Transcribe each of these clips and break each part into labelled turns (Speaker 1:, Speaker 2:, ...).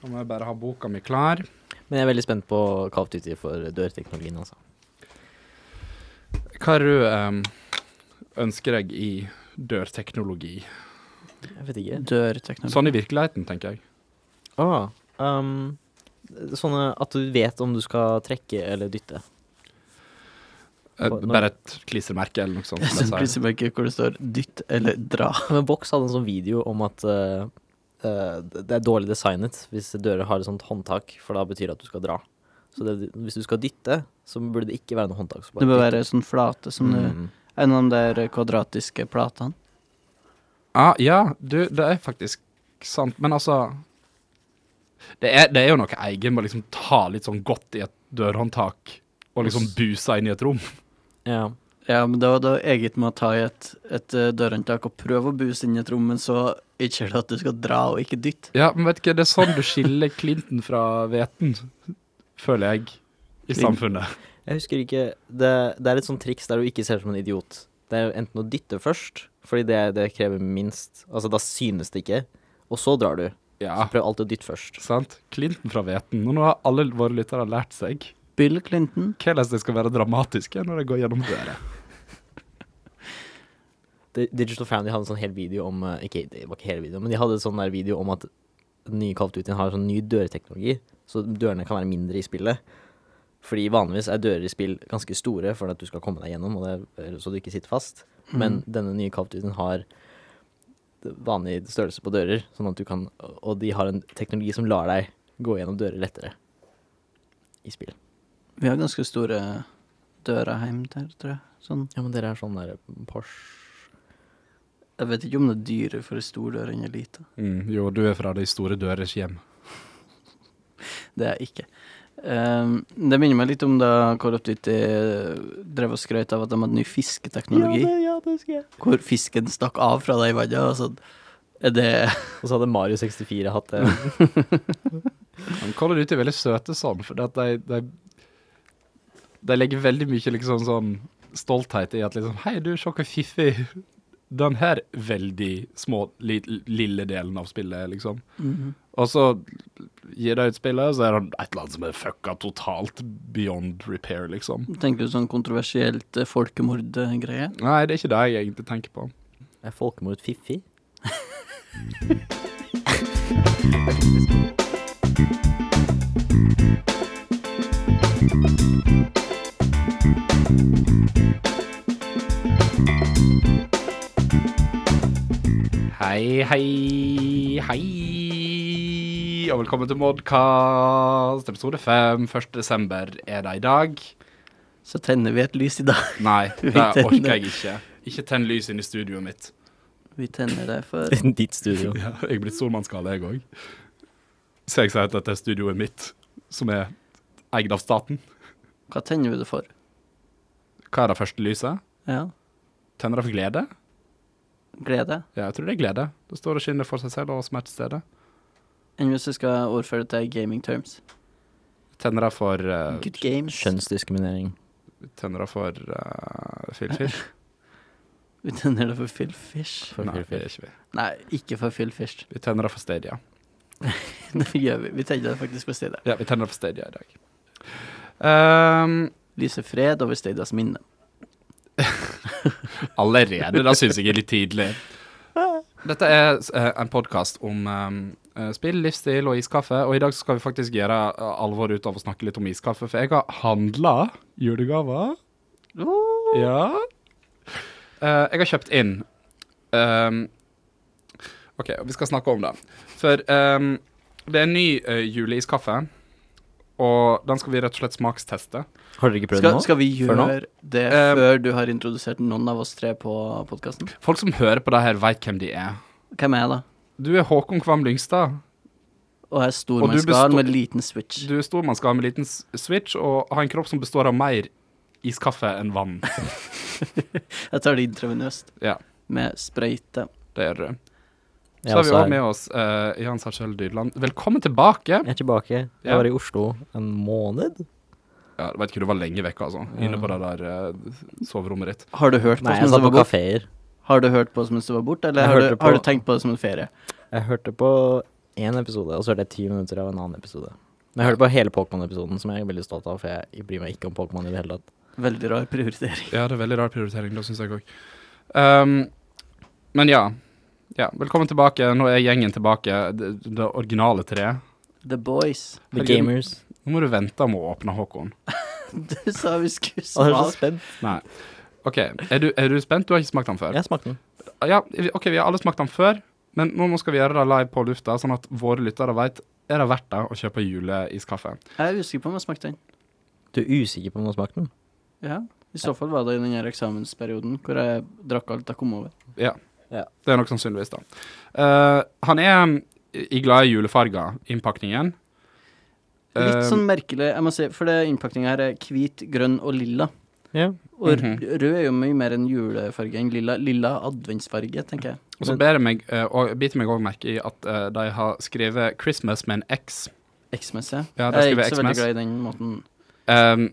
Speaker 1: Da må jeg bare ha boka mi klar.
Speaker 2: Men jeg er veldig spent på Call of Duty for dørteknologien, altså.
Speaker 1: Hva du um, ønsker deg i dørteknologi?
Speaker 2: Jeg vet ikke.
Speaker 3: Dørteknologi.
Speaker 1: Sånn i virkeligheten, tenker jeg.
Speaker 2: Ah, um, sånne at du vet om du skal trekke eller dytte.
Speaker 1: Eh,
Speaker 2: Når-
Speaker 1: Bare et klistremerke eller noe sånt.
Speaker 3: Det er
Speaker 1: som
Speaker 3: sånn
Speaker 1: jeg sier.
Speaker 3: klistremerke hvor det står 'dytt' eller 'dra'.
Speaker 2: Men Box hadde en sånn video om at eh, eh, det er dårlig designet hvis dører har et sånt håndtak, for da betyr det at du skal dra. Så det, hvis du skal dytte, så burde det ikke være noe håndtak. så bare
Speaker 3: Det bør
Speaker 2: dytte.
Speaker 3: være sånn flate som du
Speaker 2: Mm.
Speaker 3: En av de der kvadratiske platene.
Speaker 1: Ah, ja, du, det er faktisk sant. Men altså Det er, det er jo noe eget med å liksom ta litt sånn godt i et dørhåndtak og liksom buse inn i et rom.
Speaker 2: Ja.
Speaker 3: Ja, men det var da eget med å ta i et, et eh, dørhåndtak og prøve å buse inn i et rom, men så ikke det at du skal dra og ikke dytte.
Speaker 1: Ja, men vet ikke, det er sånn du skiller Clinton fra hveten, føler jeg, i
Speaker 3: Clinton.
Speaker 1: samfunnet.
Speaker 2: Jeg husker ikke det, det er et sånt triks der du ikke ser ut som en idiot. Det er enten å dytte først, fordi det, det krever minst. Altså, da synes det ikke. Og så drar du.
Speaker 1: Ja,
Speaker 2: Prøv alltid å dytte først.
Speaker 1: sant? Clinton fra hveten. Og nå har alle våre lyttere lært seg
Speaker 3: Bill Clinton.
Speaker 1: hvordan de skal være dramatiske når de går gjennom døra.
Speaker 2: Di- Digital Family hadde en sånn hel video om eh, Ikke, det var ikke hele videoen, men de hadde en sånn der video om at den nye Call of Duty har sånn ny dørteknologi, så dørene kan være mindre i spillet. Fordi vanligvis er dører i spill ganske store for at du skal komme deg gjennom, og det, er- så du ikke sitter fast.
Speaker 3: Mm.
Speaker 2: Men denne nye Call of Duty har vanlig størrelse på dører, sånn at du kan Og de har en teknologi som lar deg gå gjennom dører lettere i spill.
Speaker 3: Vi har ganske store dører hjem der, tror jeg. Sånn.
Speaker 2: Ja, men dere er sånn der Porsche
Speaker 3: Jeg vet ikke om det er dyrere for en stor dør enn en liten.
Speaker 1: Mm, jo, du er fra de store dørers hjem.
Speaker 3: Det er jeg ikke. Ehm, det minner meg litt om da Call of Duty eh, drev og skrøt av at de hadde ny fisketeknologi. Hvor fisken stakk av fra deg i vannet. og sånn. Er det
Speaker 2: Og så hadde Mario 64 hatt eh, det.
Speaker 1: De kaller det ut i veldig søte sånn, for at de, de, de legger veldig mye liksom sånn stolthet i at liksom, hei du, se hvor fiffig den her veldig små, li, lille delen av spillet, er, liksom.
Speaker 3: Mhm.
Speaker 1: Og så gir de ut spillet, så er det et eller annet som er fucka totalt beyond repair, liksom.
Speaker 3: Tenker du sånn kontroversielt eh, folkemordgreie?
Speaker 1: Nei, det er ikke det jeg egentlig tenker på.
Speaker 2: Er folkemord fiffig?
Speaker 1: Hei, hei, hei, og velkommen til Modcast, episode 5, 1. desember er det i dag.
Speaker 3: Så tenner vi et lys i dag.
Speaker 1: Nei,
Speaker 3: Vi
Speaker 1: det orker
Speaker 3: tenner.
Speaker 1: jeg ikke. Ikke tenn lys inn i studioet mitt.
Speaker 3: Vi tenner det for
Speaker 2: Ditt studio.
Speaker 1: Ja, jeg er blitt stormannsgale, jeg òg. Så jeg sier at dette er studioet mitt, som er eid av staten.
Speaker 3: Hva tenner vi det for?
Speaker 1: Hva er det første lyset?
Speaker 3: Ja,
Speaker 1: Tenner det for glede?
Speaker 3: glede.
Speaker 1: Ja, jeg tror det er glede. Det står og skinner for seg selv og oss som er til stede.
Speaker 3: Enn hvis vi skal overføre det til gaming terms.
Speaker 1: Tenner det for uh,
Speaker 3: Good games.
Speaker 2: Kjønnsdiskriminering.
Speaker 1: Tenner det for uh, Filfish?
Speaker 3: Vi tenner det for Phil Fish.
Speaker 2: For
Speaker 1: Nei, det
Speaker 2: filfil.
Speaker 1: er ikke vi.
Speaker 3: Nei, ikke for Phil Fish.
Speaker 1: Vi tenner det for Stadia.
Speaker 3: Det gjør vi. Vi tenner det faktisk for stedet.
Speaker 1: Ja, vi tenner det for Stadia i dag. Ehm,
Speaker 3: Lyser fred over stedets minne.
Speaker 1: Allerede, da syns jeg er litt tidlig. Dette er eh, en podkast om eh, spill, livsstil og iskaffe, og i dag skal vi faktisk gjøre eh, alvor ut av å snakke litt om iskaffe, for jeg har handla julegaver. Ja. Eh, jeg har kjøpt inn ehm, OK, vi skal snakke om det. For ehm, det er en ny eh, juleiskaffe, og den skal vi rett og slett smaksteste.
Speaker 2: Har dere ikke prøvd
Speaker 3: Skal,
Speaker 2: nå?
Speaker 3: skal vi
Speaker 2: Før nå?
Speaker 3: gjøre det
Speaker 1: Eh,
Speaker 3: før du har introdusert noen av oss tre på podkasten?
Speaker 1: Folk som hører på det her, veit hvem de er.
Speaker 3: Hvem er jeg, da?
Speaker 1: Du er Håkon Kvam Lyngstad.
Speaker 3: Og
Speaker 1: Og
Speaker 3: jeg er
Speaker 1: du
Speaker 3: stormannsgal
Speaker 1: består-
Speaker 3: med liten switch.
Speaker 1: Du er stor, man skal ha med liten s- switch og ha en kropp som består av mer iskaffe enn vann.
Speaker 3: Jeg tar det intravenøst.
Speaker 1: Ja.
Speaker 3: Med sprøyte.
Speaker 1: Det gjør du.
Speaker 2: Jeg
Speaker 1: Så har vi
Speaker 2: også
Speaker 1: også
Speaker 2: er-
Speaker 1: med oss eh, Jan Sarkjell Dyrland. Velkommen tilbake.
Speaker 2: Jeg er tilbake.
Speaker 1: Ja.
Speaker 2: Jeg var i Oslo en måned.
Speaker 1: Ja, jeg vet ikke, du var lenge vekk, altså. Inne på det der eh, soverommet ditt.
Speaker 3: Har du hørt på
Speaker 2: Nei,
Speaker 3: oss
Speaker 2: jeg
Speaker 3: mens du
Speaker 2: satt på
Speaker 3: var borte?
Speaker 2: kafeer.
Speaker 3: Har du hørt på oss mens du var borte, eller
Speaker 2: Jeg
Speaker 3: har du,
Speaker 2: hørte på-
Speaker 3: har du tenkt på det som en ferie?
Speaker 2: Jeg hørte på én episode, og så hørte jeg ti minutter av en annen episode. Men jeg hørte på hele Pokémon-episoden, som jeg er veldig stolt av, for jeg bryr meg ikke om Pokémon i det hele tatt.
Speaker 3: Veldig rar prioritering.
Speaker 1: Ja, det er veldig rar prioritering, det syns jeg òg. Ehm, men ja. ja. Velkommen tilbake. Nå er gjengen tilbake. Det, det originale treet.
Speaker 3: The Boys.
Speaker 2: The
Speaker 1: Herregud.
Speaker 2: Gamers.
Speaker 1: Nå må du vente med å åpne, Håkon.
Speaker 3: Du sa vi skulle
Speaker 2: Å, jeg er så
Speaker 3: smake.
Speaker 2: spent.
Speaker 1: Nei. OK, er du, er du spent? Du har ikke smakt den før?
Speaker 2: Jeg smakte den.
Speaker 1: Ja, vi- OK, vi har alle smakt den før, men nå må skal vi gjøre det live på lufta, sånn at våre lyttere veit er det verdt det å kjøpe juleiskaffe.
Speaker 3: Jeg er usikker på om jeg smakte den.
Speaker 2: Du er usikker på om du har smakt den?
Speaker 3: Ja. I så fall var det i den her eksamensperioden hvor jeg drakk alt jeg kom over.
Speaker 1: Ja.
Speaker 2: Ja.
Speaker 1: Det er nok sannsynligvis, da. Eh, han er mm, i glad i julefarger, innpakningen.
Speaker 3: Litt
Speaker 1: Eh,
Speaker 3: sånn merkelig, jeg må si, for det innpakninga her er hvit, grønn og lilla.
Speaker 2: Ja.
Speaker 3: Og r-
Speaker 1: Mhm.
Speaker 3: rød er jo mye mer en julefarge enn lilla. Lilla adventsfarge, tenker jeg.
Speaker 1: Og så ber jeg meg, eh, og biter meg òg merke i at eh, de har skrevet 'Christmas' med en X.
Speaker 3: X-mess, ja.
Speaker 1: Ja, der
Speaker 3: jeg er
Speaker 1: skriver
Speaker 3: ikke så veldig
Speaker 1: X-mess.
Speaker 3: glad i den måten.
Speaker 1: Ehm,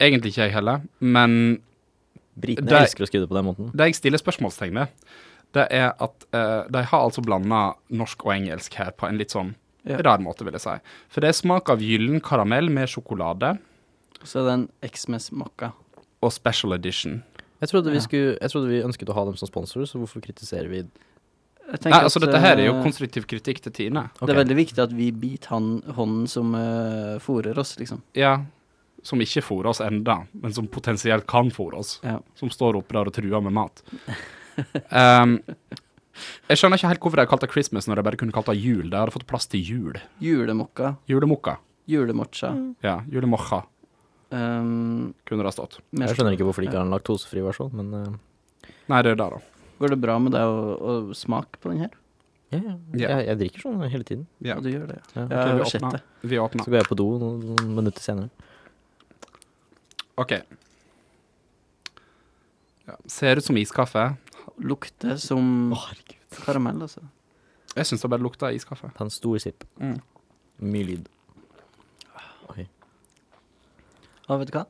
Speaker 1: egentlig ikke jeg heller, men
Speaker 2: Britene
Speaker 1: Det-
Speaker 2: elsker å skrive det på den måten.
Speaker 1: det jeg stiller spørsmålstegn ved, det er at eh, de har altså blanda norsk og engelsk her på en litt sånn
Speaker 3: Ja.
Speaker 1: rar måte, vil jeg si. For det er smak av gyllen karamell med sjokolade
Speaker 3: Så er det en X-mess-makka.
Speaker 1: og special edition.
Speaker 2: Jeg trodde, vi
Speaker 3: Ja.
Speaker 2: skulle, jeg trodde vi ønsket å ha dem som sponsorer, så hvorfor kritiserer vi
Speaker 3: Jeg
Speaker 1: Nei,
Speaker 3: tenker
Speaker 1: altså
Speaker 3: at,
Speaker 1: dette her er jo
Speaker 3: eh,
Speaker 1: konstruktiv kritikk til Tine.
Speaker 2: Ok.
Speaker 3: Det er veldig viktig at vi biter han, hånden som uh, fôrer oss, liksom.
Speaker 1: Ja, som ikke fôrer oss enda, men som potensielt kan fôre oss.
Speaker 3: Ja.
Speaker 1: Som står oppe der og truer med mat. Ehm, jeg skjønner ikke helt hvorfor de har kalt det Christmas når de bare kunne kalt det jul. De hadde fått plass til jul.
Speaker 3: Julemokka,
Speaker 1: Julemokka.
Speaker 3: julemocha.
Speaker 1: Ja, julemocha
Speaker 3: Um,
Speaker 1: kunne det ha stått.
Speaker 3: mer-
Speaker 2: Jeg skjønner ikke hvorfor de ikke har en laktosefri versjon, men eh,
Speaker 1: Nei, det er det, da.
Speaker 3: Går det bra med deg å, å smake på den her?
Speaker 2: ja, ja.
Speaker 1: Ja.
Speaker 2: Jeg, jeg drikker sånn hele tiden.
Speaker 1: Ja.
Speaker 3: Ja, du gjør det. ja.
Speaker 2: Ja.
Speaker 3: Ja,
Speaker 1: Ok,
Speaker 3: jeg
Speaker 1: vi
Speaker 3: har sett
Speaker 1: åpner.
Speaker 3: det.
Speaker 1: Vi åpner.
Speaker 2: Så går jeg på do noen, noen minutter senere.
Speaker 1: OK. Ja, ser ut som iskaffe.
Speaker 3: Lukter som
Speaker 2: herregud.
Speaker 3: karamell, altså.
Speaker 1: Jeg syns det bare lukter iskaffe.
Speaker 2: Ta en stor sipp.
Speaker 1: Mm.
Speaker 2: Mye lyd. Oi.
Speaker 3: Ja, vet du hva?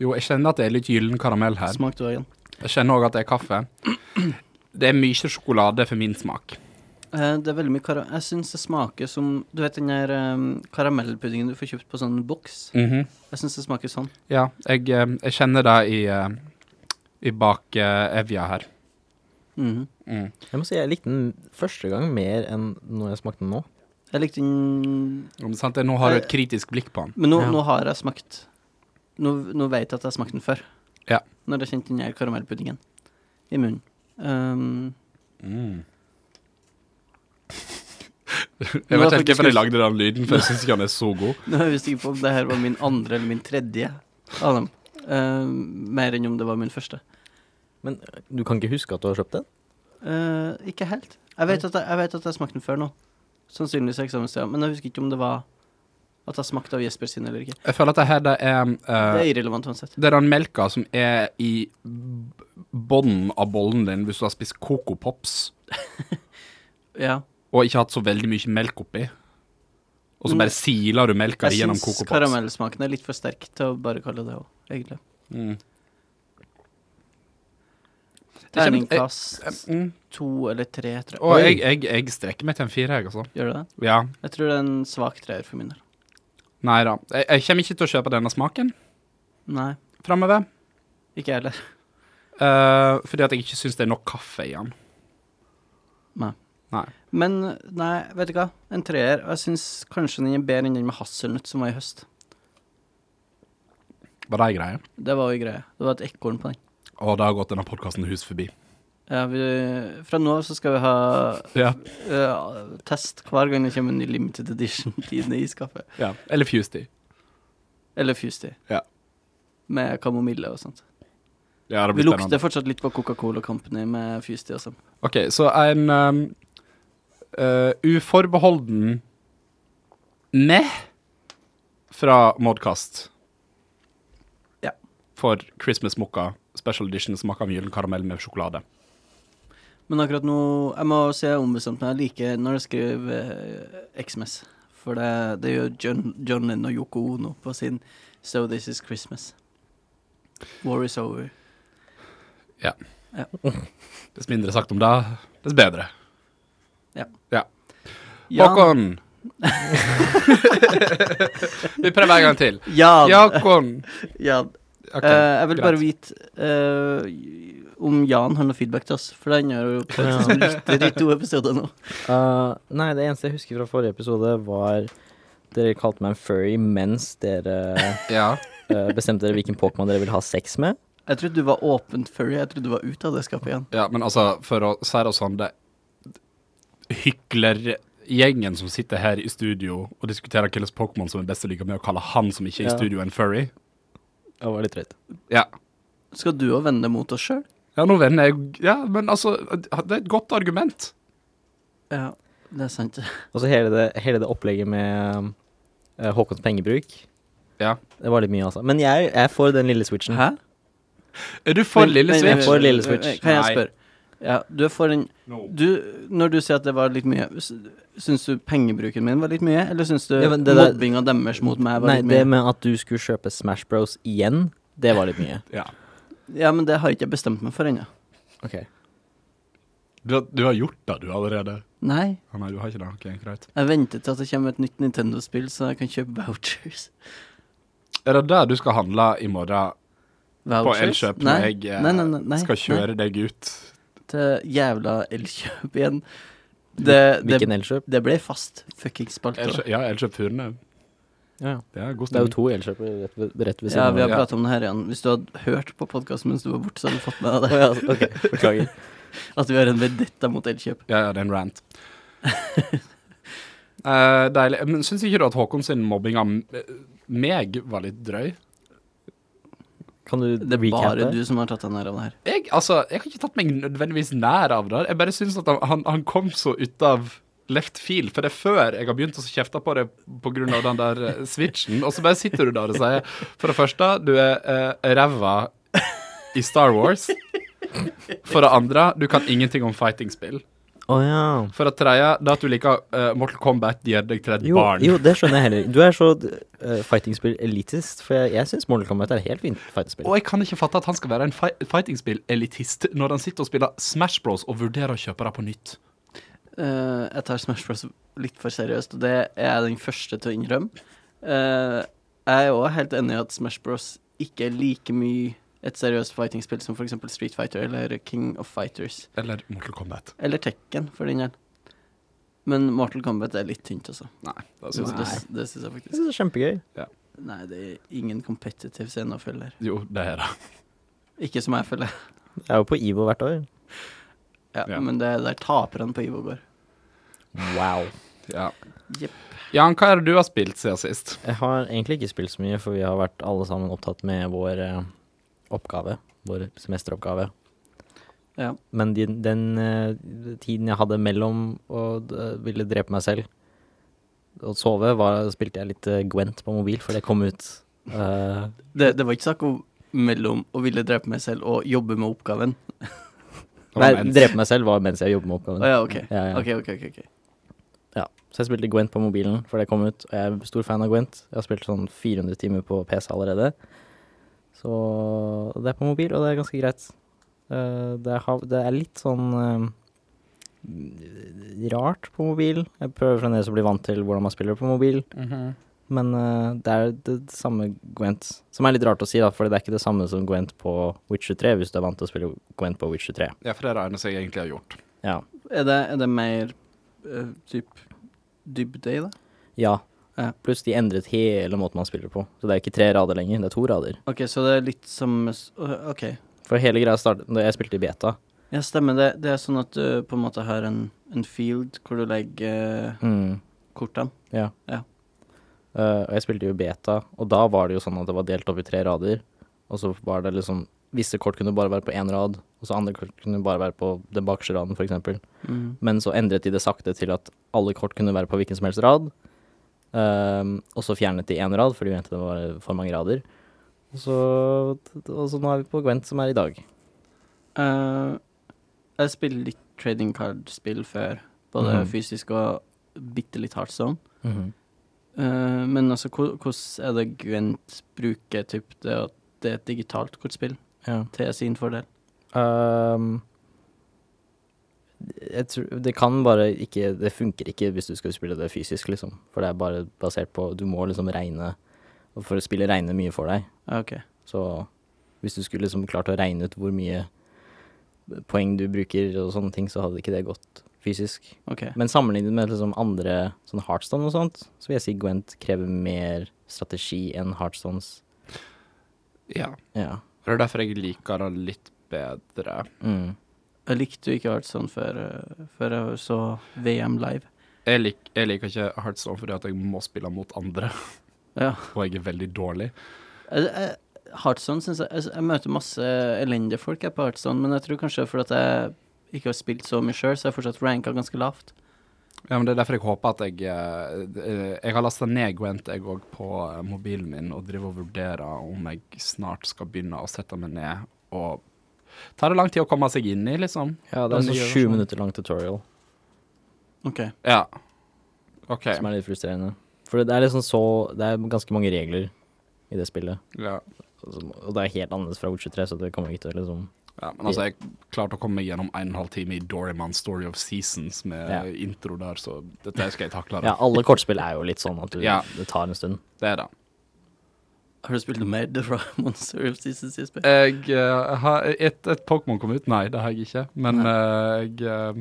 Speaker 1: Jo, jeg kjenner at det er litt gyllen karamell her.
Speaker 3: Smak du igjen.
Speaker 1: Jeg kjenner òg at det er kaffe. Det er mye sjokolade for min smak.
Speaker 3: Eh, det er veldig mye karamell. Jeg syns det smaker som Du vet den der eh, karamellpuddingen du får kjøpt på sånn boks?
Speaker 1: Mhm.
Speaker 3: Jeg syns det smaker sånn.
Speaker 1: Ja, jeg, eh, jeg kjenner det i, eh, i bak eh, evja her.
Speaker 3: Mhm.
Speaker 1: Mm.
Speaker 2: Jeg må si jeg likte den første gang mer enn når jeg smakte den nå.
Speaker 3: Jeg likte den
Speaker 1: Om sant? det- Nå har du et kritisk blikk på den.
Speaker 3: Men nå,
Speaker 2: Ja.
Speaker 3: nå har jeg smakt nå, nå vet jeg at jeg har smakt den før.
Speaker 1: Ja.
Speaker 3: Når jeg kjente den her karamellpuddingen i munnen. Ehm,
Speaker 1: Mm. Jeg vet
Speaker 3: Nå er
Speaker 1: ikke hvorfor jeg
Speaker 3: faktisk-
Speaker 1: lagde den lyden, for jeg syns ikke den er så god.
Speaker 3: nå er jeg usikker på om det her var min andre eller min tredje av dem. Ehm, mer enn om det var min første.
Speaker 2: Men eh, du kan ikke huske at du har kjøpt den?
Speaker 3: Eh, ikke helt. Jeg vet, at jeg, jeg vet at jeg smakte den før nå. Sannsynligvis i eksamenstida. Men jeg husker ikke om det var at jeg smakte av Jesper sin eller ikke.
Speaker 1: Jeg føler at det her det er
Speaker 3: Det
Speaker 1: eh,
Speaker 3: er irrelevant uansett.
Speaker 1: Det er den melka som er i b- bunnen av bollen din hvis du har spist Coco Pops
Speaker 3: Ja.
Speaker 1: og ikke hatt så veldig mye melk oppi. Og så bare siler du melka
Speaker 3: Mm. Jeg
Speaker 1: gjennom
Speaker 3: syns
Speaker 1: Coco Pops.
Speaker 3: karamellsmaken er litt for sterk til å bare kalle det òg, egentlig.
Speaker 1: Mm. Det kjenner-
Speaker 3: Terningkast
Speaker 1: Mm.
Speaker 3: to eller tre, tror jeg.
Speaker 1: Og jeg, jeg, jeg strekker meg til en fire, jeg, altså.
Speaker 3: Gjør du det?
Speaker 1: Ja.
Speaker 3: Jeg tror det er en svak treer for min del.
Speaker 1: Nei da. Jeg, jeg kommer ikke til å kjøpe denne smaken
Speaker 3: Nei,
Speaker 1: framover. eh,
Speaker 3: ikke jeg heller.
Speaker 1: fordi at jeg ikke syns det er nok kaffe i den.
Speaker 3: Nei.
Speaker 1: Nei.
Speaker 3: Men nei, vet du hva. En treer. Og jeg syns kanskje den er bedre enn den med hasselnøtt som var i høst.
Speaker 1: Var det ei greie?
Speaker 3: Det var jo greia. Det var et ekorn på den.
Speaker 1: Å, det har gått denne podkasten hus forbi.
Speaker 3: Ja, vi, fra nå av så skal vi ha
Speaker 1: Ja.
Speaker 3: øh, test hver gang det kommer en ny limited edition Tine iskaffe.
Speaker 1: ja. Eller Fusty.
Speaker 3: Eller Fusti.
Speaker 1: Ja.
Speaker 3: Med kamomille og sånt.
Speaker 1: Ja, det
Speaker 3: Vi
Speaker 1: blir spennende.
Speaker 3: lukter fortsatt litt på Coca-Cola Company med Fusti og sånn.
Speaker 1: OK, så en um, eh, uforbeholden meh fra Modcast.
Speaker 3: Ja.
Speaker 1: For Christmas Mokka special edition smak av gyllen karamell med sjokolade.
Speaker 3: Men akkurat nå Jeg må si jeg har ombestemt meg. Jeg liker når jeg skriver eh, XMS. For det, det gjør John, John Lennon og Yoko Ono på sin So This Is Christmas. War is over.
Speaker 1: Dess mindre sagt om det, dess bedre.
Speaker 3: Jan,
Speaker 1: Håkon! Vi prøver en gang til.
Speaker 3: Jan,
Speaker 1: Jakon!
Speaker 3: Jan.
Speaker 1: Ok,
Speaker 3: Eh, jeg vil
Speaker 1: greit.
Speaker 3: bare vite eh, om Jan har noe feedback til oss, for den har jo faktisk lytter i to episoder nå.
Speaker 2: Eh, nei, det eneste jeg husker fra forrige episode, var dere kalte meg en furry mens dere
Speaker 1: Ja.
Speaker 2: eh, bestemte dere hvilken Pokémon dere ville ha sex med.
Speaker 3: Jeg trodde du var åpent furry. Jeg trodde du var ute av det skapet igjen.
Speaker 1: Ja, men altså, for å si det sånn, det hyklergjengen som sitter her i studio og diskuterer hvilken Pokémon som er best å like, med å kalle han som ikke er
Speaker 2: Ja.
Speaker 1: i studio, en furry.
Speaker 2: Jeg var litt redd.
Speaker 1: Ja.
Speaker 3: Skal du òg vende mot oss sjøl?
Speaker 1: ja, nå vender jeg Ja, men altså, det er et godt argument.
Speaker 3: Ja, det er sant.
Speaker 2: Og så hele det, hele det opplegget med eh, Håkons pengebruk.
Speaker 1: Ja.
Speaker 2: Det var litt mye, altså. Men jeg, jeg får den lille switchen.
Speaker 3: Hæ?
Speaker 1: Er du for
Speaker 3: Men-
Speaker 1: Lille
Speaker 3: men-
Speaker 1: Switch?
Speaker 2: for Lille Switch.
Speaker 3: Kan jeg
Speaker 1: Nei.
Speaker 3: spørre? Ja, du er for en du, Når du sier at det var litt mye, s- syns du pengebruken min var litt mye? Eller syns du
Speaker 2: Ja, men det der-
Speaker 3: mobbinga deres mot meg var
Speaker 2: Nei,
Speaker 3: litt
Speaker 2: det
Speaker 3: mye?
Speaker 2: med at du skulle kjøpe Smash Bros igjen, det var litt mye.
Speaker 1: Ja.
Speaker 3: Ja, men det har ikke jeg bestemt meg for ennå.
Speaker 2: Ok.
Speaker 1: Du, har- du har gjort det, du, allerede.
Speaker 3: Nei.
Speaker 1: Å nei, du har ikke det. Ok, greit.
Speaker 3: Jeg venter til at det kommer et nytt Nintendo-spill, så jeg kan kjøpe vouchers.
Speaker 1: Er det der du skal handle i morgen på
Speaker 3: Vouchers?
Speaker 1: Elkjøp når
Speaker 3: nei.
Speaker 1: jeg eh,
Speaker 3: nei, nei, nei, nei,
Speaker 1: skal
Speaker 3: nei.
Speaker 1: kjøre deg ut?
Speaker 3: Til jævla Elkjøp igjen. Det, det,
Speaker 2: Hvilken elkjøp?
Speaker 3: det ble fast fuckings spalte.
Speaker 1: Elkjøp, ja, Elkjøp Furne.
Speaker 2: Ja, ja.
Speaker 1: Det er god
Speaker 2: Det er jo
Speaker 1: stemning.
Speaker 2: to elkjøpere rett, ved- rett ved
Speaker 3: Ja,
Speaker 2: siden
Speaker 3: vi har
Speaker 1: Ja.
Speaker 3: pratet om det her igjen. Hvis du hadde hørt på podkasten mens du var borte, så hadde du fått med deg det.
Speaker 2: Ja, ok, beklager.
Speaker 3: At vi har en vendetta mot Elkjøp.
Speaker 1: Ja, ja, det er en rant. Eh, deilig. Men syns ikke du at Håkon sin mobbing av m- eh, meg var litt drøy?
Speaker 2: Kan du
Speaker 3: Det er bare
Speaker 2: recappe?
Speaker 3: du som har tatt deg nær av det her.
Speaker 1: Jeg, altså, jeg har ikke tatt meg nødvendigvis nær av det. Jeg bare syns at han, han, han kom så ut av left field. For det er før jeg har begynt å kjefte på det pga. den der eh, switchen. Og så bare sitter du der og sier For det første, du er eh, ræva i Star Wars. For det andre, du kan ingenting om fighting-spill.
Speaker 2: Å ja.
Speaker 1: For det tredje, det at du liker eh, Mortal Kombat, gjør deg til et
Speaker 2: Jo,
Speaker 1: barn.
Speaker 2: jo, det skjønner jeg heller. Du er så eh, fightingspill elitist, for jeg, jeg syns Mortal Kombat er et helt fint fightingspill.
Speaker 1: Og jeg kan ikke fatte at han skal være en fi fightingspill-elitist når han sitter og spiller Smash Bros og vurderer å kjøpe det på nytt.
Speaker 3: Eh, jeg tar Smash Bros litt for seriøst, og det er jeg den første til å innrømme. Eh, jeg er òg helt enig i at Smash Bros ikke er like mye et seriøst fightingspill som f.eks. Street Fighter eller King of Fighters.
Speaker 1: Eller Mortal Kombat.
Speaker 3: Eller Tekken, for den del. Men Mortal Kombat er litt tynt, altså.
Speaker 1: Nei, det
Speaker 3: Det,
Speaker 1: synes jeg.
Speaker 3: det, det syns jeg
Speaker 2: Jeg
Speaker 3: faktisk.
Speaker 2: synes det er kjempegøy.
Speaker 3: Nei, det er ingen competitive scene å følge der.
Speaker 1: Jo, det er det.
Speaker 3: Ikke som jeg følger.
Speaker 2: Jeg er jo på IVO hvert år.
Speaker 3: Ja,
Speaker 1: Ja.
Speaker 3: Men det er der taperne på Ivo går.
Speaker 2: Wow.
Speaker 1: Ja.
Speaker 3: Jepp.
Speaker 1: Jan, hva er det du har spilt siden sist?
Speaker 2: Jeg har egentlig ikke spilt så mye, for vi har vært alle sammen opptatt med vår eh, oppgave. Vår semesteroppgave.
Speaker 3: Ja.
Speaker 2: Men de, den eh, tiden jeg hadde mellom å d- ville drepe meg selv og sove, var, spilte jeg litt eh, Gwent på mobil, for det kom ut. eh,
Speaker 3: Det, det var ikke snakk om mellom å ville drepe meg selv og jobbe med oppgaven.
Speaker 2: nei, drepe meg selv var mens jeg jobbet med
Speaker 3: Å
Speaker 2: oppgaven.
Speaker 3: ja, OK.
Speaker 2: Ja, ja.
Speaker 3: Ok, ok, ok, ok.
Speaker 2: Ja. Så jeg spilte Gwent på mobilen før det kom ut, og jeg er stor fan av Gwent. Jeg har spilt sånn 400 timer på PC allerede. Så det er på mobil, og det er ganske greit. Eh, det, er, hav- det er litt sånn eh, rart på mobil. Jeg prøver fremdeles å bli vant til hvordan man spiller på mobil,
Speaker 1: Mhm.
Speaker 2: men eh, det er det, samme Gwent. Som er litt rart å si, da, for det er ikke det samme som Gwent på Witcher 3, hvis du er vant til å spille Gwent på Witcher 3.
Speaker 1: Ja, for det er det eneste jeg egentlig har gjort.
Speaker 2: Ja.
Speaker 3: Er det, er det mer uh, typ dybde i det?
Speaker 2: ja.
Speaker 3: Ja.
Speaker 2: Pluss de endret hele måten man spiller på. Så det er ikke tre rader lenger, det er to rader.
Speaker 3: OK, så det er litt som s- å, OK.
Speaker 2: For hele greia startet da jeg spilte i beta.
Speaker 3: Ja, stemmer det. Det er sånn at du på en måte har en, en field hvor du legger eh, kortene.
Speaker 2: Eh, og jeg spilte jo i beta, og da var det jo sånn at det var delt opp i tre rader. Og så var det liksom Visse kort kunne bare være på én rad, og så andre kort kunne bare være på den bakerste raden, f.eks.
Speaker 3: Mm.
Speaker 2: Men så endret de det sakte til at alle kort kunne være på hvilken som helst rad. Ehm, og så fjernet de én rad, for de mente det var for mange rader. Og så, og så nå er vi på Gwent, som er i dag.
Speaker 3: Eh, jeg spiller litt trading card-spill før, både
Speaker 2: Mhm.
Speaker 3: fysisk og bitte litt Heartstone. Eh, men altså, hvor- hvordan er det Gwent bruker typ, det at det er et digitalt kortspill
Speaker 2: ja.
Speaker 3: til sin fordel?
Speaker 2: Ehm, jeg tror, det kan bare ikke Det funker ikke hvis du skal spille det fysisk, liksom. For det er bare basert på Du må liksom regne Og for å spille regne mye for deg.
Speaker 3: Ok.
Speaker 2: Så hvis du skulle liksom klart å regne ut hvor mye poeng du bruker og sånne ting, så hadde ikke det gått fysisk.
Speaker 3: ok.
Speaker 2: Men sammenlignet med liksom andre sånn Heartstone og sånt, så vil jeg si Gwent krever mer strategi enn Heartstones.
Speaker 1: Ja.
Speaker 2: Ja.
Speaker 1: Det er derfor jeg liker det litt bedre.
Speaker 2: Mm.
Speaker 3: Jeg likte jo ikke Heartstone før, eh, før jeg så VM live.
Speaker 1: Jeg, lik, jeg liker ikke Heartstone fordi at jeg må spille mot andre,
Speaker 3: Ja.
Speaker 1: og jeg er veldig dårlig.
Speaker 3: Jeg- jeg- Heartstone synes jeg, jeg Jeg møter masse elendige folk jeg på Heartstone, men jeg tror kanskje fordi at jeg ikke har spilt så mye sjøl, så jeg er fortsatt ranka ganske lavt.
Speaker 1: Ja, men Det er derfor jeg håper at jeg eh, eh, Jeg har lasta ned Gwent jeg òg på eh, mobilen min og driver og vurderer om jeg snart skal begynne å sette meg ned og Tar det lang tid å komme seg inn i, liksom?
Speaker 2: ja, det
Speaker 1: Den
Speaker 2: er sånn
Speaker 1: nye
Speaker 2: sju
Speaker 1: versjonen.
Speaker 2: minutter lang tutorial.
Speaker 3: Ok.
Speaker 1: Ja. OK.
Speaker 2: som er litt frustrerende. For det er liksom så Det er ganske mange regler i det spillet.
Speaker 1: Ja.
Speaker 2: Altså, Og det er helt annerledes fra Witcher 3, så det kommer ikke til å liksom
Speaker 1: Ja, men altså, jeg klarte å komme meg gjennom en og en halv time i Doryman Story of Seasons med
Speaker 2: Ja.
Speaker 1: intro der, så dette skal jeg takle. Da.
Speaker 2: Ja, alle kortspill er jo litt sånn at du,
Speaker 1: Ja.
Speaker 2: det tar en stund.
Speaker 1: Det er det.
Speaker 3: Har du spilt noe mer The Royal Monster of Season sist? Be?
Speaker 1: Jeg eh, har Et, et Pokémon kom ut? Nei, det har jeg ikke. Men eh, jeg eh,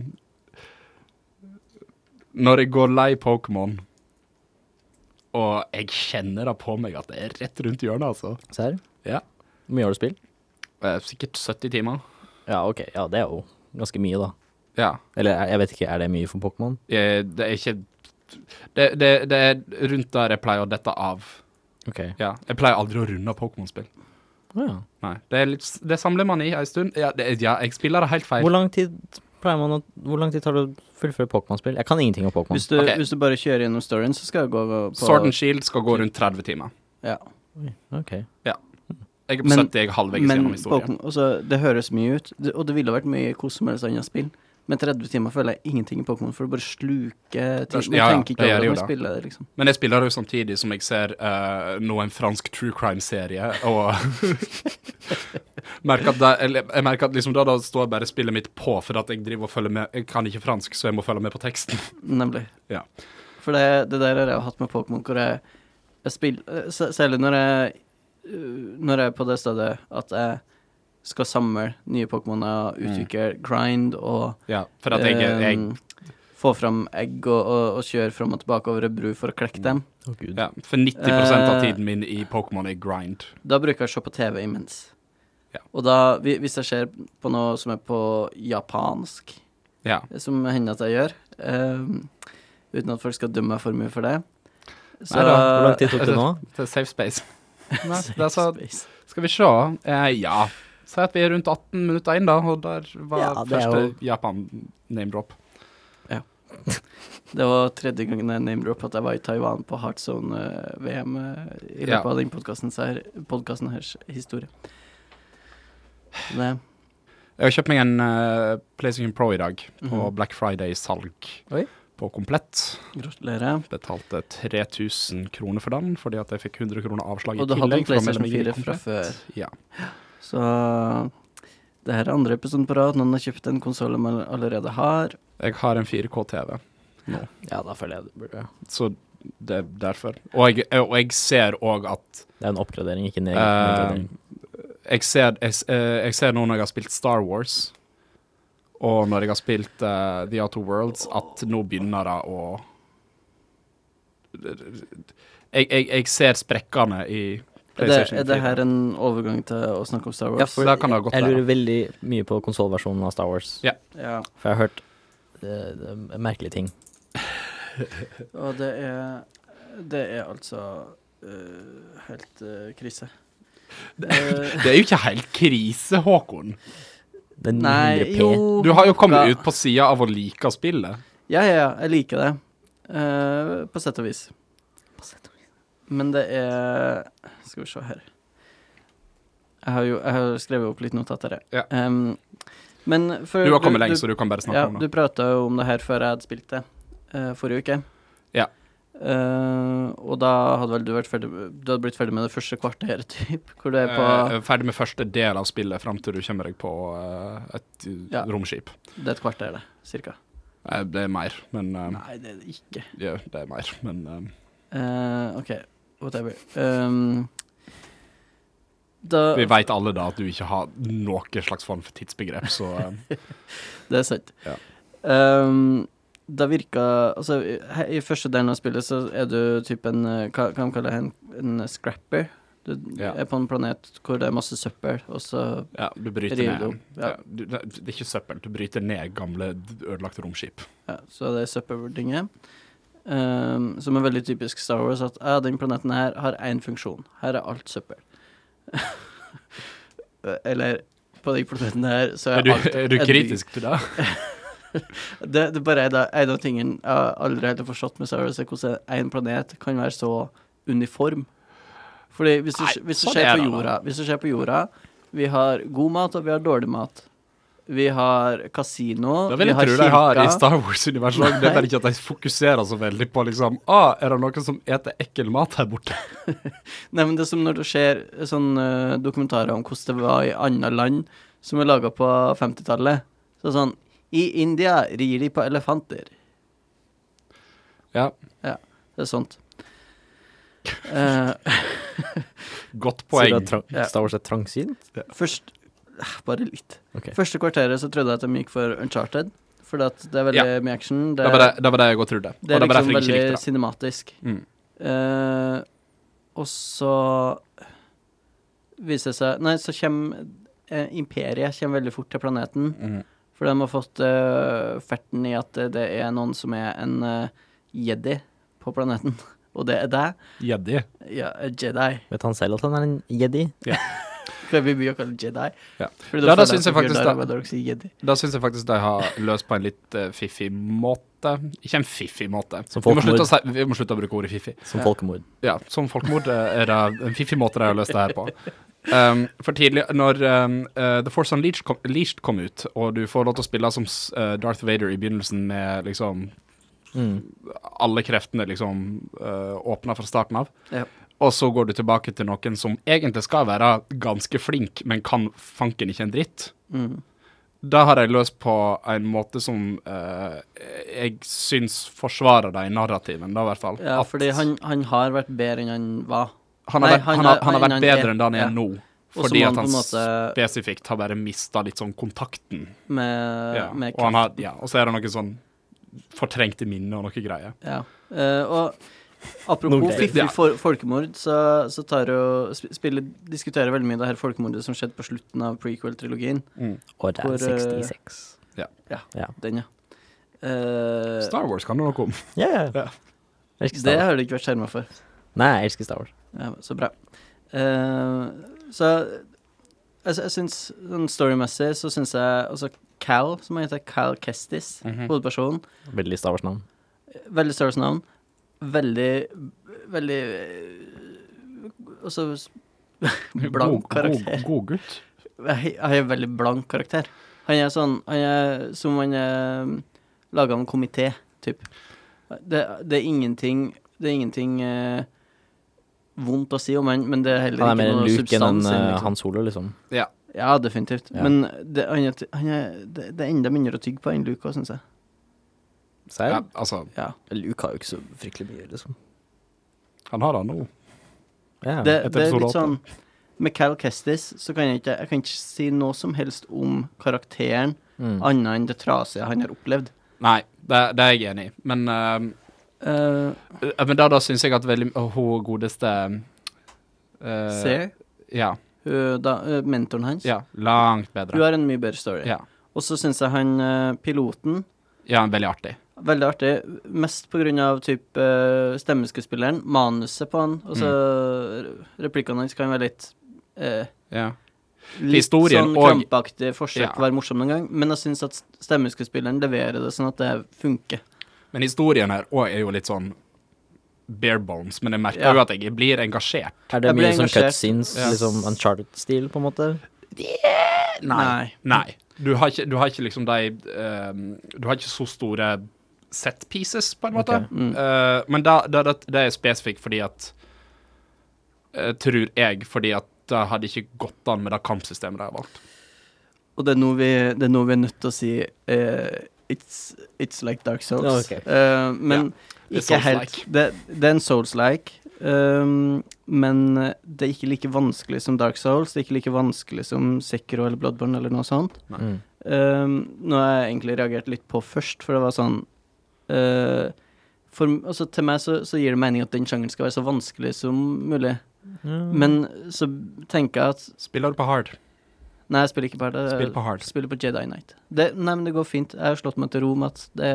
Speaker 1: Når jeg går lei Pokémon, og jeg kjenner det på meg at det er rett rundt hjørnet, altså
Speaker 2: Serr?
Speaker 1: Ja.
Speaker 2: Hvor mye har du spilt?
Speaker 1: Eh, Sikkert 70 timer.
Speaker 2: Ja, OK. Ja, det er jo ganske mye, da.
Speaker 1: Ja.
Speaker 2: Eller er- jeg vet ikke, er det mye for Pokémon?
Speaker 1: Eh, Det er ikke det, det, det er rundt der jeg pleier å dette av.
Speaker 2: OK.
Speaker 1: Ja. Jeg pleier aldri å runde av Pokémon-spill.
Speaker 2: Ja.
Speaker 1: Nei. Det, er litt, s- det samler man i ei stund. Ja, det, ja, jeg spiller det helt feil.
Speaker 2: Hvor lang tid pleier man å Hvor lang tid tar det å fullføre Pokémon-spill? Jeg kan ingenting om Pokémon.
Speaker 3: Hvis, du-
Speaker 1: Ok.
Speaker 3: hvis du bare kjører gjennom storyen, så skal jeg gå på
Speaker 1: Sword and Shield skal gå rundt 30 timer.
Speaker 3: Ja.
Speaker 2: Oi, OK.
Speaker 1: Jeg er på
Speaker 3: Men-
Speaker 1: 70, jeg er halvveis
Speaker 3: Men
Speaker 1: gjennom historien.
Speaker 3: Pokémon- altså, det høres mye ut, det, og det ville vært mye i hvordan som helst annet spill. Men 30 timer føler jeg ingenting i Pokémon, for du bare sluker ting. Du
Speaker 1: ja, ja,
Speaker 3: tenker
Speaker 1: det
Speaker 3: ikke over
Speaker 1: gjør
Speaker 3: det
Speaker 1: jo
Speaker 3: når du
Speaker 1: det.
Speaker 3: spiller det, liksom.
Speaker 1: Men jeg spiller jo samtidig som jeg ser eh, nå en fransk true crime-serie, og merker at det, eller, Jeg merker at liksom da, da står bare spillet mitt på, for at jeg driver og følger med Jeg kan ikke fransk, så jeg må følge med på teksten.
Speaker 3: Nemlig.
Speaker 1: Ja.
Speaker 3: For det, det der har jeg jo hatt med Pokémon, hvor jeg, jeg spiller s- Særlig når jeg øh, Når jeg er på det stedet at jeg skal samle nye Pokémoner, utvikle grind og
Speaker 1: Ja, Mm. for at jeg, jeg
Speaker 3: øhm, få fram egg og, og, og kjøre fram og tilbake over ei bru for å
Speaker 1: Mm.
Speaker 3: klekke dem.
Speaker 2: Å, gud.
Speaker 1: ja, For 90 av
Speaker 3: Eh.
Speaker 1: tiden min i Pokémon er grind.
Speaker 3: Da bruker jeg å se på TV imens.
Speaker 1: Ja.
Speaker 3: Og da, hvi- hvis jeg ser på noe som er på japansk, eh,
Speaker 1: Ja.
Speaker 3: som hender at jeg gjør, øhm, uten at folk skal dømme meg for mye for det så,
Speaker 2: Nei da. Hvor lang tid tok det nå?
Speaker 1: Det er safe space. Nei, det er så,
Speaker 3: Space.
Speaker 1: skal vi se. Eh, ja. Si at vi er rundt 18 minutter inn, da, og der var
Speaker 2: Ja, det er
Speaker 1: første
Speaker 2: jo-
Speaker 1: Japan-name-drop.
Speaker 3: Det var tredje gangen jeg name-droppet at jeg var i Taiwan på eh, Heartzone-VM eh, i løpet
Speaker 1: Ja.
Speaker 3: av den podkasten her, podcasten hers historie. Det,
Speaker 1: Jeg har kjøpt meg en eh, PlayStation Pro i dag, på
Speaker 3: Mhm.
Speaker 1: Black Friday-salg
Speaker 2: Oi.
Speaker 1: på Komplett.
Speaker 3: gratulerer.
Speaker 1: Betalte 3000 kroner for den, fordi at jeg fikk 100 kroner avslag i
Speaker 3: Og du hadde en
Speaker 1: tillegg. for å melde
Speaker 3: PlayStation
Speaker 1: meg inn i
Speaker 3: 4 fra
Speaker 1: Komplett.
Speaker 3: før,
Speaker 1: Ja.
Speaker 3: så det her er andre episoden på rad. Noen har kjøpt en konsoll man allerede har.
Speaker 1: Jeg har en 4K-TV,
Speaker 2: Ja, da føler jeg det burde
Speaker 1: så det er derfor. Og jeg, og jeg ser òg at
Speaker 2: Det er en oppgradering, ikke en egen
Speaker 1: eh,
Speaker 2: oppgradering.
Speaker 1: jeg, ser, jeg, s- eh, jeg ser nå når jeg har spilt Star Wars, og når jeg har spilt eh, The Outer Worlds, at nå begynner det å jeg, jeg, jeg ser sprekkene i
Speaker 3: Er det,
Speaker 1: PlayStation 4.
Speaker 3: er det her en overgang til å snakke om Star Wars?
Speaker 1: Ja, for- da kan det godt
Speaker 2: jeg, jeg
Speaker 1: være.
Speaker 2: lurer veldig mye på konsolversjonen av Star Wars.
Speaker 1: Ja.
Speaker 3: Ja.
Speaker 2: For jeg har hørt eh, det er merkelige ting.
Speaker 3: Og det er Det er altså øh, helt øh, krise. Eh,
Speaker 1: Det er jo ikke helt krise, Håkon.
Speaker 2: Det er 900p.
Speaker 3: Nei, jo
Speaker 1: Du har jo kommet
Speaker 3: Ja.
Speaker 1: ut på sida av å like spillet.
Speaker 3: Ja, ja, ja. Jeg liker det. Eh, på sett og vis. Men det er Skal vi se her. Jeg har jo jeg har skrevet opp litt notater, jeg.
Speaker 1: Ja.
Speaker 3: Em, men for
Speaker 1: Du har kommet lenger, så du kan bare snakke
Speaker 3: ja,
Speaker 1: om
Speaker 3: Du
Speaker 1: det.
Speaker 3: prata jo om det her før jeg hadde spilt det eh, forrige uke.
Speaker 1: Ja.
Speaker 3: Eh, og da hadde vel du vært ferdig Du hadde blitt ferdig med det første kvarteret, typ. Hvor det er på
Speaker 1: Eh, ferdig med første del av spillet fram til du kommer deg på eh, et eh,
Speaker 3: Ja.
Speaker 1: romskip.
Speaker 3: Det er et kvarter, det. Cirka.
Speaker 1: Eh, det er mer, men eh,
Speaker 3: Nei, det er det ikke.
Speaker 1: ja, Det er mer, men eh,
Speaker 3: Eh, OK, whatever. Um, da
Speaker 1: vi veit alle da at du ikke har noe slags form for tidsbegrep, så eh,
Speaker 3: Det er sant.
Speaker 1: Ja.
Speaker 3: Ehm, da virka Altså, he- i første delen av spillet så er du typ en eh, Hva kan man kalle det? En, en scrapper. Du
Speaker 1: Ja.
Speaker 3: er på en planet hvor det er masse søppel, og så
Speaker 1: ja, du bryter
Speaker 3: river
Speaker 1: ned
Speaker 3: du opp. Ja.
Speaker 1: ja, du, Det er ikke søppel, du bryter ned gamle, d- ødelagte romskip.
Speaker 3: Ja, så det er søppelvurderinger. Ehm, som er veldig typisk Star Wars, at ja, den planeten her har én funksjon. Her er alt søppel. Eller på den planeten her så
Speaker 1: Er
Speaker 3: er
Speaker 1: du,
Speaker 3: alt
Speaker 1: er du
Speaker 3: en by.
Speaker 1: kritisk til det?
Speaker 3: Det, det bare er da, en av tingene jeg aldri helt har forstått med Star Wars, er hvordan en planet kan være så uniform. Fordi hvis du,
Speaker 1: Nei,
Speaker 3: hvis du
Speaker 1: sånn
Speaker 3: ser
Speaker 1: er
Speaker 3: på
Speaker 1: det da.
Speaker 3: jorda Hvis du ser på jorda Vi har god mat, og vi har dårlig mat. Vi har kasino,
Speaker 1: Det vil
Speaker 3: vi
Speaker 1: jeg
Speaker 3: har
Speaker 1: tro de har i
Speaker 3: kirka
Speaker 1: Star Wars-universet òg. Det er
Speaker 3: Nei.
Speaker 1: bare ikke at de fokuserer så veldig på liksom ah, Er det noen som eter ekkel mat her borte?
Speaker 3: Nei, men det er som når det skjer sånne eh, dokumentarer om hvordan det var i andre land som er laga på 50-tallet. Så sånn I India rir de på elefanter.
Speaker 1: Ja,
Speaker 3: Det er sånt. Eh,
Speaker 1: godt
Speaker 2: Sier du
Speaker 1: poeng.
Speaker 2: at trang-
Speaker 3: Ja.
Speaker 2: Star Wars er trangsynt?
Speaker 3: først eh, Bare litt.
Speaker 2: Ok.
Speaker 3: Første kvarteret så trodde jeg at de gikk for Uncharted. For at det er veldig mye action. Det,
Speaker 1: Det var det, det var det jeg òg trodde.
Speaker 3: det er
Speaker 1: og det var
Speaker 3: liksom
Speaker 1: derfor jeg ikke
Speaker 3: veldig
Speaker 1: likte det.
Speaker 3: cinematisk.
Speaker 1: Mm.
Speaker 3: Eh, og så viser det seg Nei, så kommer eh, Imperiet kommer veldig fort til planeten.
Speaker 1: Mm.
Speaker 3: For de har fått eh, ferten i at det er noen som er en eh, jedi på planeten. Og det er deg.
Speaker 1: Jedi.
Speaker 3: Ja, en jedi.
Speaker 2: Vet han selv at han er en jedi?
Speaker 3: Kan vi begynne å kalle det jedi?
Speaker 1: Ja.
Speaker 3: For
Speaker 1: Ja, da
Speaker 3: føler
Speaker 1: synes jeg
Speaker 3: at det
Speaker 1: faktisk
Speaker 3: blir
Speaker 1: da-
Speaker 3: rarere når dere sier jedi.
Speaker 1: Da syns jeg faktisk de har løst på en litt eh, fiffig måte. Ikke en fiffig måte. Vi
Speaker 2: Som
Speaker 1: må,
Speaker 2: folkemord.
Speaker 1: slutte å si, vi må slutte å bruke ordet fiffig.
Speaker 2: Som
Speaker 3: Ja.
Speaker 2: folkemord.
Speaker 1: Ja, som folkemord eh, er det en fiffig måte de har løst det her på. Um, for tidlig, når um, eh, The Force Unleashed kom, Leashed kom ut, og du får lov til å spille som s- eh, Darth Vader i begynnelsen med liksom
Speaker 2: Mm.
Speaker 1: alle kreftene liksom uh, åpna fra starten av.
Speaker 3: Ja.
Speaker 1: Og så går du tilbake til noen som egentlig skal være ganske flink, men kan fanken ikke en dritt.
Speaker 3: Mm.
Speaker 1: Da har jeg løst på en måte som eh, jeg syns forsvarer det i narrativen, da i hvert fall.
Speaker 3: Ja,
Speaker 1: At
Speaker 3: fordi han, han har vært bedre enn han var.
Speaker 1: han har
Speaker 3: nei,
Speaker 1: vært,
Speaker 3: han
Speaker 1: han har,
Speaker 3: er-
Speaker 1: han har
Speaker 3: han-
Speaker 1: vært
Speaker 3: han
Speaker 1: bedre
Speaker 3: er-
Speaker 1: enn det han er
Speaker 3: ja.
Speaker 1: nå,
Speaker 3: Og som
Speaker 1: fordi
Speaker 3: han
Speaker 1: at
Speaker 3: på
Speaker 1: han
Speaker 3: en måte
Speaker 1: spesifikt har bare mista litt sånn kontakten.
Speaker 3: med,
Speaker 1: ja.
Speaker 3: Eh, med
Speaker 1: og, han har,
Speaker 3: kraften.
Speaker 1: ja, og så er det noe sånn fortrengte minner og noe greier.
Speaker 3: Ja. Eh, og apropos
Speaker 2: Nordlys.
Speaker 1: Ja.
Speaker 3: fiffig for, folkemord, så, så tar jo sp- spiller, diskuterer veldig mye det her folkemordet som skjedde på slutten av prequel-trilogien.
Speaker 2: Og det er
Speaker 3: For, eh,
Speaker 2: 66.
Speaker 3: Den, ja. Eh,
Speaker 1: Star Wars kan du noe om.
Speaker 2: Ja, ja.
Speaker 1: Ja.
Speaker 2: Jeg elsker
Speaker 3: det
Speaker 2: Star Wars.
Speaker 3: har du ikke vært skjerma for.
Speaker 2: Nei, jeg elsker Star Wars.
Speaker 3: Ja, så bra. Eh, så altså, jeg syns sånn storymessig så syns jeg altså Cal, som han heter Cal Kestis,
Speaker 1: Mm.
Speaker 3: hovedpersonen
Speaker 2: Veldig Star Wars-navn.
Speaker 3: Veldig Star Wars-navn. Veldig Veldig eh, Altså s- Blank karakter.
Speaker 1: God, god gutt.
Speaker 3: Jeg jeg har en veldig blank karakter. Han er sånn Han er som han er laga av en komité, typ. Det, det er ingenting Det er ingenting eh, vondt å si om han, men det er heller
Speaker 2: Han er mer en
Speaker 3: ikke noe
Speaker 2: Luke enn en
Speaker 3: substans. i han,
Speaker 2: eh,
Speaker 3: liksom.
Speaker 2: Han Solo, liksom.
Speaker 3: Ja, definitivt.
Speaker 2: Ja.
Speaker 3: Men det, han er, han er, det, det er enda mindre å tygge på enn Luka, syns jeg.
Speaker 2: Serr?
Speaker 1: Ja, altså,
Speaker 3: Ja.
Speaker 2: Luke har jo ikke så fryktelig mye, liksom.
Speaker 1: han har det nå.
Speaker 2: Ja.
Speaker 1: etter
Speaker 3: det, det er
Speaker 1: episode
Speaker 3: litt
Speaker 1: åtte.
Speaker 3: sånn Med Cal Kestis så kan jeg ikke Jeg kan ikke si noe som helst om karakteren
Speaker 2: Mm.
Speaker 3: annet enn det trasige han har opplevd.
Speaker 1: Nei, det, det er jeg enig i. Men, uh,
Speaker 3: Uh,
Speaker 1: men da, da syns jeg at veldig Hun godeste eh,
Speaker 3: Ser,
Speaker 1: Ja.
Speaker 3: hun, da, eh, mentoren hans,
Speaker 1: ja langt
Speaker 3: hun
Speaker 1: bedre.
Speaker 3: har en mye bedre story.
Speaker 1: Ja.
Speaker 3: Og så syns jeg han eh, piloten
Speaker 1: ja, veldig artig.
Speaker 3: Veldig artig. Mest på grunn av typ eh, stemmeskuespilleren, manuset på han, og så
Speaker 1: Mm.
Speaker 3: replikkene hans kan være litt eh,
Speaker 1: Ja.
Speaker 3: Litt
Speaker 1: Historien
Speaker 3: sånn
Speaker 1: og-
Speaker 3: krampaktig forsøk
Speaker 1: Ja.
Speaker 3: på å være morsom noen gang, men jeg syns at stemmeskuespilleren leverer det sånn at det funker.
Speaker 1: Men historien her òg er jo litt sånn bare bones, men jeg merker
Speaker 3: Ja.
Speaker 1: jo at jeg blir engasjert.
Speaker 2: Er det
Speaker 3: Jeg ble
Speaker 2: mye sånn
Speaker 3: engasjert.
Speaker 2: cutscenes,
Speaker 1: Ja.
Speaker 2: liksom uncharted-stil, på en måte?
Speaker 3: Nei.
Speaker 1: ehm, Nei. Du har ikke, du har ikke liksom de eh, Du har ikke så store set pieces, på en måte.
Speaker 2: Ok.
Speaker 3: Mm.
Speaker 1: Eh, men da, da, da, det er spesifikt fordi at eh, Tror jeg, fordi at det hadde ikke gått an med det kampsystemet de har valgt.
Speaker 3: Og det er noe vi, det er, noe vi er nødt til å si eh, it's, it's like Dark Souls.
Speaker 2: Ja, ok.
Speaker 3: Eh, men
Speaker 1: det er
Speaker 3: ikke helt
Speaker 1: Souls-like.
Speaker 3: det, det er en Souls-like, ehm, men det er ikke like vanskelig som Dark Souls. Det er ikke like vanskelig som Sekiro eller Bloodborne eller noe sånt.
Speaker 1: Nei.
Speaker 2: Mm.
Speaker 3: Um, noe jeg egentlig reagerte litt på først, for det var sånn eh, for, altså, Til meg så, så gir det mening at den sjangeren skal være så vanskelig som mulig,
Speaker 2: Mm.
Speaker 1: Mm.
Speaker 3: men så tenker jeg at
Speaker 1: Spiller du på hard?
Speaker 3: Nei, jeg spiller ikke på det.
Speaker 1: Spill på hard.
Speaker 3: Spiller på Jedi Knight. Det, nei, men det går fint. Jeg har slått meg til ro med at det,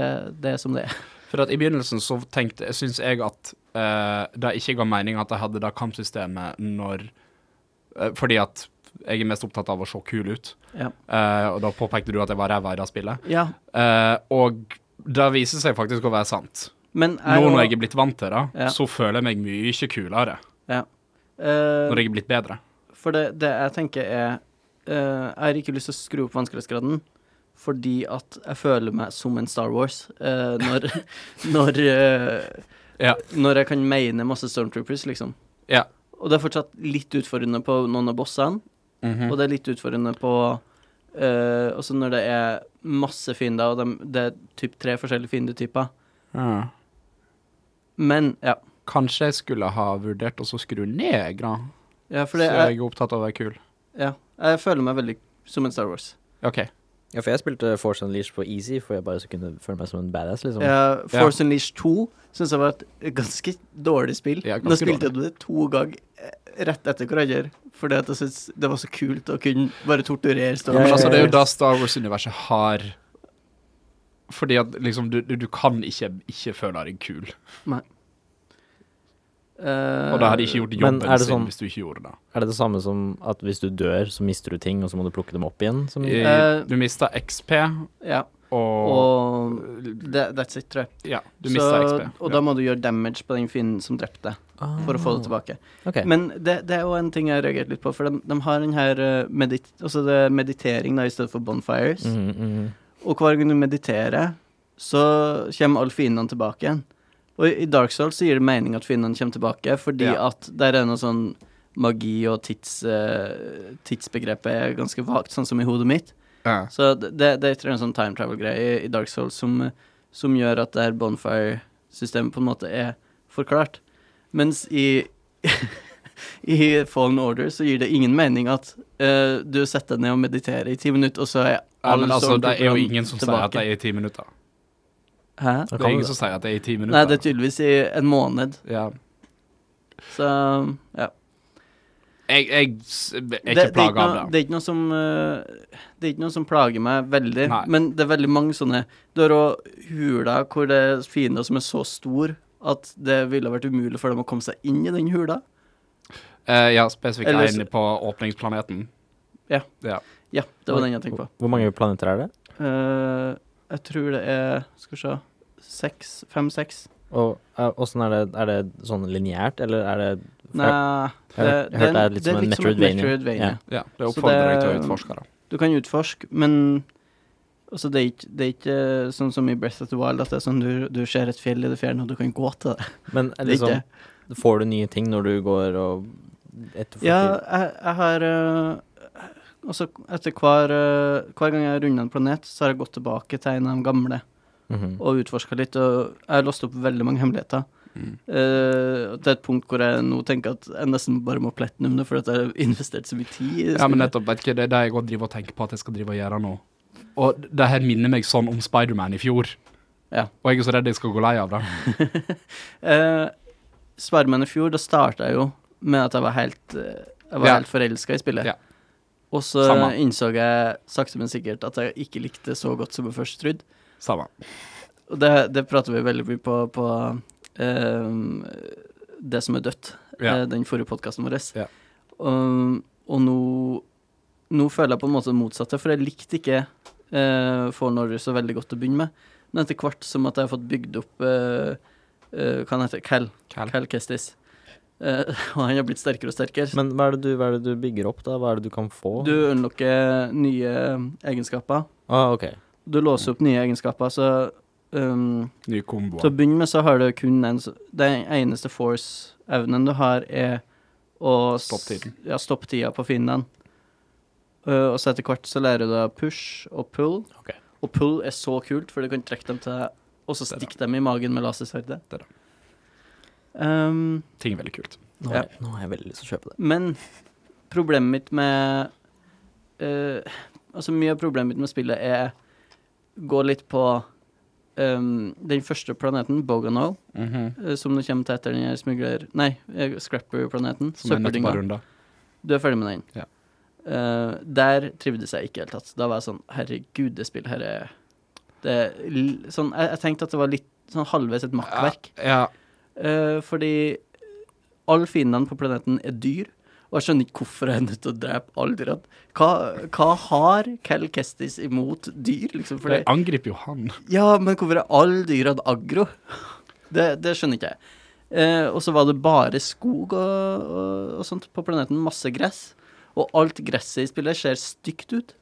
Speaker 3: det er som det er.
Speaker 1: For at i begynnelsen så tenkte, syns jeg at eh, det ikke ga mening at jeg hadde det kampsystemet når eh, Fordi at jeg er mest opptatt av å se kul ut,
Speaker 3: Ja.
Speaker 1: Eh, og da påpekte du at jeg var ræva i det spillet.
Speaker 3: ja.
Speaker 1: Eh, og det viser seg faktisk å være sant.
Speaker 3: Men jeg,
Speaker 1: Nå når jeg er blitt vant til det,
Speaker 3: Ja.
Speaker 1: så føler jeg meg mye kulere
Speaker 3: eh,
Speaker 1: når jeg er blitt bedre.
Speaker 3: For det, det jeg tenker er eh, Jeg har ikke lyst til å skru opp vanskelighetsgraden fordi at jeg føler meg som en Star Wars eh, når når, eh,
Speaker 1: Ja.
Speaker 3: når jeg kan meine masse Stormtroopers, liksom.
Speaker 1: Ja.
Speaker 3: Og det er fortsatt litt utfordrende på noen av bossene,
Speaker 1: Mm. Mhm.
Speaker 3: og det er litt utfordrende på eh, Også når det er masse fiender, og dem- det er typ tre forskjellige fiendetyper.
Speaker 1: Ja.
Speaker 3: Men ja.
Speaker 1: Kanskje jeg skulle ha vurdert å så skru ned, da.
Speaker 3: ja for
Speaker 1: Så
Speaker 3: det er,
Speaker 1: jeg er opptatt av å være kul.
Speaker 3: ja, jeg føler meg veldig som en Star Wars.
Speaker 1: OK.
Speaker 2: Ja, for jeg spilte Force Unleashed på easy, for jeg bare så kunne føle meg som en badass, liksom.
Speaker 3: Ja, Force Unleashed 2 syns jeg var et ganske dårlig spill.
Speaker 1: Ja, ganske
Speaker 3: Nå spilte jeg det to ganger eh, rett etter hverandre, fordi at jeg syntes det var så kult å kunne bare torturere Star
Speaker 2: Ja,
Speaker 1: Men
Speaker 3: Wars.
Speaker 1: altså, det er jo da Star Wars-universet har Fordi at liksom du, du, du kan ikke ikke føle deg kul.
Speaker 3: Eh,
Speaker 1: Og det hadde ikke gjort
Speaker 2: Men
Speaker 1: jobben
Speaker 2: er det sånn-
Speaker 1: sin hvis du ikke gjorde det.
Speaker 2: Er det det samme som at hvis du dør, så mister du ting, og så må du plukke dem opp igjen? Som,
Speaker 1: I,
Speaker 3: Eh,
Speaker 1: du mista XP,
Speaker 3: Ja,
Speaker 1: og,
Speaker 3: og det, that's it, tror jeg.
Speaker 1: Ja, du
Speaker 3: Så,
Speaker 1: mista XP.
Speaker 3: og da må du gjøre damage på den fienden som drepte deg, for å få det tilbake.
Speaker 2: Ah. Ok.
Speaker 3: Men det, det er jo en ting jeg har reagert litt på, for de, de har den her eh, medit altså det er meditering da, i stedet for
Speaker 1: Mm.
Speaker 3: bonfires.
Speaker 2: Mhm, mhm.
Speaker 3: Og hver gang du mediterer, så kommer alle fiendene tilbake igjen. Og i- i Dark Souls så gir det mening at fiendene kommer tilbake, fordi
Speaker 1: Ja.
Speaker 3: at der er noe sånn magi og tids, eh, tidsbegrepet er ganske vagt, sånn som i hodet mitt.
Speaker 1: Ja.
Speaker 3: Så det, det, det er tror jeg en sånn time travel-greie i, i Dark Souls som, eh, som gjør at det her bonfire-systemet på en måte er forklart. Mens i i Fallen Order så gir det ingen mening at eh, du setter deg ned og mediterer i ti minutter, og så er
Speaker 1: ja, men altså, det er jo
Speaker 3: stormtrooperne
Speaker 1: ingen som sier
Speaker 3: tilbake.
Speaker 1: at det er i ti minutter.
Speaker 3: Hæ?
Speaker 2: Da
Speaker 1: Det
Speaker 2: kan
Speaker 1: er
Speaker 2: du
Speaker 1: ingen
Speaker 2: det.
Speaker 1: som sier at det er i ti minutter.
Speaker 3: Nei, det er tydeligvis i en måned,
Speaker 1: ja.
Speaker 3: så ja.
Speaker 1: Jeg, jeg s- er
Speaker 3: Det, det,
Speaker 1: ikke
Speaker 3: er ikke
Speaker 1: plaga
Speaker 3: noe,
Speaker 1: av det.
Speaker 3: det er ikke noe som eh, Det er ikke noe som plager meg veldig,
Speaker 1: Nei.
Speaker 3: men det er veldig mange sånne Du har òg hula hvor det er fiender som er så stor at det ville vært umulig for dem å komme seg inn i den hula.
Speaker 1: Eh, ja, spesifikt
Speaker 3: Eller så-
Speaker 1: en på åpningsplaneten.
Speaker 3: Ja.
Speaker 1: ja.
Speaker 3: Ja, det var den jeg tenkte på.
Speaker 2: Hvor mange planeter er det?
Speaker 3: Eh, jeg tror det er Skal vi se Seks? Fem-seks?
Speaker 2: Og eh, åssen er det Er det sånn lineært, eller er det
Speaker 3: Nei
Speaker 2: Jeg har hørt- jeg har hørt det er litt som en Metroidvania. Ja.
Speaker 1: Ja, det
Speaker 3: Så
Speaker 1: oppfordrer jeg til å
Speaker 3: det-
Speaker 1: utforske det.
Speaker 3: Du kan utforske, men altså, det, er ikke, det er ikke sånn som i Breath of the Wild, at det er sånn du, du ser et fjell i det fjerne, og du kan gå til det.
Speaker 2: Men eh,
Speaker 3: Det er
Speaker 2: liksom
Speaker 3: ikke
Speaker 2: Får du nye ting når du går og etterforsker?
Speaker 3: Ja, jeg, jeg har øh, Altså, etter hver, øh, hver gang jeg har rundet en planet, så har jeg gått tilbake til en av de gamle
Speaker 2: Mhm.
Speaker 3: og utforska litt, og jeg har låst opp veldig mange hemmeligheter.
Speaker 1: Mm.
Speaker 3: Eh, til et punkt hvor jeg nå tenker at jeg nesten bare må platinum det, fordi at jeg har investert så mye tid i det.
Speaker 1: Ja, men
Speaker 3: spillet.
Speaker 1: nettopp, vet ikke, det er det jeg også driver og tenker på at jeg skal drive og gjøre nå. Og d- det her minner meg sånn om Spider-Man i fjor.
Speaker 3: Ja.
Speaker 1: Og jeg er så redd jeg skal gå lei av det.
Speaker 3: Eh, Spiderman i fjor, da starta jeg jo med at jeg var helt, eh, jeg var
Speaker 1: Ja.
Speaker 3: helt forelska i spillet.
Speaker 1: Ja.
Speaker 3: Og så
Speaker 1: Samme.
Speaker 3: innså jeg sakte, men sikkert at jeg ikke likte det så godt som jeg først trodde.
Speaker 1: Samme.
Speaker 3: Og det, det prater vi veldig mye på på ehm, Det som er dødt,
Speaker 1: Ja.
Speaker 3: eh, den forrige podkasten vår.
Speaker 1: Ja.
Speaker 3: Um, og nå, nå føler jeg på en måte det motsatte, for jeg likte ikke uh, For Norway så veldig godt til å begynne med. Men etter hvert som at jeg har fått bygd opp eh, eh, Hva han heter Cal.
Speaker 1: Cal.
Speaker 3: Cal Kestis. Eh, og han har blitt sterkere og sterkere.
Speaker 2: Men hva er, det du, hva er det du bygger opp, da? Hva er det du kan få?
Speaker 3: Du unlocker nye egenskaper.
Speaker 2: Ah, ok.
Speaker 3: Du låser opp nye egenskaper, så um,
Speaker 1: Ny kombo.
Speaker 3: Til å begynne med så har du kun en s- Den eneste force-evnen du har, er å s-
Speaker 1: Stopp tiden.
Speaker 3: Ja, stopp tida på fiendene. Uh, og så etter hvert så lærer du deg push og pull.
Speaker 1: Ok.
Speaker 3: Og pull er så kult, for du kan trekke dem til deg, og så
Speaker 1: Det er
Speaker 3: stikke dem i magen med lasersverdet.
Speaker 1: Det er
Speaker 3: Um,
Speaker 1: Ting er veldig kult.
Speaker 2: Nå har, jeg, nå har jeg veldig lyst til å kjøpe det.
Speaker 3: men problemet mitt med eh, Altså, mye av problemet mitt med spillet er Går litt på ehm, den første planeten, Boganol, eh, som du kommer til etter den her smugler... Nei, eh, scrapper-planeten.
Speaker 1: Som er nettopp
Speaker 3: Søppeldynga.
Speaker 1: har runda.
Speaker 3: Du er ferdig med den.
Speaker 1: Ja.
Speaker 3: Eh, der trivdes jeg ikke i det hele tatt. Da var jeg sånn Herregud, det spillet her er det er l- sånn, jeg, jeg tenkte at det var litt sånn halvveis et makkverk.
Speaker 1: Ja,
Speaker 3: Eh, fordi alle fiendene på planeten er dyr, og jeg skjønner ikke hvorfor jeg er nødt til å drepe alle dyrene. Hva, hva har Cal Kestis imot dyr, liksom?
Speaker 1: for det
Speaker 3: Fordi,
Speaker 1: angriper jo han.
Speaker 3: ja, men hvorfor er alle dyrene agro? Det, det skjønner ikke jeg. Eh, og så var det bare skog og, og, og sånt på planeten. Masse gress. Og alt gresset i spillet ser stygt ut.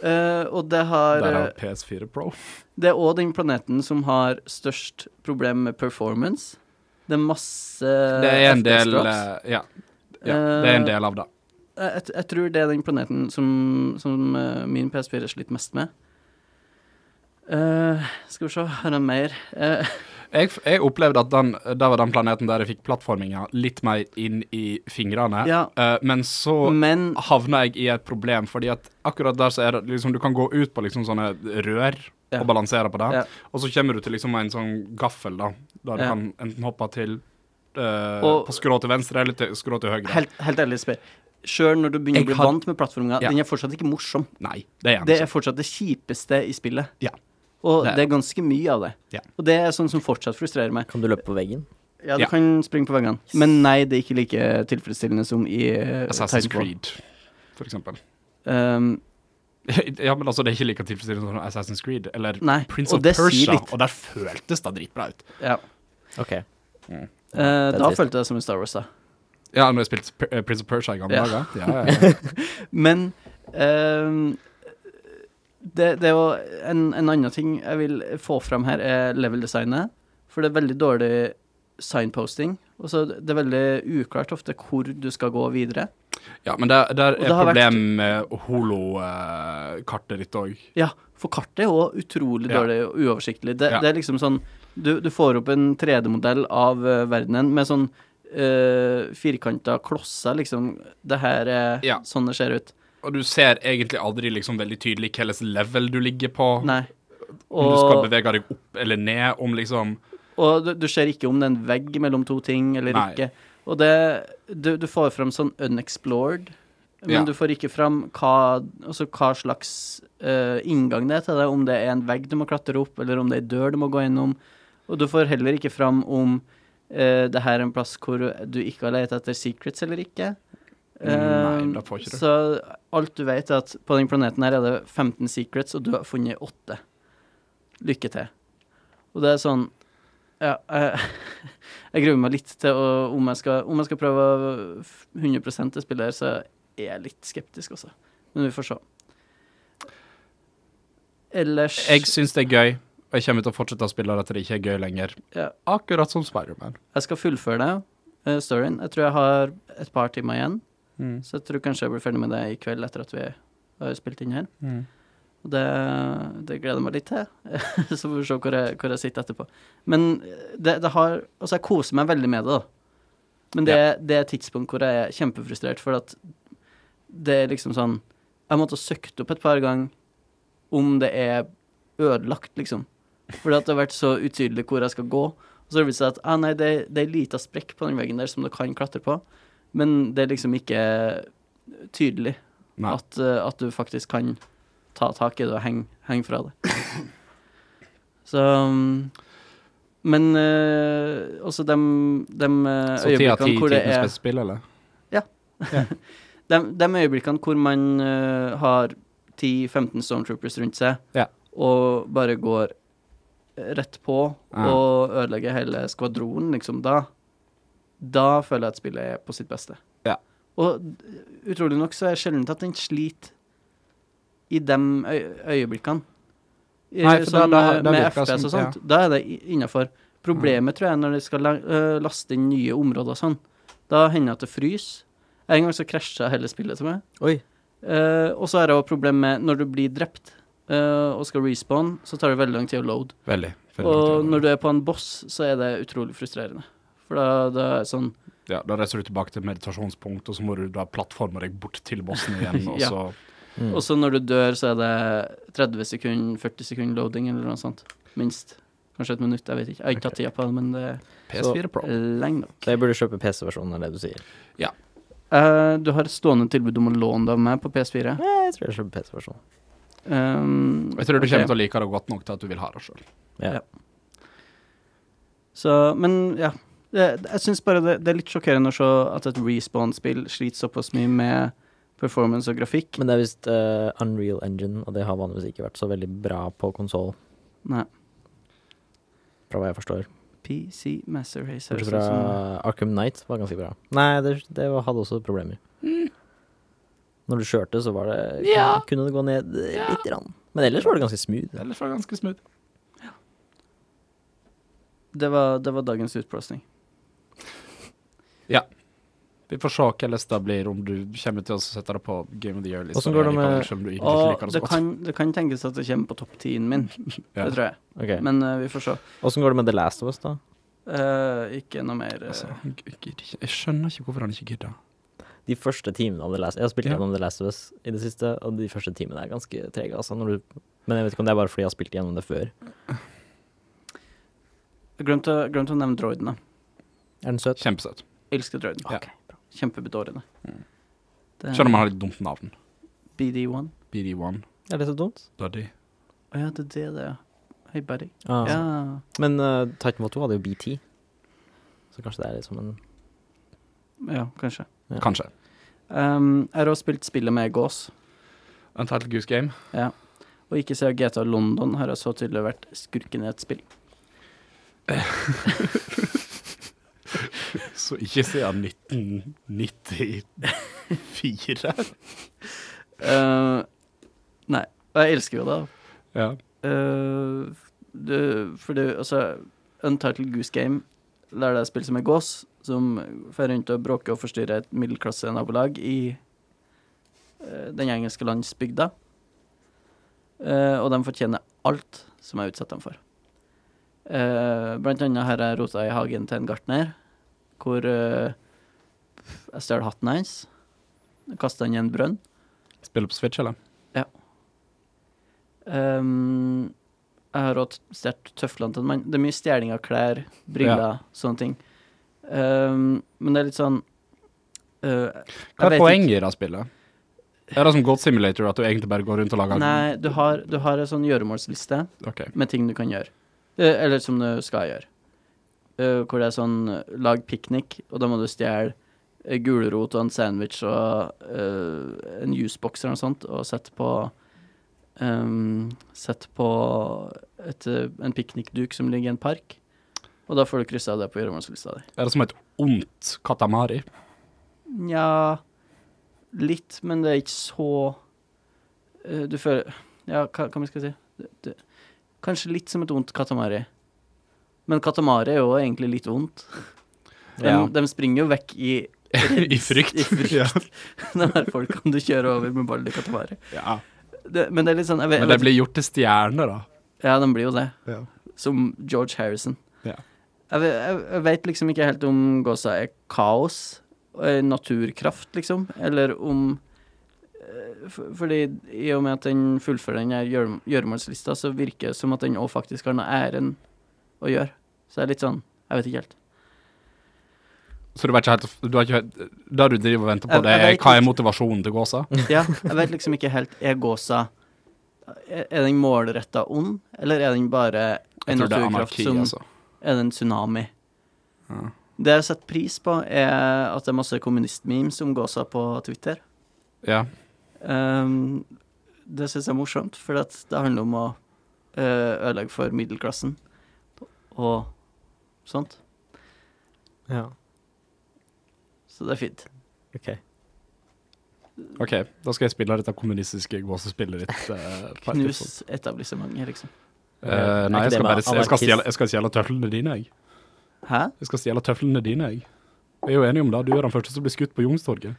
Speaker 3: Eh, og det har
Speaker 1: Der er PS4 Pro.
Speaker 3: det er òg den planeten som har størst problem med performance. Det er masse
Speaker 1: Det er en del
Speaker 3: FPS-drops.
Speaker 1: eh, Ja, ja det er en del av det.
Speaker 3: Eh, Jeg, jeg tror det er den planeten som, som eh, min PS4 har slitt mest med. Eh, skal vi se, har jeg mer? Eh,
Speaker 1: Jeg, jeg opplevde at den, det var den planeten der jeg fikk plattforminga litt mer inn i fingrene,
Speaker 3: Ja. Mm.
Speaker 1: eh, men så
Speaker 3: men
Speaker 1: havna jeg i et problem, fordi at akkurat der så er det liksom Du kan gå ut på liksom sånne rør
Speaker 3: Ja.
Speaker 1: og balansere på det,
Speaker 3: Ja.
Speaker 1: og så kommer du til liksom en sånn gaffel, da, der du
Speaker 3: Ja.
Speaker 1: kan enten hoppe til eh,
Speaker 3: Og-
Speaker 1: på skrå til venstre eller til, skrå til høyre.
Speaker 3: helt, helt ærlig, Sper. Sjøl når du begynner
Speaker 1: Jeg
Speaker 3: å bli
Speaker 1: har-
Speaker 3: vant med plattforminga,
Speaker 1: Ja.
Speaker 3: den er fortsatt ikke morsom.
Speaker 1: Nei, det er en
Speaker 3: Det
Speaker 1: ikke.
Speaker 3: er fortsatt det kjipeste i spillet.
Speaker 1: Ja.
Speaker 3: Og
Speaker 1: Det er-
Speaker 3: det er ganske mye av det.
Speaker 1: Ja.
Speaker 3: Og det er sånn som fortsatt frustrerer meg.
Speaker 2: Kan du løpe på veggen?
Speaker 3: Ja, du
Speaker 1: Ja.
Speaker 3: kan springe på veggene. Men nei, det er ikke like tilfredsstillende som i eh,
Speaker 1: sånn Assassin's
Speaker 3: Titanfall.
Speaker 1: Creed, for eksempel.
Speaker 3: Um,
Speaker 1: ja, men altså, det er ikke like tilfredsstillende som Assassin's Creed, eller
Speaker 3: nei,
Speaker 1: Prince
Speaker 3: Mm. og
Speaker 1: of
Speaker 3: det sier
Speaker 1: Persia,
Speaker 3: litt.
Speaker 1: og der føltes det dritbra ut.
Speaker 3: Ja.
Speaker 2: Ok.
Speaker 3: Eh,
Speaker 2: Det er
Speaker 3: da
Speaker 2: trist.
Speaker 3: følte jeg det som i Star Wars, da.
Speaker 1: Ja, når jeg spilte P- eh, Prince of Persia i gamle
Speaker 3: Ja.
Speaker 1: dager. Ja, ja, ja.
Speaker 3: Men ehm, det, det er jo en, en annen ting jeg vil få fram her, er level-designet. For det er veldig dårlig signposting. Og så det er veldig uklart ofte hvor du skal gå videre.
Speaker 1: ja men der, der
Speaker 3: det
Speaker 1: er
Speaker 3: har vært-
Speaker 1: problemet med holokartet ditt òg.
Speaker 3: Ja, for kartet er òg utrolig
Speaker 1: Ja.
Speaker 3: dårlig og uoversiktlig. Det,
Speaker 1: Ja.
Speaker 3: det er liksom sånn Du, du får opp en 3D-modell av eh, verdenen med sånn uh, firkanta klosser, liksom. Det her er
Speaker 1: Ja.
Speaker 3: sånn det ser ut.
Speaker 1: Og du ser egentlig aldri liksom veldig tydelig hvilket level du ligger på.
Speaker 3: Nei.
Speaker 1: Om du skal
Speaker 3: Og,
Speaker 1: bevege deg opp eller ned, om liksom
Speaker 3: og du, du ser ikke om det er en vegg mellom to ting eller
Speaker 1: Nei.
Speaker 3: ikke. Og det du, du får fram sånn unexplored, men
Speaker 1: Ja.
Speaker 3: du får ikke fram hva, altså hva slags eh, inngang det er til det. Om det er en vegg du må klatre opp, eller om det er ei dør du må gå gjennom. Og du får heller ikke fram om eh, det her er en plass hvor du ikke har lett etter secrets eller ikke.
Speaker 1: Mm, Nei,
Speaker 3: Eh,
Speaker 1: det får ikke du.
Speaker 3: Så alt du vet, er at på den planeten her er det 15 secrets, og du har funnet 8. Lykke til. Og det er sånn Ja, jeg, jeg gruer meg litt til å, om, jeg skal, om jeg skal prøve 100 til spillet her, så er jeg litt skeptisk også. Men vi får se. Ellers
Speaker 1: Jeg syns det er gøy, og jeg kommer til å fortsette å spille det til det ikke er gøy lenger.
Speaker 3: Ja.
Speaker 1: Akkurat som Spiderman.
Speaker 3: Jeg skal fullføre det, eh, storyen. Jeg tror jeg har et par timer igjen,
Speaker 1: Mm.
Speaker 3: så jeg tror kanskje jeg blir ferdig med det i kveld etter at vi har spilt inn her.
Speaker 1: Mm.
Speaker 3: Og det, det gleder jeg meg litt til. så får vi se hvor jeg, hvor jeg sitter etterpå. Men eh, det, det har Altså, jeg koser meg veldig med det, da. Men det, det er et tidspunkt hvor jeg er kjempefrustrert, for at det er liksom sånn Jeg måtte ha søkt opp et par ganger om det er ødelagt, liksom. Fordi at det har vært så utydelig hvor jeg skal gå. Og så har det vist seg at ah, nei, det, det er en liten sprekk på den veggen der som du kan klatre på, men det er liksom ikke tydelig
Speaker 1: Nei.
Speaker 3: at, eh, at du faktisk kan ta tak i det og henge heng fra det. Så um, Men eh, også de,
Speaker 1: Så ti av ti
Speaker 3: øyeblikkene hvor det er
Speaker 1: tidenes beste spill, eller?
Speaker 3: dem- dem øyeblikkene hvor man eh, har 10-15 stormtroopers rundt seg
Speaker 1: Ja.
Speaker 3: og bare går rett på
Speaker 1: Ja.
Speaker 3: og ødelegger hele skvadronen, liksom, da Da føler jeg at spillet er på sitt beste.
Speaker 1: Ja.
Speaker 3: Og utrolig nok så er det sjelden at den sliter i de øy øyeblikkene.
Speaker 1: Nei, for
Speaker 3: sånn,
Speaker 1: da- da-
Speaker 3: eh,
Speaker 1: da
Speaker 3: med
Speaker 1: virker det
Speaker 3: FPS og
Speaker 1: som- ja.
Speaker 3: sånt. Da er det innafor. Problemet tror jeg er når de skal la- eh, laste inn nye områder og sånn. Da hender det at det fryser. En gang så krasja hele spillet til meg.
Speaker 2: Oi.
Speaker 3: Eh, og så er det også problem med når du blir drept eh, og skal respawn, så tar det veldig lang tid å load.
Speaker 1: Veldig. veldig
Speaker 3: Og
Speaker 1: langt.
Speaker 3: når du er på en boss, så er det utrolig frustrerende. For da, da er det sånn
Speaker 1: ja, da reiser du tilbake til meditasjonspunkt, og så må du da plattforme deg bort til bossen igjen. Og
Speaker 3: Ja.
Speaker 1: så
Speaker 2: Mm.
Speaker 3: Og så når du dør, så er det 30 sekunder, 40 sekunder loading eller noe sånt. Minst. Kanskje et minutt, jeg vet ikke. Jeg har ikke tatt tida på det, men det
Speaker 1: PS4 Pro.
Speaker 3: er lenge nok.
Speaker 2: Så jeg burde kjøpe PC-versjonen, er det du sier?
Speaker 3: Eh, du har et stående tilbud om å låne det av meg på PS4.
Speaker 2: Nei, jeg tror jeg kjøper PC-versjonen.
Speaker 3: Um,
Speaker 1: Jeg tror du
Speaker 3: ok.
Speaker 1: kommer til å like det godt nok til at du vil ha det sjøl.
Speaker 2: Ja.
Speaker 3: Ja. Så, men ja. Det, jeg syns bare det, det er litt sjokkerende å se at et respawn-spill sliter såpass mye med performance og grafikk.
Speaker 2: Men det er visst eh, Unreal Engine, og det har vanligvis ikke vært så veldig bra på konsoll,
Speaker 3: Nei.
Speaker 2: fra hva jeg forstår.
Speaker 3: PC Master sånn Race
Speaker 2: Bortsett fra Arkham Knight var ganske bra. Nei, det, det var- hadde også problemer. Når du kjørte, så var det
Speaker 1: Ja.
Speaker 2: Kunne det gå ned eh, litt grann. Men ellers var det ganske smooth.
Speaker 1: Ellers var det ganske smooth.
Speaker 3: Det var, det var dagens utblåsning.
Speaker 1: Vi får se hva lista blir, om du kommer til å sette det på Game of the Year-lista.
Speaker 2: Hvordan går
Speaker 1: eller
Speaker 2: det med-
Speaker 1: likevel, selv om du ikke
Speaker 3: Og
Speaker 1: liker det så
Speaker 3: det
Speaker 1: godt.
Speaker 3: kan, det kan tenkes at det kommer på topp 10-en min.
Speaker 1: Ja.
Speaker 3: Det tror jeg.
Speaker 2: Ok,
Speaker 3: Men eh, vi får se.
Speaker 2: Åssen går det med The Last of Us, da?
Speaker 3: Eh, ikke noe mer eh,
Speaker 1: Altså, jeg, gidder ikke- jeg skjønner ikke hvorfor han ikke gidder.
Speaker 2: De første timene av The Last Jeg har spilt
Speaker 1: Ja.
Speaker 2: gjennom The Last of Us i det siste, og de første timene er ganske trege, altså. Når du, men jeg vet ikke om det er bare fordi jeg har spilt gjennom det før.
Speaker 3: Jeg glemte, glemte å nevne droidene.
Speaker 2: Er den søt?
Speaker 1: Kjempesøt.
Speaker 3: Jeg elsker droiden.
Speaker 1: Ja.
Speaker 3: Kjempebedårende.
Speaker 1: Mm.
Speaker 3: Det
Speaker 1: Selv
Speaker 3: er
Speaker 1: om han har litt dumt navn.
Speaker 3: BD1.
Speaker 1: BD1.
Speaker 2: Er det så dumt?
Speaker 1: Duddy.
Speaker 3: Å ja, det er det det er. Hei, buddy.
Speaker 1: Altså.
Speaker 2: Ah.
Speaker 3: Ja.
Speaker 2: Men uh, Titanfall 2 hadde jo BT, så kanskje det er liksom en
Speaker 3: ja, kanskje.
Speaker 2: Ja.
Speaker 1: Kanskje.
Speaker 3: Um, jeg har også spilt spillet med gås.
Speaker 1: Untitled Goose Game.
Speaker 3: Og ikke siden GTA London har jeg så tydelig vært skurken i et spill.
Speaker 1: Så ikke siden 1994.
Speaker 3: Eh, nei. Og jeg elsker jo det. da.
Speaker 1: Ja.
Speaker 3: Eh, det, for det, altså Untitled Goose Game Der det er spill som er gås Som fer rundt og bråker og forstyrrer et middelklasse nabolag I eh, den engelske landsbygda Eh, Og de fortjener alt som jeg utsetter dem for Eh, Blant annet her er jeg rota i hagen til en gartner Hvor eh, jeg stjal hatten hans Kastet den i en brønn
Speaker 1: Spiller på Switch, eller?
Speaker 3: Ehm, jeg har også stjålet tøflene til en mann. Det er mye stjeling av klær, briller, sånne ting. Ehm, men det er litt sånn øh, jeg
Speaker 1: Hva er
Speaker 3: vet
Speaker 1: poenget i det spillet? Er det som God Simulator at du egentlig bare går rundt og
Speaker 3: Ikke.
Speaker 1: lager
Speaker 3: Nei, du har, du har en sånn gjøremålsliste
Speaker 1: Ok.
Speaker 3: med ting du kan gjøre. Eh, eller som du skal gjøre. Eh, hvor det er sånn eh, lag piknik, og da må du stjele eh, gulrot og en sandwich og eh, en juicebox eller noe sånt, og sette på ehm, Sette på et, eh, en piknikduk som ligger i en park. Og da får du kryssa det på gjøremålslista di.
Speaker 1: Er det som et ondt katamari?
Speaker 3: Nja Litt, men det er ikke så eh, Du føler Ja, hva, hva skal jeg si? Det, det, kanskje litt som et vondt katamari. Men katamari er jo egentlig litt vondt. De,
Speaker 2: Ja.
Speaker 3: de springer jo vekk i
Speaker 1: I frykt.
Speaker 3: I frykt.
Speaker 1: Ja.
Speaker 3: de her folkene du kjører over med ballen i katamari.
Speaker 1: ja.
Speaker 3: Det, men det er litt sånn jeg vet,
Speaker 1: Men det blir gjort til stjerner, da.
Speaker 3: Ja, de blir jo det.
Speaker 1: Ja.
Speaker 3: Som George Harrison.
Speaker 1: Ja.
Speaker 3: Jeg, ve- jeg, jeg veit liksom ikke helt om gåsa er kaos, eh, naturkraft, liksom, eller om eh, f- fordi I og med at den fullfører den her gjørem- gjøremålslista, så virker det som at den òg faktisk har noe æren å gjøre. Så det er litt sånn Jeg vet ikke helt.
Speaker 1: Så du vet ikke helt du har ikke, hørt- Det du driver og venter på,
Speaker 3: Jeg-
Speaker 1: det
Speaker 3: jeg
Speaker 1: er
Speaker 3: vet
Speaker 1: hva er
Speaker 3: ikke.
Speaker 1: motivasjonen til gåsa?
Speaker 3: Ja, jeg vet liksom ikke helt Er gåsa Er er den målretta ond, eller er den bare
Speaker 1: Jeg
Speaker 3: en
Speaker 1: tror det er
Speaker 3: naturkraft
Speaker 1: anarki,
Speaker 3: som
Speaker 1: altså.
Speaker 3: Er det en tsunami?
Speaker 1: Ja.
Speaker 3: Det jeg setter pris på, er at det er masse kommunistmemes om gåsa på Twitter.
Speaker 1: Ja.
Speaker 3: Ehm, det syns jeg er morsomt, for at det handler om å eh, ødelegge for middelklassen og sånt.
Speaker 2: Ja.
Speaker 3: Så det er fint.
Speaker 2: Ok.
Speaker 1: OK, da skal jeg spille dette kommunistiske gåsespillet ditt. eh, på et tidspunkt.
Speaker 3: Knus etablissementet, liksom.
Speaker 1: Eh, nei,
Speaker 2: Er ikke
Speaker 1: jeg
Speaker 2: det
Speaker 1: skal
Speaker 2: med
Speaker 1: bare jeg skal
Speaker 2: anarkist?
Speaker 1: stjele, jeg skal stjele tøflene dine, jeg.
Speaker 3: Hæ?
Speaker 1: Jeg skal stjele tøflene dine, jeg. Vi er jo enige om det. Du er den første som blir skutt på Youngstorget.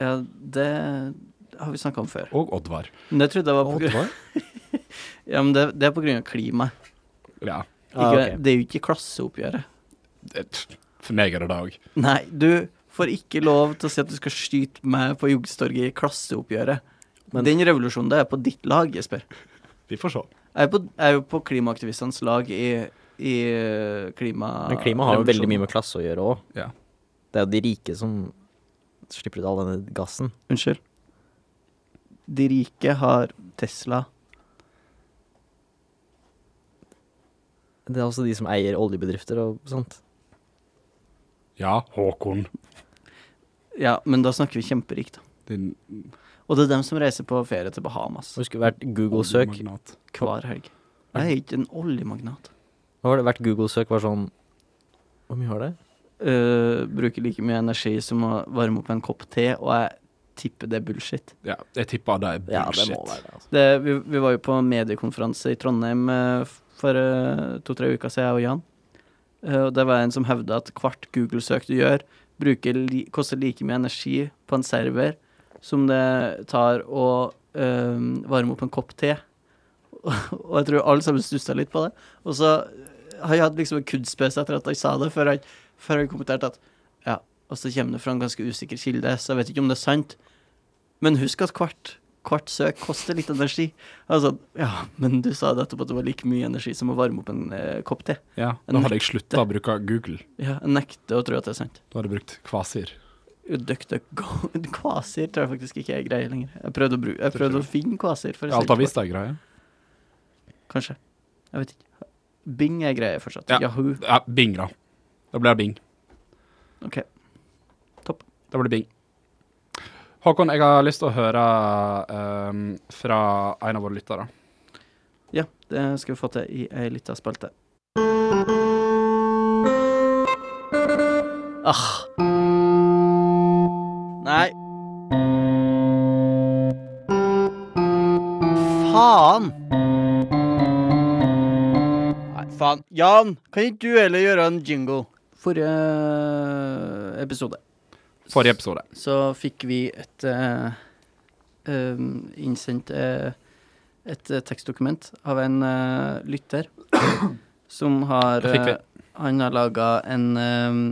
Speaker 3: Ja, det har vi snakka om før.
Speaker 1: Og Oddvar.
Speaker 3: Men det trodde jeg var på grunn, ja, men det, det er på grunn av klimaet.
Speaker 1: Ja.
Speaker 3: Ikke,
Speaker 2: Ah, ok.
Speaker 3: Det er jo ikke klasseoppgjøret.
Speaker 1: det- For meg er det det òg.
Speaker 3: Nei, du får ikke lov til å si at du skal skyte meg på Juggestorget i klasseoppgjøret.
Speaker 2: Men-
Speaker 3: Den revolusjonen det er på ditt lag, Jesper.
Speaker 1: Vi får se.
Speaker 3: Jeg er, på, jeg er jo på klimaaktivistenes lag i, i eh, klima...
Speaker 2: Men klima har jo veldig mye med klasse å gjøre òg.
Speaker 1: Ja.
Speaker 2: Det er jo de rike som slipper ut all denne gassen.
Speaker 3: Unnskyld. De rike har Tesla.
Speaker 2: Det er også de som eier oljebedrifter og sånt.
Speaker 1: Ja, Håkon.
Speaker 3: Ja, men da snakker vi kjemperikt, da.
Speaker 1: Din
Speaker 3: Og det er dem som reiser på ferie til Bahamas
Speaker 2: Det skulle vært Google-søk.
Speaker 1: magnat.
Speaker 3: hver helg. Jeg er ikke en oljemagnat.
Speaker 2: Hva var det vært Google-søk var sånn Hvor mye var det?
Speaker 3: Eh, bruker like mye energi som å varme opp en kopp te, og jeg tipper det er bullshit.
Speaker 1: Ja, jeg tipper det er bullshit.
Speaker 2: Ja, det må være det. Altså.
Speaker 3: Det, vi, vi var jo på mediekonferanse i Trondheim eh, for eh, to-tre uker siden, jeg og Jan. Eh, og Det var en som hevda at hvert Google-søk du gjør, bruker, li, koster like mye energi på en server som det tar å eh, varme opp en kopp te. og jeg tror alle sammen stussa litt på det. Og så har jeg hatt liksom en kunstpause etter at jeg sa det, før jeg, før jeg kommenterte at ja, og så kommer det fra en ganske usikker kilde, så jeg vet ikke om det er sant. Men husk at hvert, hvert søk koster litt energi. Altså, ja, men du sa nettopp at det var like mye energi som å varme opp en eh, kopp te.
Speaker 1: Ja, nå hadde jeg slutta å bruke Google.
Speaker 3: Ja, jeg nekter å tro at det er sant.
Speaker 1: Da hadde jeg brukt Kvasir.
Speaker 3: DuckDuckGo Kvasir tror jeg faktisk ikke er greie lenger. Jeg prøvde å, bru jeg prøvde å finne Kvasir. for å
Speaker 1: Alt
Speaker 3: se-
Speaker 1: har visst deg greie.
Speaker 3: Kanskje. Jeg vet ikke. Bing er greie fortsatt.
Speaker 1: Ja.
Speaker 3: Yahoo.
Speaker 1: Ja, Bing, da. Da blir det Bing.
Speaker 3: Ok.
Speaker 1: Da blir det Bing. Håkon, jeg har lyst til å høre ehm, fra en av våre lyttere.
Speaker 3: Ja, det skal vi få til i ei lita spalte. Ah. Nei. Faen! Nei, faen. Jan, kan ikke du heller gjøre en jingle? Forrige episode
Speaker 1: Forrige episode.
Speaker 3: så fikk vi et eh, em, innsendt eh, et eh, tekstdokument av en eh, lytter som har
Speaker 1: Det fikk vi.
Speaker 3: eh, Han har laga en em,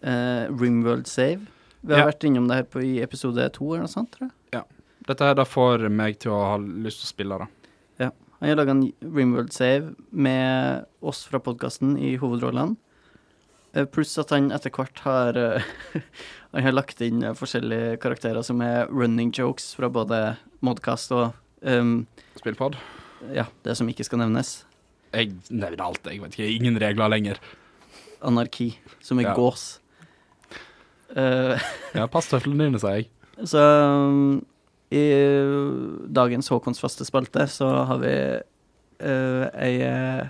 Speaker 3: eh, Rimworld Save. Vi har
Speaker 1: Ja.
Speaker 3: vært innom det her på, i episode to eller noe sånt, tror jeg.
Speaker 1: Dette her da får meg til å ha lyst til å spille, da.
Speaker 3: Han har laga en Rimworld Save med oss fra podkasten i hovedrollene. Eh, Pluss at han etter hvert har eh, Han har lagt inn eh, forskjellige karakterer som er running jokes fra både Modcast og ehm,
Speaker 1: Spillpod.
Speaker 3: Ja, det som ikke skal nevnes.
Speaker 1: Jeg nevner alt, jeg vet ikke. Ingen regler lenger.
Speaker 3: Anarki, som er
Speaker 1: Ja.
Speaker 3: gås. Eh,
Speaker 1: Ja, pass tøflene dine, sier jeg.
Speaker 3: så ehm, i dagens Håkons faste spalte så har vi eh, ei eh,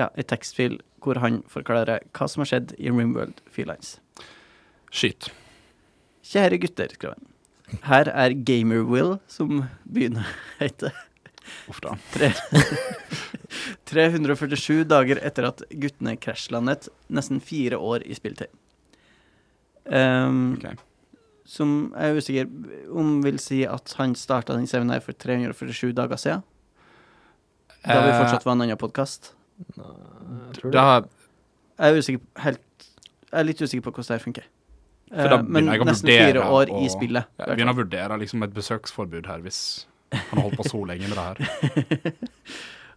Speaker 3: Ja, ei tekstfil hvor han forklarer hva som har skjedd i Rimworld-fila hans.
Speaker 1: Skyt.
Speaker 3: Kjære gutter, skrev han. Her er Gamerwill, som begynner å hete.
Speaker 1: Uff da.
Speaker 3: 347 dager etter at guttene krasjlandet, nesten fire år i spilletid. Ehm,
Speaker 1: Ok.
Speaker 3: Som jeg er usikker om vil si at han starta den serien her for 347 dager siden. Da vi fortsatt var en annen podkast.
Speaker 2: Nei,
Speaker 1: Eh,
Speaker 2: tror du?
Speaker 1: da
Speaker 3: Jeg er usikker helt Jeg er litt usikker på hvordan det her funker.
Speaker 1: For da
Speaker 3: Eh, men
Speaker 1: begynner jeg å
Speaker 3: nesten
Speaker 1: vurdere
Speaker 3: fire år i
Speaker 1: å-
Speaker 3: spillet.
Speaker 1: Jeg begynner å vurdere liksom et besøksforbud her, hvis han har holdt på så lenge med det her.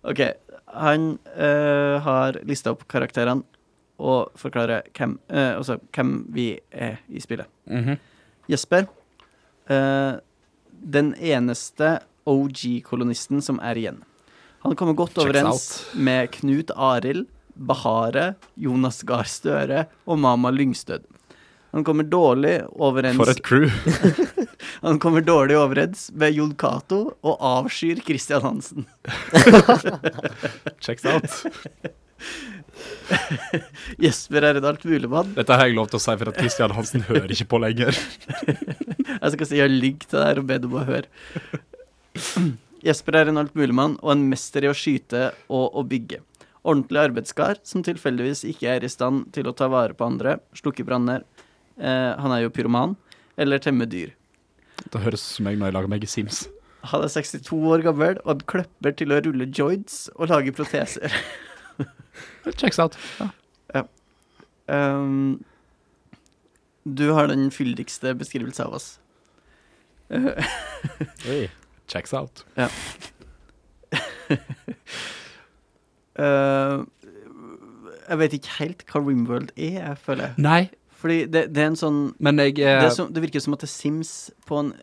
Speaker 3: Ok, han eh, har lista opp karakterene og forklarer hvem, eh, altså, hvem vi er i spillet.
Speaker 1: Mhm.
Speaker 3: Jesper, eh, den eneste OG-kolonisten som er igjen. Han kommer godt
Speaker 1: Checks
Speaker 3: overens med Knut Arild, Bahare, Jonas Gahr Støre og Mama Lyngstød. Han kommer dårlig overens
Speaker 1: For et crew.
Speaker 3: han kommer dårlig overens med Jon Cato og avskyr Christian Hansen.
Speaker 1: Checks out.
Speaker 3: Jesper er en altmuligmann.
Speaker 1: Dette har jeg lov til å si, for at Christian Hansen hører ikke på lenger.
Speaker 3: Jeg skal si jeg ligger til det her og ber dem å høre. Jesper er en altmuligmann og en mester i å skyte og å bygge. Ordentlig arbeidskar som tilfeldigvis ikke er i stand til å ta vare på andre, slukke branner. Eh, han er jo pyroman. Eller temme dyr.
Speaker 1: Det høres ut som jeg når jeg lager meg i Sims.
Speaker 3: Han er 62 år gammel, og han kløpper til å rulle joints og lage proteser.
Speaker 1: Checks out.
Speaker 3: Ehm, du har den fyldigste beskrivelsen av oss. Eh,
Speaker 2: Oi.
Speaker 1: Checks out.
Speaker 3: eh, jeg vet ikke helt hva Rimworld er, jeg føler jeg.
Speaker 1: Nei,
Speaker 3: Fordi det, det er en sånn
Speaker 1: men jeg eh,
Speaker 3: det, er som, det virker som at det er Sims på en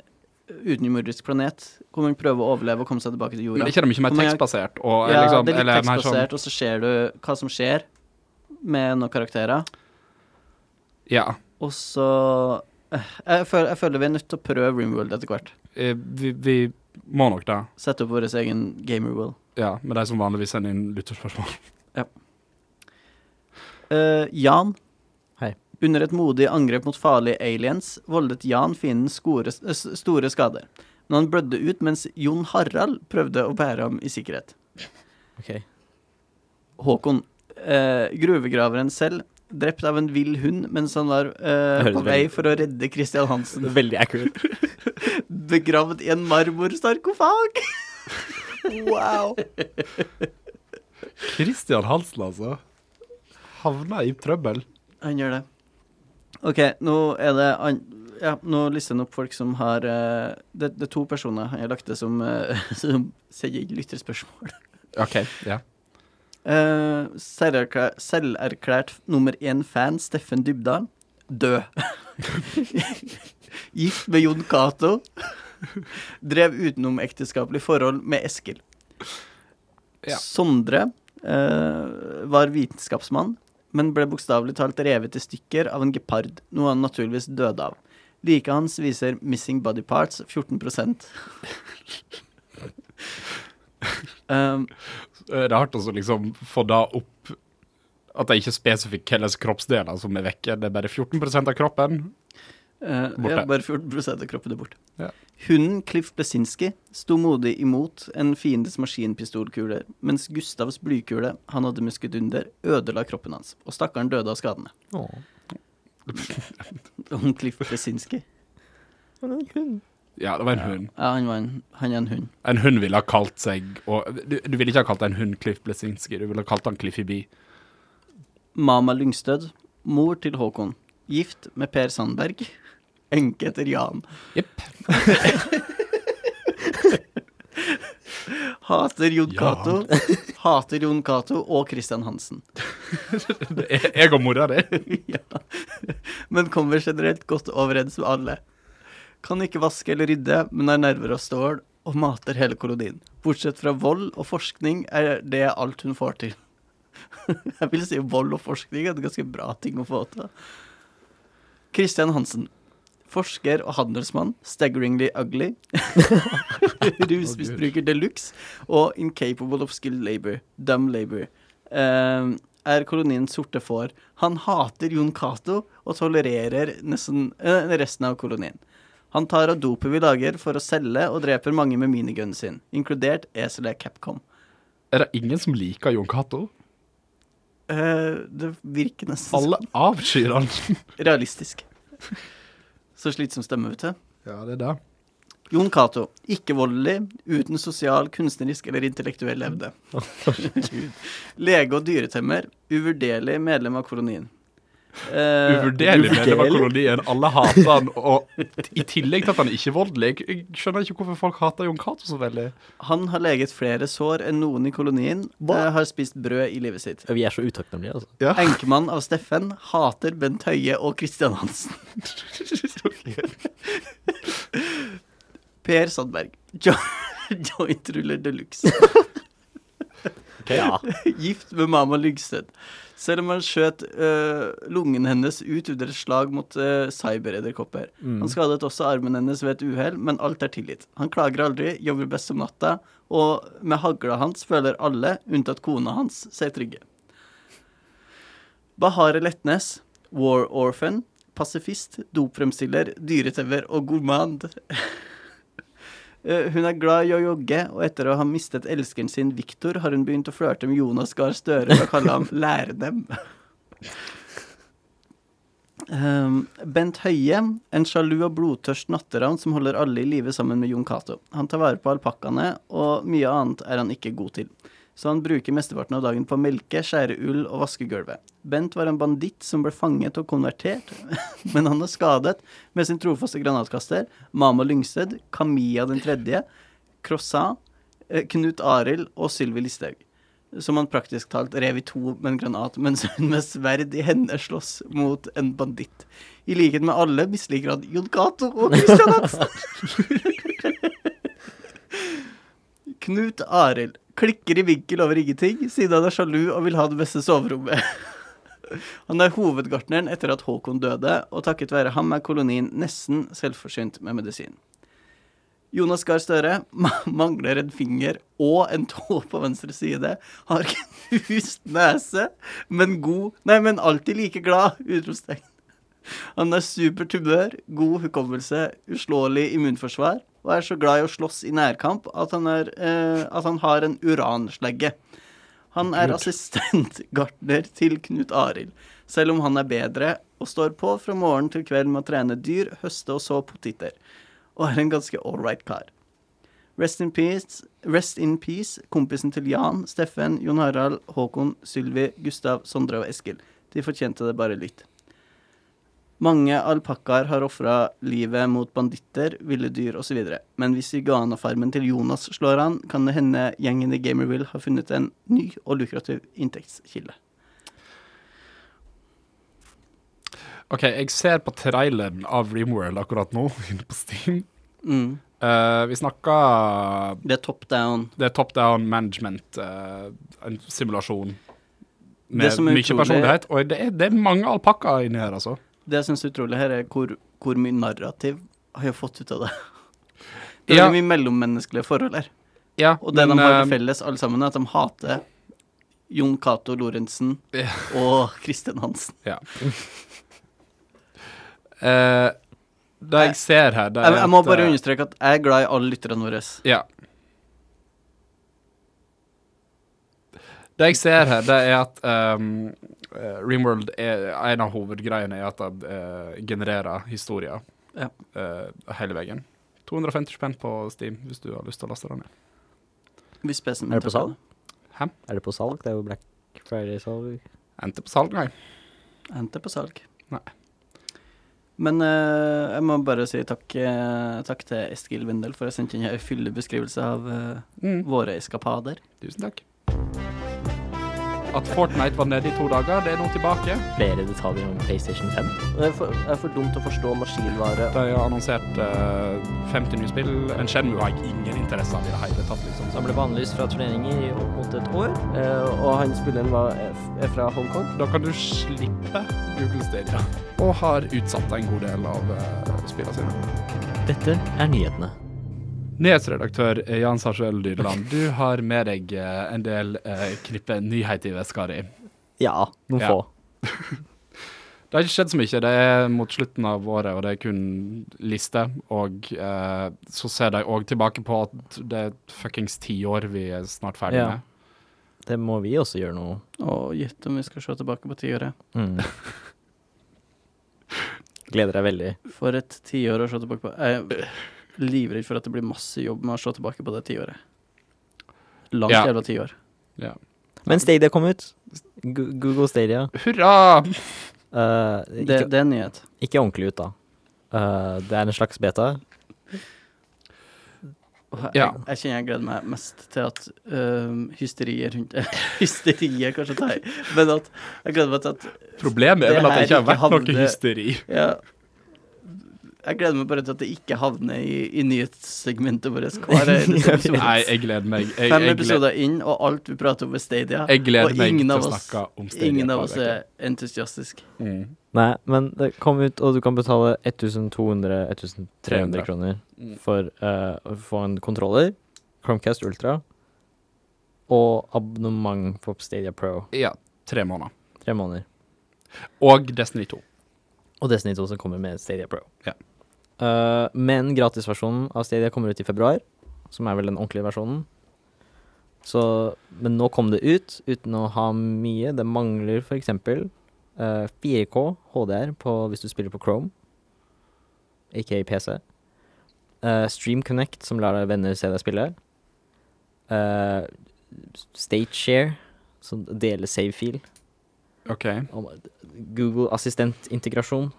Speaker 3: utenomjordisk planet, hvor man prøver å overleve og komme seg tilbake til
Speaker 1: men
Speaker 3: jorda.
Speaker 1: er ikke det mye mer
Speaker 3: Hvor mange-
Speaker 1: tekstbasert? Og,
Speaker 3: ja,
Speaker 1: liksom,
Speaker 3: det er
Speaker 1: eller
Speaker 3: litt
Speaker 1: mer sånn-
Speaker 3: tekstbasert, og så ser du hva som skjer med noen karakterer.
Speaker 1: Ja.
Speaker 3: Og så eh, jeg føler, jeg føler vi er nødt til å prøve Rimworld etter hvert.
Speaker 1: eh, Vi, vi må nok det.
Speaker 3: Sette opp vår egen gamerworld.
Speaker 1: Ja, med de som vanligvis sender inn lytterspørsmål.
Speaker 3: Eh, Jan.
Speaker 2: Hei.
Speaker 3: Under et modig angrep mot farlige aliens voldet Jan fienden skore, eh, s- store skader. Men han blødde ut mens Jon Harald prøvde å bære ham i sikkerhet.
Speaker 2: Ok.
Speaker 3: Håkon. eh, gruvegraveren selv, drept av en vill hund mens han var eh,
Speaker 2: Det høres
Speaker 3: på vei
Speaker 2: veldig-
Speaker 3: for å redde Christian Hansen.
Speaker 2: Veldig accurate.
Speaker 3: Begravd i en marmorsarkofag. wow.
Speaker 1: Christian Hansen, altså. Havna i trøbbel.
Speaker 3: Han gjør det. OK, nå er det an ja, Nå lister han opp folk som har eh, det, det er to personer han har lagt det som, eh, som sender inn lytterspørsmål.
Speaker 1: OK. Ja.
Speaker 3: Eh, selverklæ- Selverklært nummer én-fan Steffen Dybdahl. Død. Gift med Jon Cato. Drev utenomekteskapelig forhold med Eskil.
Speaker 1: Ja.
Speaker 3: Sondre eh, var vitenskapsmann, men ble bokstavelig talt revet i stykker av en gepard, noe han naturligvis døde av. Liket hans viser Missing Body Parts 14 um,
Speaker 1: Det er hardt å så liksom få da opp at det ikke er spesifikt hvilke kroppsdeler som er vekke. Det er bare 14 av kroppen.
Speaker 3: Eh,
Speaker 1: Borte.
Speaker 3: Ja, bare 14 av kroppen er borte.
Speaker 1: Ja.
Speaker 3: Hunden Cliff Blesinski sto modig imot en fiendes maskinpistolkule, mens Gustavs blykule han hadde musket under, ødela kroppen hans, og stakkaren døde av skadene. Om Cliff Blesinski?
Speaker 1: Ja, det var en hund.
Speaker 3: Ja, han, var en, han er en hund.
Speaker 1: En hund ville ha kalt seg og, du, du ville ikke ha kalt en hund Cliff Blesinski, du ville ha kalt han Cliffy B.
Speaker 3: Mama Lyngstød, mor til Håkon, gift med Per Sandberg, enke etter Jan.
Speaker 1: Jepp.
Speaker 3: Hater Jon
Speaker 1: Jan.
Speaker 3: Cato. Hater Jon Cato og Christian Hansen.
Speaker 1: Det er Jeg og mora di.
Speaker 3: ja. Men kommer generelt godt overens med alle. Kan ikke vaske eller rydde, men har nerver av stål og mater hele kolonien. Bortsett fra vold og forskning er det alt hun får til. Jeg vil si vold og forskning er en ganske bra ting å få til. Christian Hansen. Forsker og handelsmann. Staggeringly ugly. Rusmisbruker de luxe. Og incapable of skilled labor. Dumb labor. Ehm, er koloniens sorte får. Han hater Jon Cato og tolererer nesten eh, resten av kolonien. Han tar av dopet vi lager for å selge og dreper mange med minigunnen sin, inkludert eselet Capcom.
Speaker 1: Er det ingen som liker Jon Cato?
Speaker 3: Eh, det virker nesten
Speaker 1: Alle avskyr han.
Speaker 3: realistisk. Så slitsom stemme, vet du.
Speaker 1: Ja, det er det.
Speaker 3: Jon Cato. Ikke voldelig, uten sosial, kunstnerisk eller intellektuell evne. Lege og dyretemmer. Uvurderlig medlem av kolonien. Eh,
Speaker 1: Uvurderlig medlem av kolonien. Alle hater han, og i tillegg til at han er ikke voldelig. Jeg skjønner ikke hvorfor folk hater Jon Cato så veldig.
Speaker 3: han har leget flere sår enn noen i kolonien.
Speaker 2: Hva?
Speaker 3: eh, har spist brød i livet sitt.
Speaker 2: Vi er så utakknemlige, altså.
Speaker 1: Ja.
Speaker 3: Enkemann av Steffen hater Bent Høie og Kristian Hansen. Per Sandberg. Jo Joint ruller de luxe.
Speaker 2: Ja.
Speaker 3: Gift med mamma Lyngsted. Selv om han skjøt øh, lungen hennes ut under et slag mot øh, cyberedderkopper. Han skadet også armen hennes ved et uhell, men alt er tilgitt. Han klager aldri, jobber best om natta, og med hagla hans føler alle, unntatt kona hans, seg trygge. Bahare Letnes, War Orphan, pasifist, dopfremstiller, dyretauer og gourmand. Eh, Hun er glad i å jogge, og etter å ha mistet elskeren sin Viktor, har hun begynt å flørte med Jonas Gahr Støre og kalle ham læredem. Um, Bent Høie, en sjalu og blodtørst natteravn som holder alle i live sammen med Jon Cato. Han tar vare på alpakkaene, og mye annet er han ikke god til. Så han bruker mesteparten av dagen på å melke, skjære ull og vaske gulvet. Bent var en banditt som ble fanget og konvertert, men han er skadet med sin trofaste granatkaster, Mama Lyngsted, Camilla den tredje, Croissant, eh, Knut Arild og Sylvi Listhaug. Som han praktisk talt rev i to med en granat, mens hun med sverd i henne slåss mot en banditt. I likhet med alle misliker han Jon Cato og Christian Hansen. Knut Arild klikker i vinkel over ingenting, siden han er sjalu og vil ha det beste soverommet. Han er hovedgartneren etter at Håkon døde, og takket være ham er kolonien nesten selvforsynt med medisin. Jonas Gahr Støre ma- mangler en finger og en tå på venstre side. Har knust nese, men god Nei, men alltid like glad! Utropstegn. Han er supert humør, god hukommelse, uslåelig immunforsvar og er så glad i å slåss i nærkamp at han, er, eh, at han har en uranslegge. Han er assistentgartner til Knut Arild, selv om han er bedre og står på fra morgen til kveld med å trene dyr, høste og så poteter, og er en ganske ålreit kar. Rest in peace, rest in peace, kompisen til Jan, Steffen, Jon Harald, Håkon, Sylvi, Gustav, Sondre og Eskil. De fortjente det bare litt. Mange alpakkaer har ofra livet mot banditter, ville dyr osv. Men hvis iguanafarmen til Jonas slår an, kan det hende gjengen i Gamerville har funnet en ny og lukrativ inntektskilde.
Speaker 1: OK, jeg ser på traileren av Dreamworld akkurat nå, inne på Steam.
Speaker 3: Mm.
Speaker 1: Eh, vi snakker
Speaker 3: Det er top down.
Speaker 1: Det er top down management, eh, en simulasjon.
Speaker 3: Det
Speaker 1: Med
Speaker 3: som er
Speaker 1: mye
Speaker 3: utrolig-
Speaker 1: personlighet. Og det er, det er mange alpakkaer inni her, altså.
Speaker 3: Det jeg syns er utrolig her, er hvor, hvor mye narrativ har jeg fått ut av det. Det er
Speaker 1: Ja.
Speaker 3: veldig mye mellommenneskelige forhold her.
Speaker 1: Ja,
Speaker 3: Og det
Speaker 1: men,
Speaker 3: de har
Speaker 1: eh,
Speaker 3: til felles, alle sammen, er at de hater Jon Cato Lorentzen
Speaker 1: Ja.
Speaker 3: og Kristin Hansen.
Speaker 1: ja. Eh, det jeg ser her, det er
Speaker 3: Jeg, jeg må
Speaker 1: at,
Speaker 3: bare
Speaker 1: eh,
Speaker 3: understreke at jeg er glad i alle lytterne våre.
Speaker 1: Ja. Det jeg ser her, det er at ehm, eh, Rimworld er en av hovedgreiene er at det eh, genererer historier
Speaker 3: Ja.
Speaker 1: eh, hele veien. 250 spenn på Steam hvis du har lyst til å laste den ned.
Speaker 3: Hvis PC-en min
Speaker 2: Er det på
Speaker 3: tåler
Speaker 2: salg?
Speaker 1: Hæ?
Speaker 2: Er det på salg? Det er jo Black Friday-salg.
Speaker 1: Endte på salg, nei.
Speaker 3: Hent det på salg.
Speaker 1: Nei.
Speaker 3: Men eh, jeg må bare si takk, eh, takk til Eskil Wendel for å sende inn en fyldig beskrivelse av eh,
Speaker 1: Mm.
Speaker 3: våre eskapader.
Speaker 1: Tusen takk. At Fortnite var nede i to dager, det er nå tilbake.
Speaker 2: Flere detaljer om PlayStation 5.
Speaker 4: Det er for, det er for dumt å forstå maskinvare.
Speaker 1: De har annonsert eh, 50 nye spill. En Shenmue har jeg ingen interesse av i det hele tatt. liksom.
Speaker 2: Han ble bannlyst fra turneringer i opp mot et år.
Speaker 4: Eh, og han spilleren var, er f- er fra Hongkong.
Speaker 1: Da kan du slippe Google Stadia. Og har utsatt en god del av uh, spillene sine.
Speaker 2: Dette er nyhetene.
Speaker 1: Nyhetsredaktør Jan Sarsuell Dydeland, du har med deg eh, en del eh, knippe nyheter i veska di.
Speaker 2: Ja, noen
Speaker 1: Ja.
Speaker 2: få.
Speaker 1: Det har ikke skjedd så mye. Det er mot slutten av året, og det er kun liste. Og eh, så ser de òg tilbake på at det er fuckings tiår vi er snart ferdig
Speaker 2: Ja.
Speaker 1: med.
Speaker 2: Det må vi også gjøre noe.
Speaker 3: Og gjett om vi skal se tilbake på tiåret.
Speaker 2: Mm. Gleder deg veldig.
Speaker 3: For et tiår å se tilbake på. Jeg er livredd for at det blir masse jobb med å se tilbake på det tiåret. Langt
Speaker 1: Ja.
Speaker 3: jævla tiår.
Speaker 2: Men Stadia kom ut. Gu- Google Stadia.
Speaker 1: Hurra!
Speaker 2: Eh,
Speaker 3: Det,
Speaker 2: ikke,
Speaker 3: det er en nyhet.
Speaker 2: ikke ordentlig ut, da. Eh, det er en slags beta.
Speaker 3: Og Jeg,
Speaker 1: Ja.
Speaker 3: jeg kjenner jeg gleder meg mest til at øhm, hysteriet rundt Hysteriet, kanskje, tar jeg. Men at jeg gleder meg til at
Speaker 1: Problemet
Speaker 3: Det
Speaker 1: er vel at det ikke
Speaker 3: her
Speaker 1: har
Speaker 3: ikke
Speaker 1: vært
Speaker 3: havner-
Speaker 1: noe hysteri.
Speaker 3: Ja. Jeg gleder meg bare til at det ikke havner i, i nyhetssegmentet vårt. Hver eneste episode.
Speaker 1: Nei, jeg gleder meg. Jeg,
Speaker 3: liksom Fem
Speaker 1: jeg, gleder,
Speaker 3: episoder inn, og alt vi prater om, er Stadia.
Speaker 1: jeg gleder
Speaker 3: og
Speaker 1: meg
Speaker 3: ingen
Speaker 1: til
Speaker 3: av
Speaker 1: å
Speaker 3: oss-
Speaker 1: snakke om Stadia.
Speaker 3: Ingen av
Speaker 1: hver
Speaker 3: oss
Speaker 1: uke.
Speaker 3: er entusiastisk.
Speaker 1: Mm.
Speaker 2: Nei, men det kom ut, og du kan betale 1200-1300
Speaker 1: 300.
Speaker 2: kroner
Speaker 1: Mm.
Speaker 2: for eh, å få en kontroller, Chromecast Ultra, og abonnement på Stadia Pro.
Speaker 1: Ja, tre måneder.
Speaker 2: Tre måneder.
Speaker 1: Og Destiny 2.
Speaker 2: Og Destiny 2 som kommer med Stadia Pro.
Speaker 1: Ja.
Speaker 2: Eh, men gratisversjonen av Stadia kommer ut i februar, som er vel den ordentlige versjonen. Så, men nå kom det ut uten å ha mye. Det mangler f.eks. Uh, 4K HDR på, hvis du spiller på Chrome, aka PC. Eh, Stream Connect, som lar deg venner se deg spille. Uh, State Share, som deler save-fil
Speaker 1: OK.
Speaker 2: om Google Assistent-integrasjon.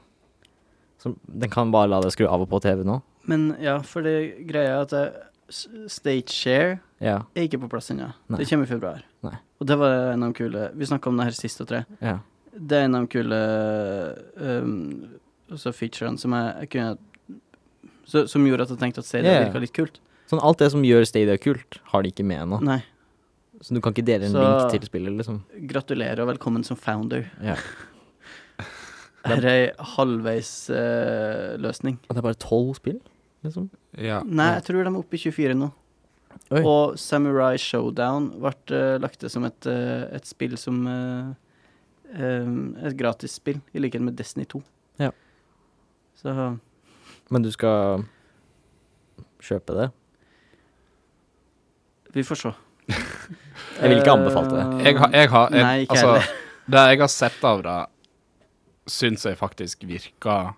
Speaker 2: Som- Den kan bare la deg skru av og på TV nå.
Speaker 3: Men ja, for det greia er at jeg- s- State Share
Speaker 2: Ja.
Speaker 3: er ikke på plass ennå.
Speaker 2: Nei.
Speaker 3: Det kommer i februar.
Speaker 2: Nei.
Speaker 3: Og det var en av de kule Vi snakka om det her sist og tre.
Speaker 2: ja.
Speaker 3: Det er en av de kule um, altså featurene som jeg, jeg kunne så, Som gjorde at jeg tenkte at Stadia
Speaker 2: Ja, ja.
Speaker 3: virka litt kult.
Speaker 2: Sånn Alt det som gjør Stadia kult, har de ikke med ennå.
Speaker 3: Nei.
Speaker 2: Så du kan ikke dele en
Speaker 3: Så-
Speaker 2: link til spillet, liksom.
Speaker 3: Gratulerer og velkommen som founder.
Speaker 2: Ja.
Speaker 3: Her er ei halvveis eh, løsning.
Speaker 2: Og det er bare tolv spill, liksom.
Speaker 1: Ja.
Speaker 3: Nei, jeg tror de er oppe i 24 nå.
Speaker 2: Oi.
Speaker 3: Og Samurai Showdown ble eh, lagt til som et, eh, et spill som eh, em, Et gratisspill, i likhet med Destiny 2.
Speaker 2: Ja.
Speaker 3: Så
Speaker 2: Men du skal kjøpe det.
Speaker 3: vi får se. Eh,
Speaker 2: Jeg vil ikke anbefale det.
Speaker 1: Jeg har, jeg har jeg,
Speaker 3: Nei, ikke
Speaker 1: altså,
Speaker 3: heller.
Speaker 1: Det jeg har sett av det, syns jeg faktisk virka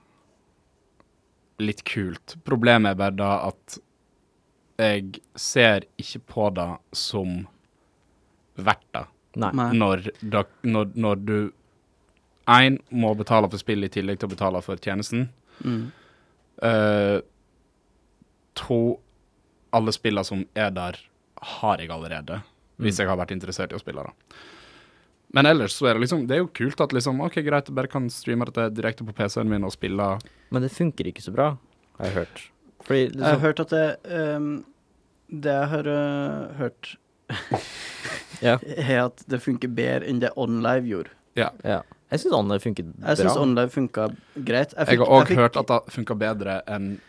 Speaker 1: litt kult. Problemet er bare da at jeg ser ikke på det som verdt det.
Speaker 2: Nei.
Speaker 3: Nei.
Speaker 1: Når, da, når, når du én må betale for spillet i tillegg til å betale for tjenesten.
Speaker 3: Mm.
Speaker 1: Eh, to Alle spillene som er der, har jeg allerede. Hvis jeg har vært interessert i å spille det. Men ellers så er det liksom Det er jo kult at liksom OK, greit, jeg bare kan streame dette direkte på PC-en min og spille
Speaker 2: Men det funker ikke så bra, har jeg hørt. Fordi
Speaker 3: Jeg har
Speaker 2: liksom,
Speaker 3: hørt at det em, Det jeg har eh, hørt,
Speaker 2: ja,
Speaker 3: er at det funker bedre enn det OnLive gjorde.
Speaker 2: ja. Jeg syns Anne funket bra.
Speaker 3: Jeg syns OnLive funka greit.
Speaker 1: Jeg
Speaker 3: fikk-
Speaker 1: har òg
Speaker 3: fikk-
Speaker 1: hørt at det funker bedre enn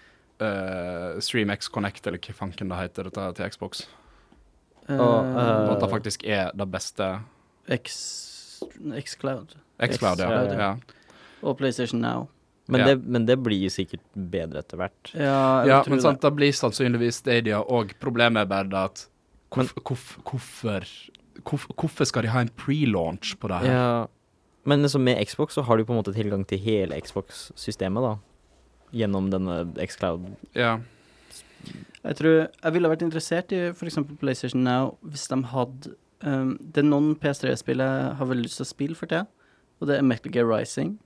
Speaker 1: eh, StreamX Connect, eller hva fanken det heter, dette til Xbox.
Speaker 3: eh,
Speaker 2: Og,
Speaker 1: Og at det faktisk er det beste
Speaker 3: X, Xcloud
Speaker 1: Xcloud, ja.
Speaker 2: Xcloud,
Speaker 1: ja.
Speaker 2: ja.
Speaker 3: og PlayStation Now.
Speaker 2: Men,
Speaker 1: Ja.
Speaker 2: det, men det blir sikkert bedre etter hvert.
Speaker 3: Ja, jeg
Speaker 1: Ja,
Speaker 3: tror
Speaker 1: men sant, det blir sannsynligvis Stadia òg. Problemet er bare det at
Speaker 2: Men-
Speaker 1: hvorf, hvorf, hvorfor, hvorf, hvorfor skal de ha en pre-launch på det her?
Speaker 2: Ja, men liksom med Xbox så har du på en måte tilgang til hele Xbox-systemet, da. Gjennom denne Xcloud.
Speaker 1: Ja.
Speaker 3: Jeg tror jeg ville vært interessert i f.eks. PlayStation Now hvis de hadde um, Det er noen PS3-spill jeg har veldig lyst til å spille for tida, og det er Metal Gear Rising.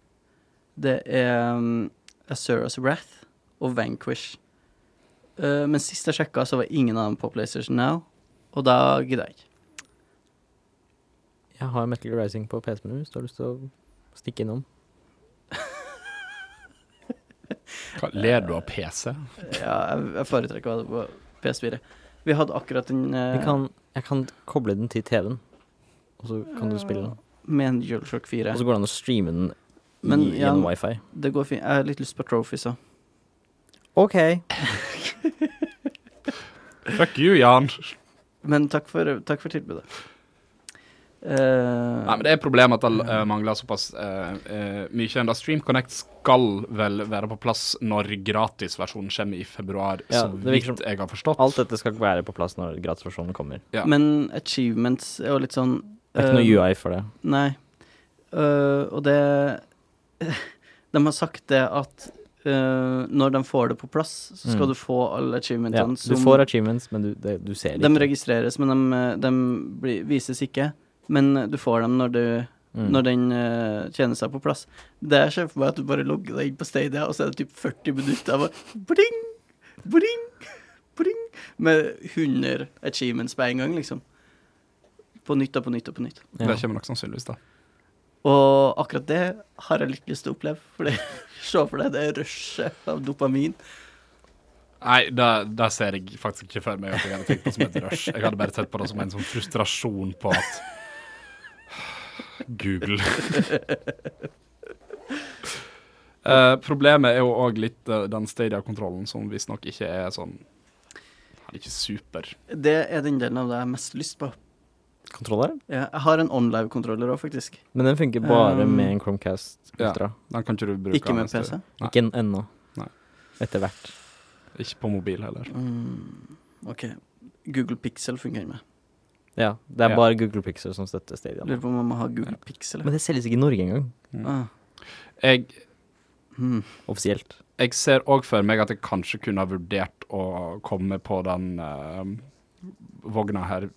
Speaker 3: Det er um, Asuras Wrath og Vanquish. Eh, men sist jeg sjekka, så var ingen av dem på PlayStation Now, og da gidder jeg ikke.
Speaker 2: Jeg har Metal Gear Rising på PC-en min hvis du har lyst til å stikke innom.
Speaker 1: Hva, ler du av PC?
Speaker 3: Ja, jeg, jeg foretrekker å ha det på PS4. Vi hadde akkurat den eh,
Speaker 2: Jeg kan, jeg kan koble den til TV-en, og så kan du spille den.
Speaker 3: med en Jolshock 4.
Speaker 2: Og
Speaker 1: Altså-
Speaker 2: så går det an å streame den
Speaker 3: Men,
Speaker 2: i,
Speaker 3: ja,
Speaker 2: gjennom wifi.
Speaker 3: Det går fint. Jeg har litt lyst på trophies òg.
Speaker 2: OK.
Speaker 1: Fuck you, Jan.
Speaker 3: Men takk for, takk for tilbudet. Eh,
Speaker 1: Nei, men Det er problemet at det eh, mangler såpass eh, eh, mye. enn det. Stream Connect skal vel være på plass når gratisversjonen kommer i februar,
Speaker 2: Ja,
Speaker 1: så
Speaker 2: det virker som-
Speaker 1: vidt jeg har forstått.
Speaker 2: Alt dette skal være på plass når gratisversjonen kommer.
Speaker 1: ja.
Speaker 3: men achievements er jo litt sånn
Speaker 2: Det er ikke noe
Speaker 3: eh,
Speaker 2: UI for det.
Speaker 3: Nei. Eh, og det De har sagt det at eh, når de får det på plass, så skal
Speaker 2: Mm.
Speaker 3: du få alle
Speaker 2: Ja,
Speaker 3: achievementene
Speaker 2: du får achievements, men du, det, du ser
Speaker 3: De
Speaker 2: det ikke.
Speaker 3: registreres, men de, eh, de blir, vises ikke. Men du får dem når, du,
Speaker 2: Mm.
Speaker 3: når den uh, tjenesten er på plass. Det jeg ser for meg, er at du bare logger deg inn på Stadia, og så er det typ 40 minutter av å- bling, bling, bling, med 100 achievements på en gang, liksom. På nytt og på nytt og på nytt.
Speaker 1: Det
Speaker 2: Ja.
Speaker 1: kommer nok sannsynligvis, da.
Speaker 3: Og akkurat det har jeg litt lyst til å oppleve. For det, se for deg det rushet av dopamin.
Speaker 1: Nei, det, det ser jeg faktisk ikke for meg at jeg hadde tenkt på som et rush. Jeg hadde bare sett på det som en sånn frustrasjon på at Google. Eh, problemet er jo òg litt eh, den Stadia-kontrollen som visstnok ikke er sånn Han er ikke super.
Speaker 3: Det er den delen av det jeg har mest lyst på.
Speaker 2: kontroller.
Speaker 3: Ja, jeg har en OnLive-kontroller òg, faktisk.
Speaker 2: Men den funker bare
Speaker 3: Um,
Speaker 2: med en Chromecast
Speaker 1: ja.
Speaker 2: Ultra.
Speaker 1: Den kan ikke du bruke.
Speaker 3: Ikke med
Speaker 1: neste-
Speaker 3: PC.
Speaker 1: Nei.
Speaker 2: Ikke en ennå.
Speaker 1: Nei.
Speaker 2: Etter hvert.
Speaker 1: Ikke på mobil heller.
Speaker 3: Mm, ok. Google Pixel fungerer med.
Speaker 2: Ja, det er
Speaker 1: Ja.
Speaker 2: bare Google Pixel som støtter Stadion.
Speaker 3: Lurer på om man må ha Google Pixel.
Speaker 2: Men det selges ikke i Norge engang,
Speaker 3: Ah.
Speaker 1: Jeg,
Speaker 3: Mm.
Speaker 2: offisielt.
Speaker 1: jeg ser òg for meg at jeg kanskje kunne ha vurdert å komme på den eh, vogna her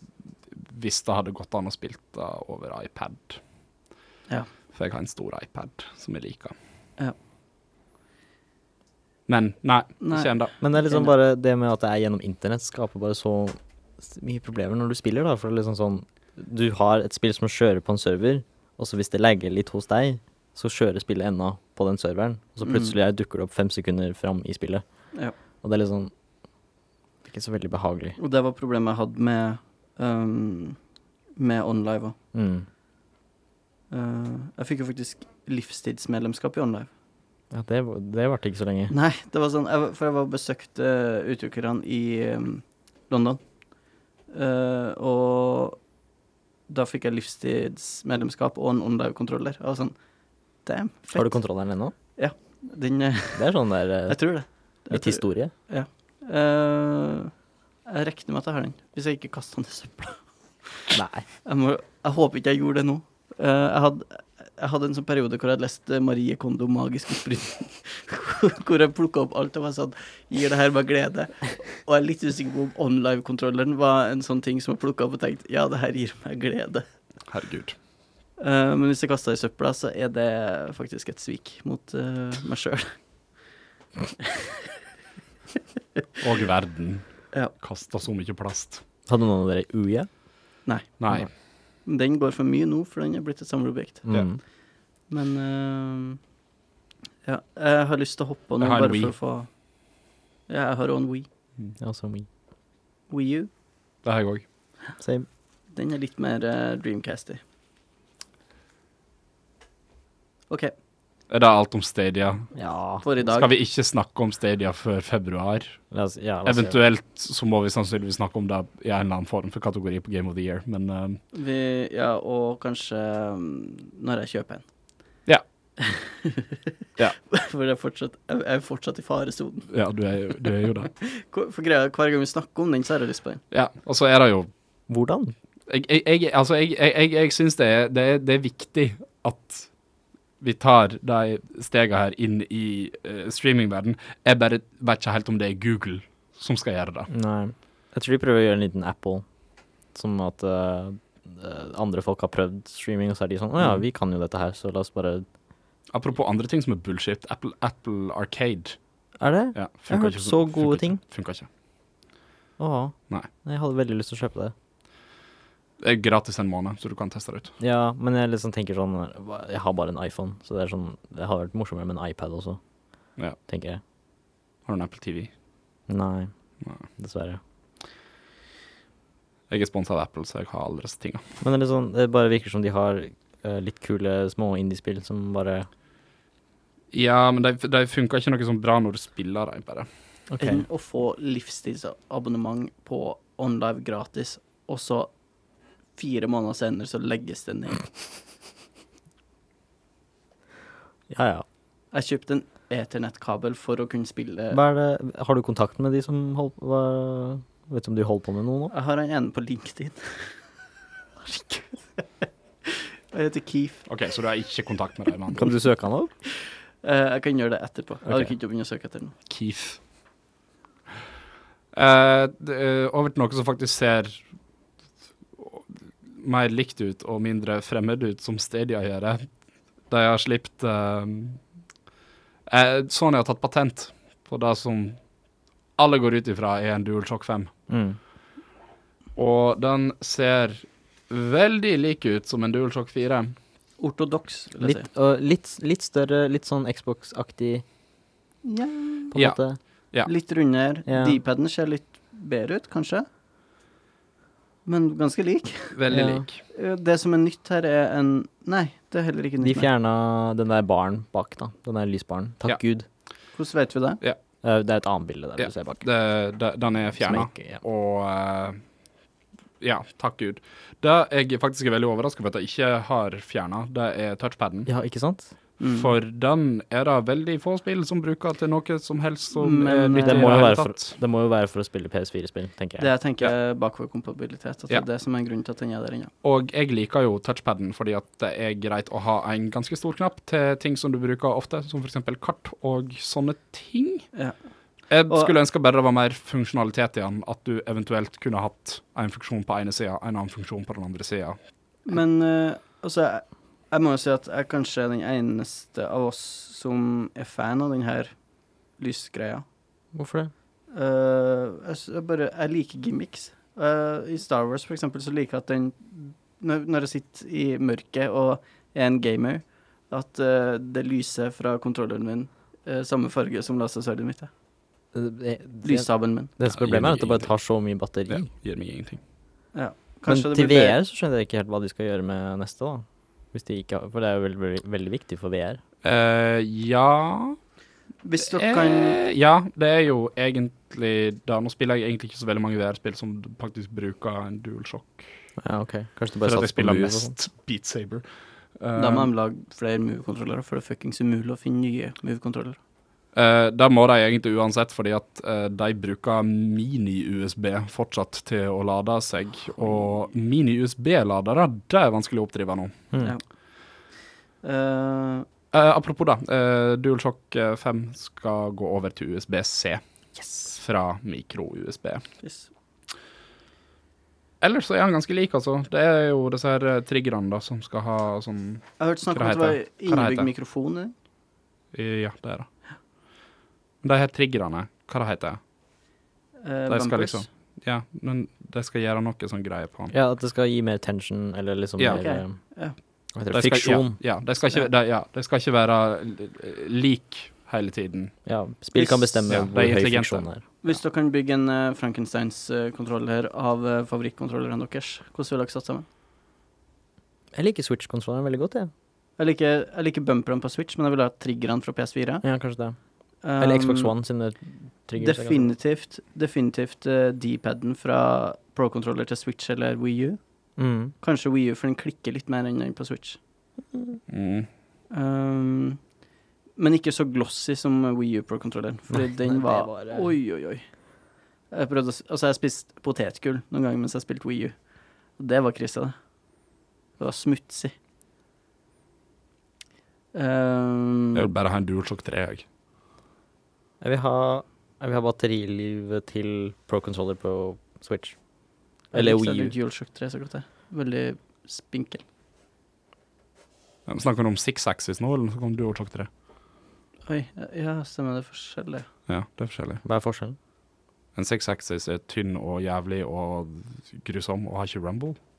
Speaker 1: hvis det hadde gått an å spille det over iPad.
Speaker 3: Ja.
Speaker 1: For jeg har en stor iPad som jeg liker.
Speaker 3: Ja.
Speaker 1: Men nei,
Speaker 3: Nei.
Speaker 1: ikke ennå.
Speaker 2: Men det er liksom
Speaker 3: Enig.
Speaker 2: bare det med at det er gjennom internett, skaper bare så s- mye problemer når du spiller, da. For det er liksom sånn Du har et spill som kjører på en server, og så hvis det lagger litt hos deg, så kjører spillet ennå på den serveren. Og så
Speaker 3: Mm.
Speaker 2: plutselig er- dukker det opp fem sekunder fram i spillet.
Speaker 3: Ja.
Speaker 2: Og det er liksom Ikke så veldig behagelig.
Speaker 3: Og det var problemet jeg hadde med um, Med OnLive òg.
Speaker 2: Mm.
Speaker 3: jeg fikk jo faktisk livstidsmedlemskap i OnLive.
Speaker 2: Ja, det, var- det varte ikke så lenge.
Speaker 3: Nei, det var sånn jeg, var- For jeg var og besøkte eh, utøkerne i em, London. Eh, og da fikk jeg livstidsmedlemskap og en OnLive-kontroller. Jeg var sånn Damn, fett.
Speaker 2: Har du kontrolleren ennå?
Speaker 3: Den, eh,
Speaker 2: Det er sånn der eh,
Speaker 3: jeg tror det. Jeg
Speaker 2: litt
Speaker 3: tror-
Speaker 2: historie.
Speaker 3: Eh, jeg regner med at jeg har den, hvis jeg ikke kaster den i søpla.
Speaker 2: Nei.
Speaker 3: Jeg, må, jeg håper ikke jeg gjorde det nå. Eh, jeg, hadde, jeg hadde en sånn periode hvor jeg hadde lest eh, Marie Kondo 'Magisk opprydning'. hvor jeg plukka opp alt og var sånn Gir det her meg glede? Og jeg er litt usikker på om OnLive-kontrolleren var en sånn ting som jeg plukka opp og tenkte ja, det her gir meg glede.
Speaker 1: Herregud.
Speaker 3: Eh, men hvis jeg kaster det i søpla, så er det faktisk et svik mot eh, meg sjøl.
Speaker 1: Og verden.
Speaker 3: Ja.
Speaker 1: Kasta så mye plast.
Speaker 2: Hadde noen av dere UE?
Speaker 1: Nei.
Speaker 3: Den går for mye nå, for den er blitt et samleobjekt.
Speaker 2: Mm.
Speaker 3: Men eh, ja, jeg har lyst til å hoppe nå,
Speaker 1: Jeg har en
Speaker 3: bare
Speaker 1: Wii.
Speaker 3: for å få Ja, jeg har òg en Wii.
Speaker 2: Ja, som i
Speaker 3: Wii U.
Speaker 1: Det har jeg òg.
Speaker 2: Same.
Speaker 3: Den er litt mer eh, Dreamcast-y. OK,
Speaker 1: Er det alt om Stadia?
Speaker 2: Ja.
Speaker 3: for i dag
Speaker 1: Skal vi ikke snakke om Stadia før februar?
Speaker 2: La oss, ja, la oss gjøre det.
Speaker 1: Eventuelt så må vi sannsynligvis snakke om det i en eller annen form for kategori på Game of the Year, men eh,
Speaker 3: Vi- Ja, og kanskje mm, når jeg kjøper en.
Speaker 1: Ja. Ja.
Speaker 3: For jeg er fortsatt, jeg er fortsatt i faresonen.
Speaker 1: ja, du er, jo- du er jo det.
Speaker 3: Hvor- For greia, hver gang vi snakker om den, så har jeg lyst på den.
Speaker 1: Ja, og så er det jo
Speaker 2: Hvordan?
Speaker 1: Jeg, jeg, jeg, altså, jeg, jeg, jeg, jeg syns det, er- det, er- det er viktig at vi tar de stegene her inn i eh, streamingverden. Jeg bare vet ikke helt om det er Google som skal gjøre det.
Speaker 2: Nei. Jeg tror de prøver å gjøre en liten Apple, som at eh, eh, andre folk har prøvd streaming, og så er de sånn Å ja,
Speaker 1: Mm.
Speaker 2: vi kan jo dette her, så la oss bare
Speaker 1: Apropos andre ting som er bullshit. Apple, Apple Arcade.
Speaker 2: Er det?
Speaker 1: Ja,
Speaker 2: Jeg har hørt så gode
Speaker 1: funker
Speaker 2: ting.
Speaker 1: Ikke, funker ikke.
Speaker 2: Å.
Speaker 1: Nei.
Speaker 2: Jeg hadde veldig lyst til å kjøpe det.
Speaker 1: Det er gratis en måned, så du kan teste det ut.
Speaker 2: Ja, men jeg liksom tenker sånn hva- Jeg har bare en iPhone, så det er sånn Det hadde vært morsommere med en iPad også,
Speaker 1: Ja.
Speaker 2: tenker jeg.
Speaker 1: Har du en Apple TV?
Speaker 2: Nei.
Speaker 1: Nei.
Speaker 2: Dessverre.
Speaker 1: Jeg er sponsa av Apple, så jeg har alle disse tinga.
Speaker 2: Men det, er litt sånn, det bare virker som de har eh, litt kule små indiespill som bare
Speaker 1: Ja, men de, de funker ikke noe sånn bra når du spiller dem, bare.
Speaker 2: OK.
Speaker 3: Enn å få livstidsabonnement på OnLive gratis, og så fire måneder senere så legges det ned.
Speaker 2: Ja, ja.
Speaker 3: Jeg kjøpte en eternettkabel for å kunne spille
Speaker 2: Hva er det, har du kontakt med de som holder på hva, Vet du om de holder på med noe nå?
Speaker 3: Jeg har en ene på LinkedIn. Herregud. Jeg heter Keef.
Speaker 1: OK, så du har ikke kontakt med dem?
Speaker 2: Kan du søke han opp?
Speaker 3: Eh, Jeg kan gjøre det etterpå. Jeg
Speaker 2: Ok.
Speaker 3: orker ikke å begynne å søke etter den.
Speaker 1: Keith. Eh, det, eh, over til noe som faktisk ser mer likt ut og mindre fremmed ut, som Stadia gjør. De har sluppet eh, eh, Sony har tatt patent på det som alle går ut ifra er en DualShock 5.
Speaker 2: Mm.
Speaker 1: Og den ser veldig lik ut som en DualShock 4.
Speaker 3: Ortodoks, vil jeg
Speaker 2: Litt, og litt, litt større, litt sånn Xbox-aktig
Speaker 3: si. Ja.
Speaker 2: på en
Speaker 1: Ja.
Speaker 2: måte.
Speaker 1: Ja.
Speaker 3: Litt rundere.
Speaker 2: Ja.
Speaker 3: D-paden ser litt bedre ut, kanskje. Men ganske lik.
Speaker 1: Veldig
Speaker 2: Ja.
Speaker 1: lik.
Speaker 3: Eh, Det som er nytt her, er en Nei, det er heller ikke
Speaker 2: De
Speaker 3: nytt. mer.
Speaker 2: fjerna den der baren bak, da. Den der lysbaren. Takk
Speaker 1: Ja.
Speaker 2: gud.
Speaker 3: Hvordan vet vi det?
Speaker 2: Eh, Det er et annet bilde der
Speaker 1: Ja,
Speaker 2: du ser bak.
Speaker 1: Det, det, den er
Speaker 2: Som jeg
Speaker 1: fjerna.
Speaker 2: ikke- ja.
Speaker 1: Og eh, Ja, takk Gud. Det jeg faktisk er veldig overraska over at jeg ikke har fjerna, det er touchpaden.
Speaker 2: Ja, Mm. ikke sant?
Speaker 3: Mm.
Speaker 1: For den er det veldig få spill som bruker til noe som helst som
Speaker 3: Men,
Speaker 1: er
Speaker 3: eh,
Speaker 1: nyttig
Speaker 2: Det
Speaker 1: i
Speaker 2: må, jo
Speaker 1: hele
Speaker 2: være for,
Speaker 1: tatt.
Speaker 2: det må jo være for å spille PS4-spill, tenker jeg.
Speaker 3: Det jeg tenker er bakoverkompatibilitet. At det
Speaker 1: Ja.
Speaker 3: er det som er grunnen til at den er der ennå.
Speaker 1: Og jeg liker jo touchpaden fordi at det er greit å ha en ganske stor knapp til ting som du bruker ofte, som f.eks. kart og sånne ting.
Speaker 3: Ja.
Speaker 1: Jeg
Speaker 3: Og-
Speaker 1: skulle ønske bare det var mer funksjonalitet i den, at du eventuelt kunne hatt en funksjon på ene sida, en annen funksjon på den andre sida.
Speaker 3: Men eh, altså, jeg, jeg må jo si at jeg kanskje er den eneste av oss som er fan av den her lysgreia.
Speaker 2: Hvorfor det?
Speaker 3: Eh, jeg, s- jeg bare, jeg liker gimmicks. Eh, I Star Wars for eksempel så liker jeg at den Når, når jeg sitter i mørket og er en gamer, at eh, det lyser fra kontrolleren min eh, samme farge som lasersverdet mitt. er.
Speaker 2: Det, det,
Speaker 3: Lyssaben min.
Speaker 2: det som problemet er at det bare tar så mye batteri.
Speaker 1: Det gir meg ingenting.
Speaker 3: Kanskje
Speaker 2: Men
Speaker 3: det
Speaker 2: til
Speaker 3: blir bedre-
Speaker 2: VR så skjønner jeg ikke helt hva de skal gjøre med neste, da. Hvis de ikke har, for det er jo veldig, veldig, veldig viktig for VR.
Speaker 1: Eh, ja
Speaker 3: Hvis dere
Speaker 1: Eh,
Speaker 3: kan
Speaker 1: Ja, det er jo egentlig da. Nå spiller jeg egentlig ikke så veldig mange VR-spill som faktisk bruker en DualShock.
Speaker 2: Ja, ok. Kanskje
Speaker 1: For
Speaker 2: de bare
Speaker 1: at jeg
Speaker 2: satser på
Speaker 1: spiller
Speaker 2: Move og sånn.
Speaker 1: mest Beat Saber.
Speaker 3: Da må
Speaker 1: Eh,
Speaker 3: de lage flere move-kontrollere, for det er fuckings umulig å finne nye move-kontrollere.
Speaker 1: Eh, da må de egentlig uansett, fordi at eh, de bruker mini-USB fortsatt til å lade seg. Og mini-USB-ladere, det er vanskelig å oppdrive nå.
Speaker 2: Mm.
Speaker 3: Ja. Eh,
Speaker 1: Eh, apropos det, eh, DualShock eh, 5 skal gå over til USB-C. Fra mikro-USB.
Speaker 3: yes.
Speaker 1: Ellers så er han ganske lik, altså. Det er jo disse her eh, triggerne da, som skal ha sånn
Speaker 3: Jeg har hørt snakk om
Speaker 1: Hva
Speaker 3: at det var
Speaker 1: heter det? Hva heter
Speaker 3: innebygd
Speaker 1: det?
Speaker 3: mikrofon i den.
Speaker 1: Ja, det er det. De her triggerne, hva det heter det?
Speaker 3: Eh,
Speaker 1: De skal
Speaker 3: bumpers.
Speaker 1: liksom Ja, men de skal gjøre noe sånn greie på den.
Speaker 2: Ja, at det skal gi mer tension, eller liksom
Speaker 1: Ja.
Speaker 2: mer
Speaker 3: Ok,
Speaker 2: eh,
Speaker 3: ja.
Speaker 2: Hva
Speaker 1: De
Speaker 2: heter
Speaker 1: skal-
Speaker 2: det? Friksjon.
Speaker 1: Ja, ja, de skal ikke, de, ja, de skal ikke være eh, lik hele tiden.
Speaker 2: Ja. Spill kan bestemme
Speaker 1: Ja, de er
Speaker 2: hvor høy
Speaker 1: intelligente.
Speaker 2: friksjonen er.
Speaker 3: Hvis dere kan bygge en eh, Frankensteins-kontroller av eh, favorittkontrollerne deres, hvordan vil dere satse sammen?
Speaker 2: Jeg liker Switch-kontrolleren veldig godt, jeg.
Speaker 3: Jeg liker, jeg liker bumperne på Switch, men jeg vil ha triggerne fra PS4.
Speaker 2: Ja. kanskje det. Eller Xbox One sine
Speaker 3: Um,
Speaker 2: triggers. er ganske-
Speaker 3: definitivt definitivt eh, D-paden fra pro-controller til Switch eller Wii U.
Speaker 2: Mm.
Speaker 3: Kanskje Wii U, for den klikker litt mer enn den på Switch.
Speaker 1: Mm.
Speaker 3: Um, men ikke så glossy som Wii U Pro-kontrolleren, fordi den
Speaker 2: det
Speaker 3: var,
Speaker 2: var, eh,
Speaker 3: Oi, oi, oi. Jeg prøvde å s- Altså, jeg spiste potetgull noen ganger mens jeg spilte Wii U. Og det var krise, det. Det var smutsig. Um,
Speaker 1: Jeg vil bare ha en DualShock 3, jeg.
Speaker 2: Jeg vil ha, jeg vil ha batterilivet til Pro Controller på Switch. Eller Wii U.
Speaker 3: DualShock 3 så godt, det. Veldig spinkel.
Speaker 1: Ja, men Snakker du om Six Axis nå, eller snakker du om DualShock 3?
Speaker 3: Oi, ja, stemmer det er forskjellig.
Speaker 1: Ja, det er forskjellig.
Speaker 2: Hva er forskjellen?
Speaker 1: En Six Axis er tynn og jævlig og grusom og har ikke rumble.
Speaker 3: Mm,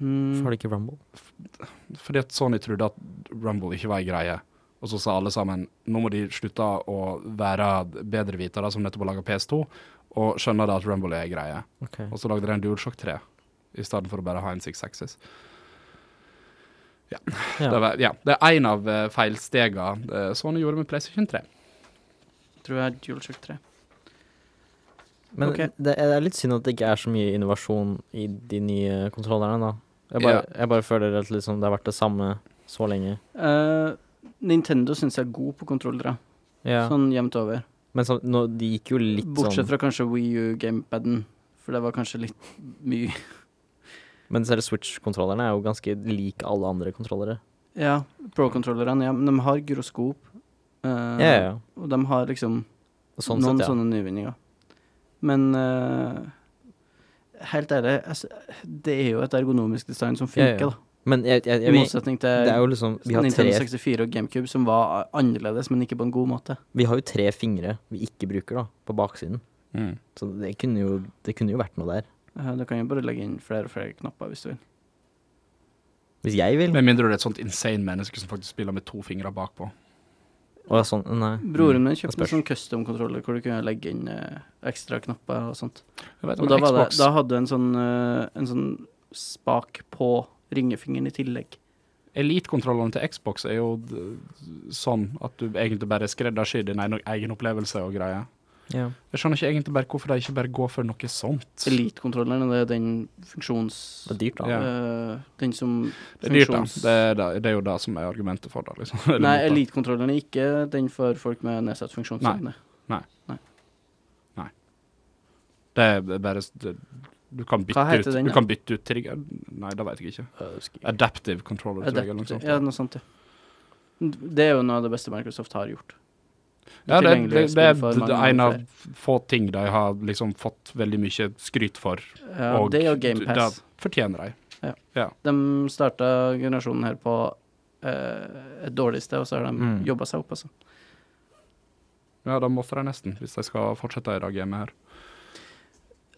Speaker 3: Hmm,
Speaker 2: Hvorfor har de ikke Rumble?
Speaker 1: Fordi at Sony trodde at Rumble ikke var ei greie. Og så sa alle sammen nå må de slutte å være bedrevitere som nettopp har laga PS2, og skjønne da at Rumble er ei greie.
Speaker 2: Ok.
Speaker 1: Og så lagde de en DualShock 3 i stedet for å bare ha en Six Axis. Ja.
Speaker 2: Ja.
Speaker 1: Det, var, ja. det er én av eh, feilstega eh, Sony gjorde med PlayStation 3.
Speaker 3: tror jeg er DualShock 3.
Speaker 2: Men
Speaker 3: Ok.
Speaker 2: det er det er litt synd at det ikke er så mye innovasjon i de nye kontrollerne, da. Jeg bare, jeg bare føler at liksom det har vært det samme så lenge.
Speaker 3: Eh, Nintendo syns jeg er god på kontrollere,
Speaker 2: Ja.
Speaker 3: sånn jevnt over.
Speaker 2: Men så, nå, de gikk jo litt
Speaker 3: Bortsett
Speaker 2: sånn
Speaker 3: fra kanskje Wii U gamepaden, for det var kanskje litt mye.
Speaker 2: Men selv Switch-kontrollerne er jo ganske lik alle andre kontrollere.
Speaker 3: Ja, pro-kontrollerne, ja, men de har gyroskop. eh,
Speaker 2: Ja, ja, ja.
Speaker 3: Og de har liksom
Speaker 2: Sånn
Speaker 3: noen
Speaker 2: sett, ja.
Speaker 3: sånne nyvinninger. Men eh, helt ærlig, altså, det er jo et ergonomisk design som
Speaker 2: Ja, ja.
Speaker 3: funker, da.
Speaker 2: Men jeg, jeg,
Speaker 3: I
Speaker 2: jeg, jeg,
Speaker 3: motsetning
Speaker 2: det er
Speaker 3: til
Speaker 2: jo liksom Vi har,
Speaker 3: Nintendo
Speaker 2: tre,
Speaker 3: 64 og GameCube, som var annerledes, men ikke på en god måte.
Speaker 2: vi har jo tre fingre vi ikke bruker, da, på baksiden.
Speaker 3: Mm.
Speaker 2: Så det kunne jo, det kunne jo vært noe der.
Speaker 3: Eh, Du kan jo bare legge inn flere og flere knapper hvis du vil.
Speaker 2: Hvis jeg vil.
Speaker 1: Med mindre du er et sånt insane menneske som faktisk spiller med to fingre bakpå.
Speaker 2: Å ja, sånn. Nei.
Speaker 3: Broren min kjøpte en
Speaker 2: spørs.
Speaker 3: sånn custom-kontroller hvor du kunne legge inn eh, ekstra knapper og sånt.
Speaker 1: Jeg vet,
Speaker 3: Og
Speaker 1: men
Speaker 3: da, var det,
Speaker 1: Xbox-
Speaker 3: da hadde du en sånn, eh, en sånn spak på ringefingeren i tillegg.
Speaker 1: Elite-kontrollene til Xbox er jo d- sånn at du egentlig bare skreddersyr din egen egen opplevelse og greier.
Speaker 2: Ja.
Speaker 1: Jeg skjønner ikke egentlig bare hvorfor de ikke bare går for noe sånt.
Speaker 3: Elite-kontrolleren, det er den funksjons...
Speaker 2: Det er dyrt, da.
Speaker 1: Ja.
Speaker 3: eh, den som
Speaker 1: Det er dyrt, da.
Speaker 3: funksjons-
Speaker 1: Det er, det, det er jo det som er argumentet for det. liksom. Eller
Speaker 3: Nei,
Speaker 1: mot det.
Speaker 3: elitekontrolleren er ikke den for folk med nedsatt funksjonsevne.
Speaker 1: Det er bare s- det, Du kan bytte
Speaker 3: Hva heter
Speaker 1: ut,
Speaker 3: den,
Speaker 1: du
Speaker 3: da?
Speaker 1: kan bytte ut trigger Nei, det vet jeg ikke. Adaptive controller, tror jeg. eller noe
Speaker 3: Adaptive-
Speaker 1: sånt.
Speaker 3: Ja, noe sånt, ja. Det er jo noe av det beste Microsoft har gjort.
Speaker 1: Ja, det,
Speaker 3: Tilgjengelig
Speaker 1: det, det er
Speaker 3: spill for
Speaker 1: d-
Speaker 3: mange
Speaker 1: en av
Speaker 3: flere.
Speaker 1: få ting de har liksom fått veldig mye skryt for.
Speaker 3: Ja,
Speaker 1: og
Speaker 3: det er jo
Speaker 1: d-
Speaker 3: GamePass.
Speaker 1: Det fortjener de.
Speaker 3: De starta generasjonen her på eh, et dårlig sted, og så har de
Speaker 2: Mm.
Speaker 3: jobba seg opp, altså.
Speaker 1: Ja, da måtte de nesten, hvis de skal fortsette i dag hjemme her.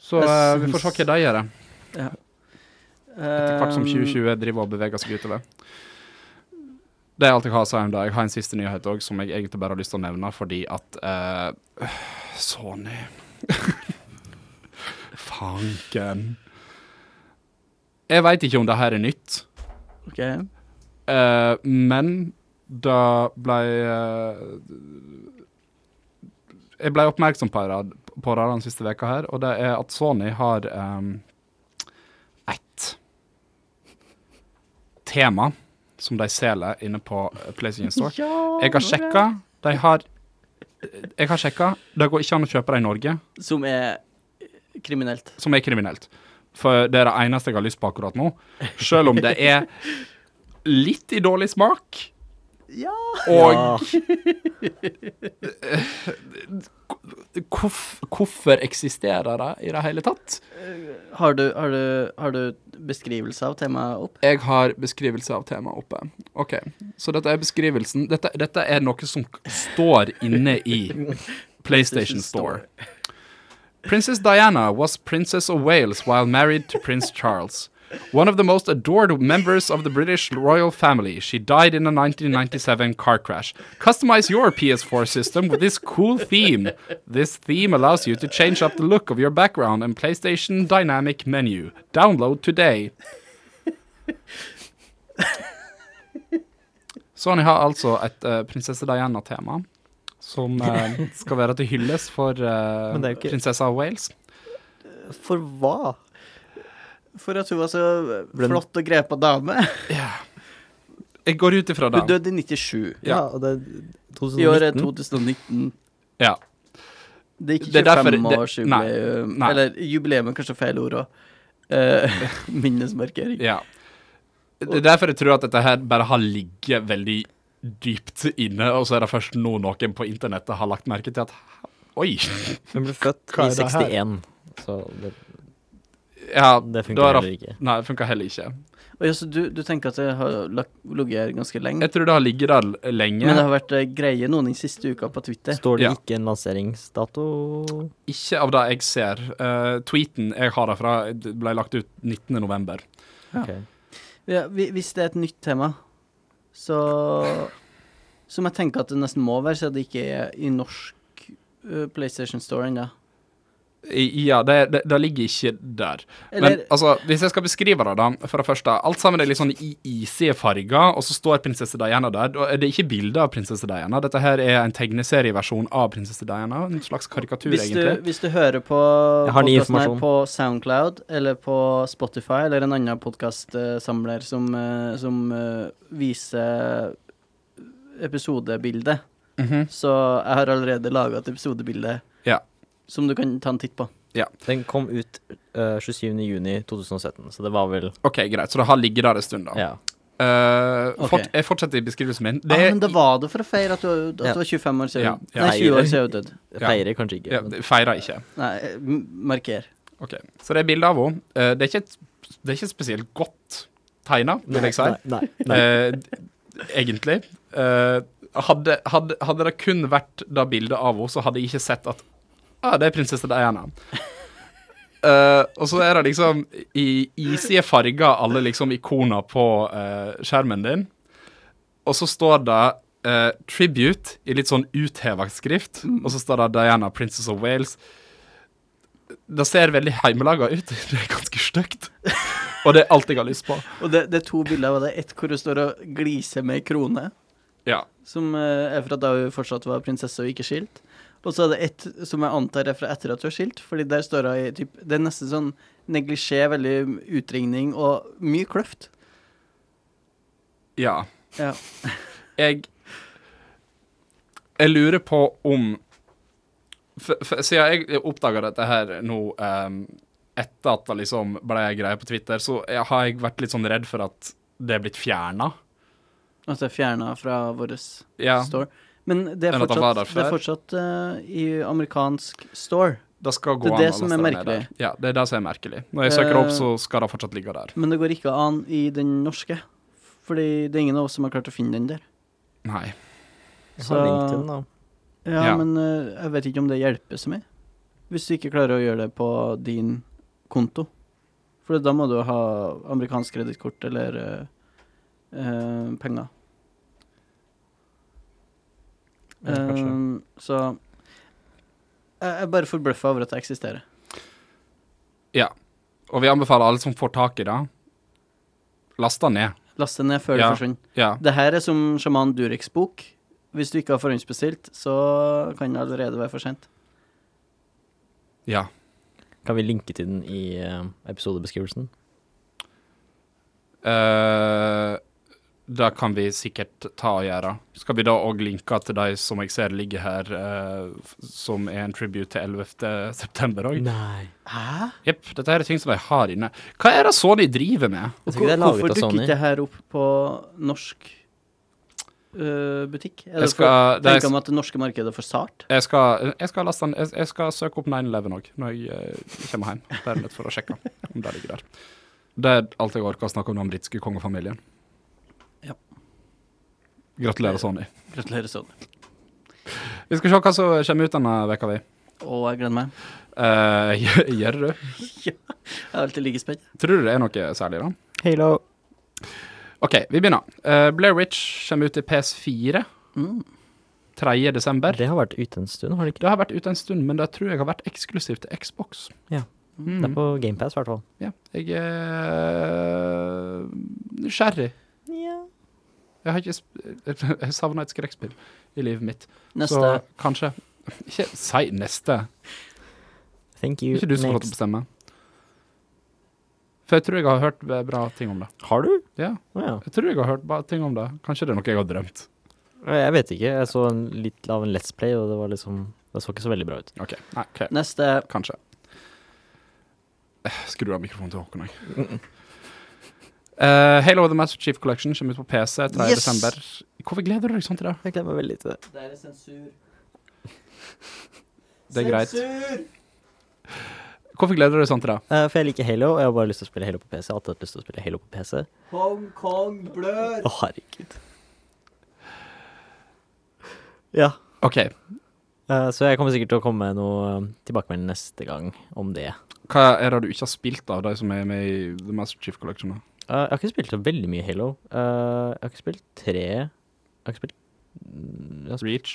Speaker 1: Så
Speaker 3: Jeg
Speaker 1: eh, vi
Speaker 3: syns-
Speaker 1: får se hva de gjør, det, etter hvert som
Speaker 3: Um,
Speaker 1: 2020 driver og beveger seg utover. Det er alt jeg har å si om det. Jeg har en siste nyhet òg, som jeg egentlig bare har lyst til å nevne, fordi at eh, Sony Fanken. Jeg veit ikke om det her er nytt.
Speaker 3: Ok,
Speaker 1: Eh, men da ble eh, Jeg ble oppmerksom på det, på det den siste veka her, og det er at Sony har um, ett tema som de selger inne på eh, PlayStation Store. jeg har sjekka. De har Jeg har sjekka. Det går ikke an å kjøpe det i Norge,
Speaker 3: Som er eh, kriminelt.
Speaker 1: som er kriminelt. For det er det eneste jeg har lyst på akkurat nå. Selv om det er litt i dårlig smak.
Speaker 3: Ja.
Speaker 1: Og
Speaker 2: Ja.
Speaker 1: hvorf, hvorfor eksisterer det i det hele tatt?
Speaker 3: Har du, har du, har du beskrivelse av temaet opp?
Speaker 1: Jeg har beskrivelse av temaet oppe. OK, så dette er beskrivelsen. Dette, dette er noe som k- står inne i PlayStation Store. Princess Diana was Princess of Wales while married to Prince Charles. One of the most adored members of the British royal family, she died in a 1997 car crash. Customize your PS4 system with this cool theme. This theme allows you to change up the look of your background and PlayStation Dynamic menu. Download today. Sony har altså et eh, prinsesse Diana-tema, som eh, skal være til hylles for eh,
Speaker 2: Men det er jo ikke-
Speaker 1: prinsessa av Wales.
Speaker 2: For hva?
Speaker 3: For at hun var så
Speaker 2: Ble den-
Speaker 3: flott og grepa dame.
Speaker 1: Jeg går ut ifra
Speaker 3: Hun
Speaker 1: det.
Speaker 3: døde i 97.
Speaker 1: Ja.
Speaker 2: Ja, og det er
Speaker 3: I år er
Speaker 2: 2019.
Speaker 3: 2019.
Speaker 1: Ja.
Speaker 3: Det er ikke
Speaker 1: Det er derfor-
Speaker 3: 25-årsjubileum.
Speaker 1: det- nei, nei.
Speaker 3: Eller jubileum er kanskje feil ord òg. Uh, minnesmarkering.
Speaker 1: ja. Det er derfor jeg tror at dette her bare har ligget veldig dypt inne, og så er det først nå noen på internettet har lagt merke til at Oi!
Speaker 2: Hun ble født
Speaker 1: Hva
Speaker 2: i
Speaker 1: er det her?
Speaker 2: 61, så det,
Speaker 1: Ja,
Speaker 2: det
Speaker 1: da
Speaker 2: funker
Speaker 1: er det-
Speaker 2: heller ikke.
Speaker 1: Nei, det funker heller ikke.
Speaker 3: Og ja, så du, du tenker at det har lagt- ligget her ganske lenge?
Speaker 1: Jeg tror det har ligget der l- lenge.
Speaker 3: Men det har vært eh, greie noen den siste uka på Twitter.
Speaker 2: Står det
Speaker 1: Ja.
Speaker 2: ikke en lanseringsdato?
Speaker 1: Ikke av det jeg ser. Eh, tweeten jeg har derfra, det ble lagt ut 19.11.
Speaker 3: Ja.
Speaker 2: Ok.
Speaker 3: Ja, hvi- hvis det er et nytt tema, så Som jeg tenker at det nesten må være, siden det ikke er i norsk eh, PlayStation Store ennå.
Speaker 1: Ja, det, det, det ligger ikke der. Men
Speaker 3: Eller
Speaker 1: altså, hvis jeg skal beskrive det, da, for det første Alt sammen er litt sånn i isige farger, og så står prinsesse Diana der. Og det er ikke bilde av prinsesse Diana, dette her er en tegneserieversjon av prinsesse Diana. En slags karikatur,
Speaker 3: hvis du,
Speaker 1: egentlig.
Speaker 3: hvis du hører på
Speaker 2: Jeg har ny
Speaker 3: podcasten her
Speaker 2: informasjon.
Speaker 3: på Soundcloud eller på Spotify eller en annen podkastsamler som, eh, som eh, viser episodebildet,
Speaker 1: Mhm.
Speaker 3: så jeg har allerede laga et episodebilde
Speaker 1: Ja.
Speaker 3: som du kan ta en titt på.
Speaker 2: Den kom ut uh, 27.6.2017, så det var vel
Speaker 1: OK, greit. Så det har ligget der en stund, da.
Speaker 2: Ja.
Speaker 1: Eh,
Speaker 3: Ok.
Speaker 1: fort, jeg fortsetter i beskrivelsen min.
Speaker 3: Det,
Speaker 1: Det,
Speaker 3: ah, men det var det for å feire at du, at
Speaker 2: Ja.
Speaker 3: du var 25 år siden.
Speaker 1: Ja, ja.
Speaker 3: Nei, 20 år siden du døde.
Speaker 2: Jeg
Speaker 1: Ja.
Speaker 2: Feirer kanskje ikke.
Speaker 1: ja,
Speaker 2: men-
Speaker 1: det feirer ikke.
Speaker 3: Nei, eh, m- marker.
Speaker 1: OK. Så det er bilde av henne. Eh, det, er ikke et- det er ikke spesielt godt tegna, vil jeg si.
Speaker 2: Nei, nei, nei.
Speaker 1: Eh, egentlig. Eh, hadde, hadde, hadde det kun vært det bildet av henne, så hadde jeg ikke sett at ah, det er prinsesse Diana. Eh, og så er det liksom i isige farger alle liksom ikoner på eh, skjermen din. Og så står det eh, 'tribute' i litt sånn utheva skrift,
Speaker 2: Mm.
Speaker 1: og så står det 'Diana, Princess of Wales'. Det ser veldig heimelaga ut. Det er ganske stygt. Og det er alt jeg har lyst på.
Speaker 3: Og det, det er to bilder av det. Ett hvor hun står og gliser med ei krone,
Speaker 1: Ja.
Speaker 3: som eh, er fra da hun fortsatt var prinsesse og ikke skilt. Og så er det ett som jeg antar er fra etter at du er skilt, fordi der står hun i typ Det er nesten sånn neglisjé, veldig utringning og mye kløft.
Speaker 1: Ja.
Speaker 3: Ja.
Speaker 1: Jeg Jeg lurer på om for, for, Siden jeg oppdaga dette her nå ehm, etter at det liksom ble greie på Twitter, så jeg, har jeg vært litt sånn redd for at det er blitt fjerna.
Speaker 3: At det er fjerna Altså, fra vår
Speaker 1: Ja.
Speaker 3: store. Men det er
Speaker 1: Men at han var
Speaker 3: fortsatt,
Speaker 1: der
Speaker 3: det er fortsatt eh, i amerikansk store.
Speaker 1: Det skal gå
Speaker 3: Det er
Speaker 1: an
Speaker 3: det
Speaker 1: å
Speaker 3: som
Speaker 1: laste den
Speaker 3: er
Speaker 1: ned
Speaker 3: merkelig.
Speaker 1: der. Ja, det er det som er merkelig. Når jeg søker
Speaker 3: Eh,
Speaker 1: opp, så skal det fortsatt ligge der.
Speaker 3: Men det går ikke an i den norske. Fordi det er ingen av oss som har klart å finne den der.
Speaker 1: Nei.
Speaker 2: Jeg
Speaker 3: Så-
Speaker 2: har link til den, da.
Speaker 3: Ja,
Speaker 1: Ja.
Speaker 3: men eh, jeg vet ikke om det hjelper så mye. Hvis du ikke klarer å gjøre det på din konto. For da må du ha amerikansk kredittkort eller eh, eh, penger.
Speaker 2: Ja, kanskje.
Speaker 3: Eh, så jeg jeg er bare forbløffa over at det eksisterer.
Speaker 1: Og vi anbefaler alle som får tak i det, last det ned.
Speaker 3: Last det ned før
Speaker 1: Ja.
Speaker 3: det forsvinner.
Speaker 1: Ja.
Speaker 3: Det her er som sjaman Dureks bok. Hvis du ikke har forhåndsbestilt, så kan det allerede være for sent.
Speaker 1: ja.
Speaker 2: Kan vi linke til den i eh, episodebeskrivelsen?
Speaker 1: Eh, det kan vi sikkert ta og gjøre. Skal vi da òg linke til de som jeg ser ligger her, eh, f- som er en tribute til 11. september òg?
Speaker 2: Nei.
Speaker 3: Hæ?
Speaker 1: Jepp, dette her er ting som de har inne. Hva er det så de driver med?
Speaker 2: Jeg tror ikke det er laget av
Speaker 3: hvorfor dukker
Speaker 2: Sony.
Speaker 3: ikke det her opp på norsk øh, butikk? Er
Speaker 1: Jeg
Speaker 3: det for,
Speaker 1: skal, det
Speaker 3: tenker
Speaker 1: er,
Speaker 3: man at det norske markedet er for sart?
Speaker 1: jeg skal, jeg skal, laste den, jeg, jeg skal søke opp 9-11 òg, når jeg eh, kommer hjem. Bare litt for å sjekke om det ligger der. Det er alt jeg orker å snakke om den britiske kongefamilien.
Speaker 3: Ja.
Speaker 1: Gratulerer, Sonny.
Speaker 3: Gratulerer, Sony.
Speaker 1: Vi skal se hva som kommer ut denne veka vi.
Speaker 3: Å, jeg gleder meg.
Speaker 1: Eh, Gjør du?
Speaker 3: Jeg er alltid like spent.
Speaker 1: Tror du det er noe særlig, da?
Speaker 2: Halo.
Speaker 1: OK, vi begynner. Eh, Blair Witch kommer ut i PS4
Speaker 3: Mm.
Speaker 1: 3. desember.
Speaker 2: Det har vært ute en stund, har det ikke?
Speaker 1: Det har vært ute en stund, men det tror jeg har vært eksklusivt til Xbox.
Speaker 2: Ja. Det er
Speaker 1: Mm.
Speaker 2: på GamePass, i hvert fall.
Speaker 1: ja. Jeg er nysgjerrig. Jeg har ikke sp Jeg savna et skrekkspill i livet mitt.
Speaker 3: Neste.
Speaker 1: Så kanskje Ikke si neste.
Speaker 2: Thank
Speaker 1: Det er
Speaker 2: you.
Speaker 1: ikke du som får lov til å
Speaker 2: Next.
Speaker 1: bestemme. For jeg tror jeg har hørt eh, bra ting om det.
Speaker 2: Har du?
Speaker 1: Ja,
Speaker 2: Å ja.
Speaker 1: jeg tror jeg har hørt bra ting om det. Kanskje det er noe jeg har drømt.
Speaker 2: Jeg vet ikke. Jeg så en, litt av en Let's Play, og det var liksom Det så ikke så veldig bra ut.
Speaker 1: OK. Nei, ok.
Speaker 3: Neste.
Speaker 1: Kanskje. Eh, Skru av mikrofonen til Håkon, jeg. Eh, Halo The Master Chief Collection kommer ut på PC 3.
Speaker 2: Yes!
Speaker 1: desember. Hvorfor gleder du deg sånn til det?
Speaker 2: Jeg gleder meg veldig til det.
Speaker 3: Der er sensur.
Speaker 1: Det er greit. Hvorfor gleder du deg sånn til det?
Speaker 2: Eh, for jeg liker Halo, og jeg har bare lyst til å spille Halo på PC. Jeg har alltid hatt lyst til å spille Halo på PC. Å,
Speaker 3: Hongkong blør.
Speaker 2: herregud. Ja.
Speaker 1: OK,
Speaker 2: eh, så jeg kommer sikkert til å komme med noe eh, tilbakemelding neste gang om det.
Speaker 1: hva er det du ikke har spilt av de som er med i The Master Chief Collection? da?
Speaker 2: Eh, jeg har ikke spilt så veldig mye Halo. Eh, jeg har ikke spilt tre Jeg har ikke spilt Mm, jeg har, spilt,
Speaker 1: Reach?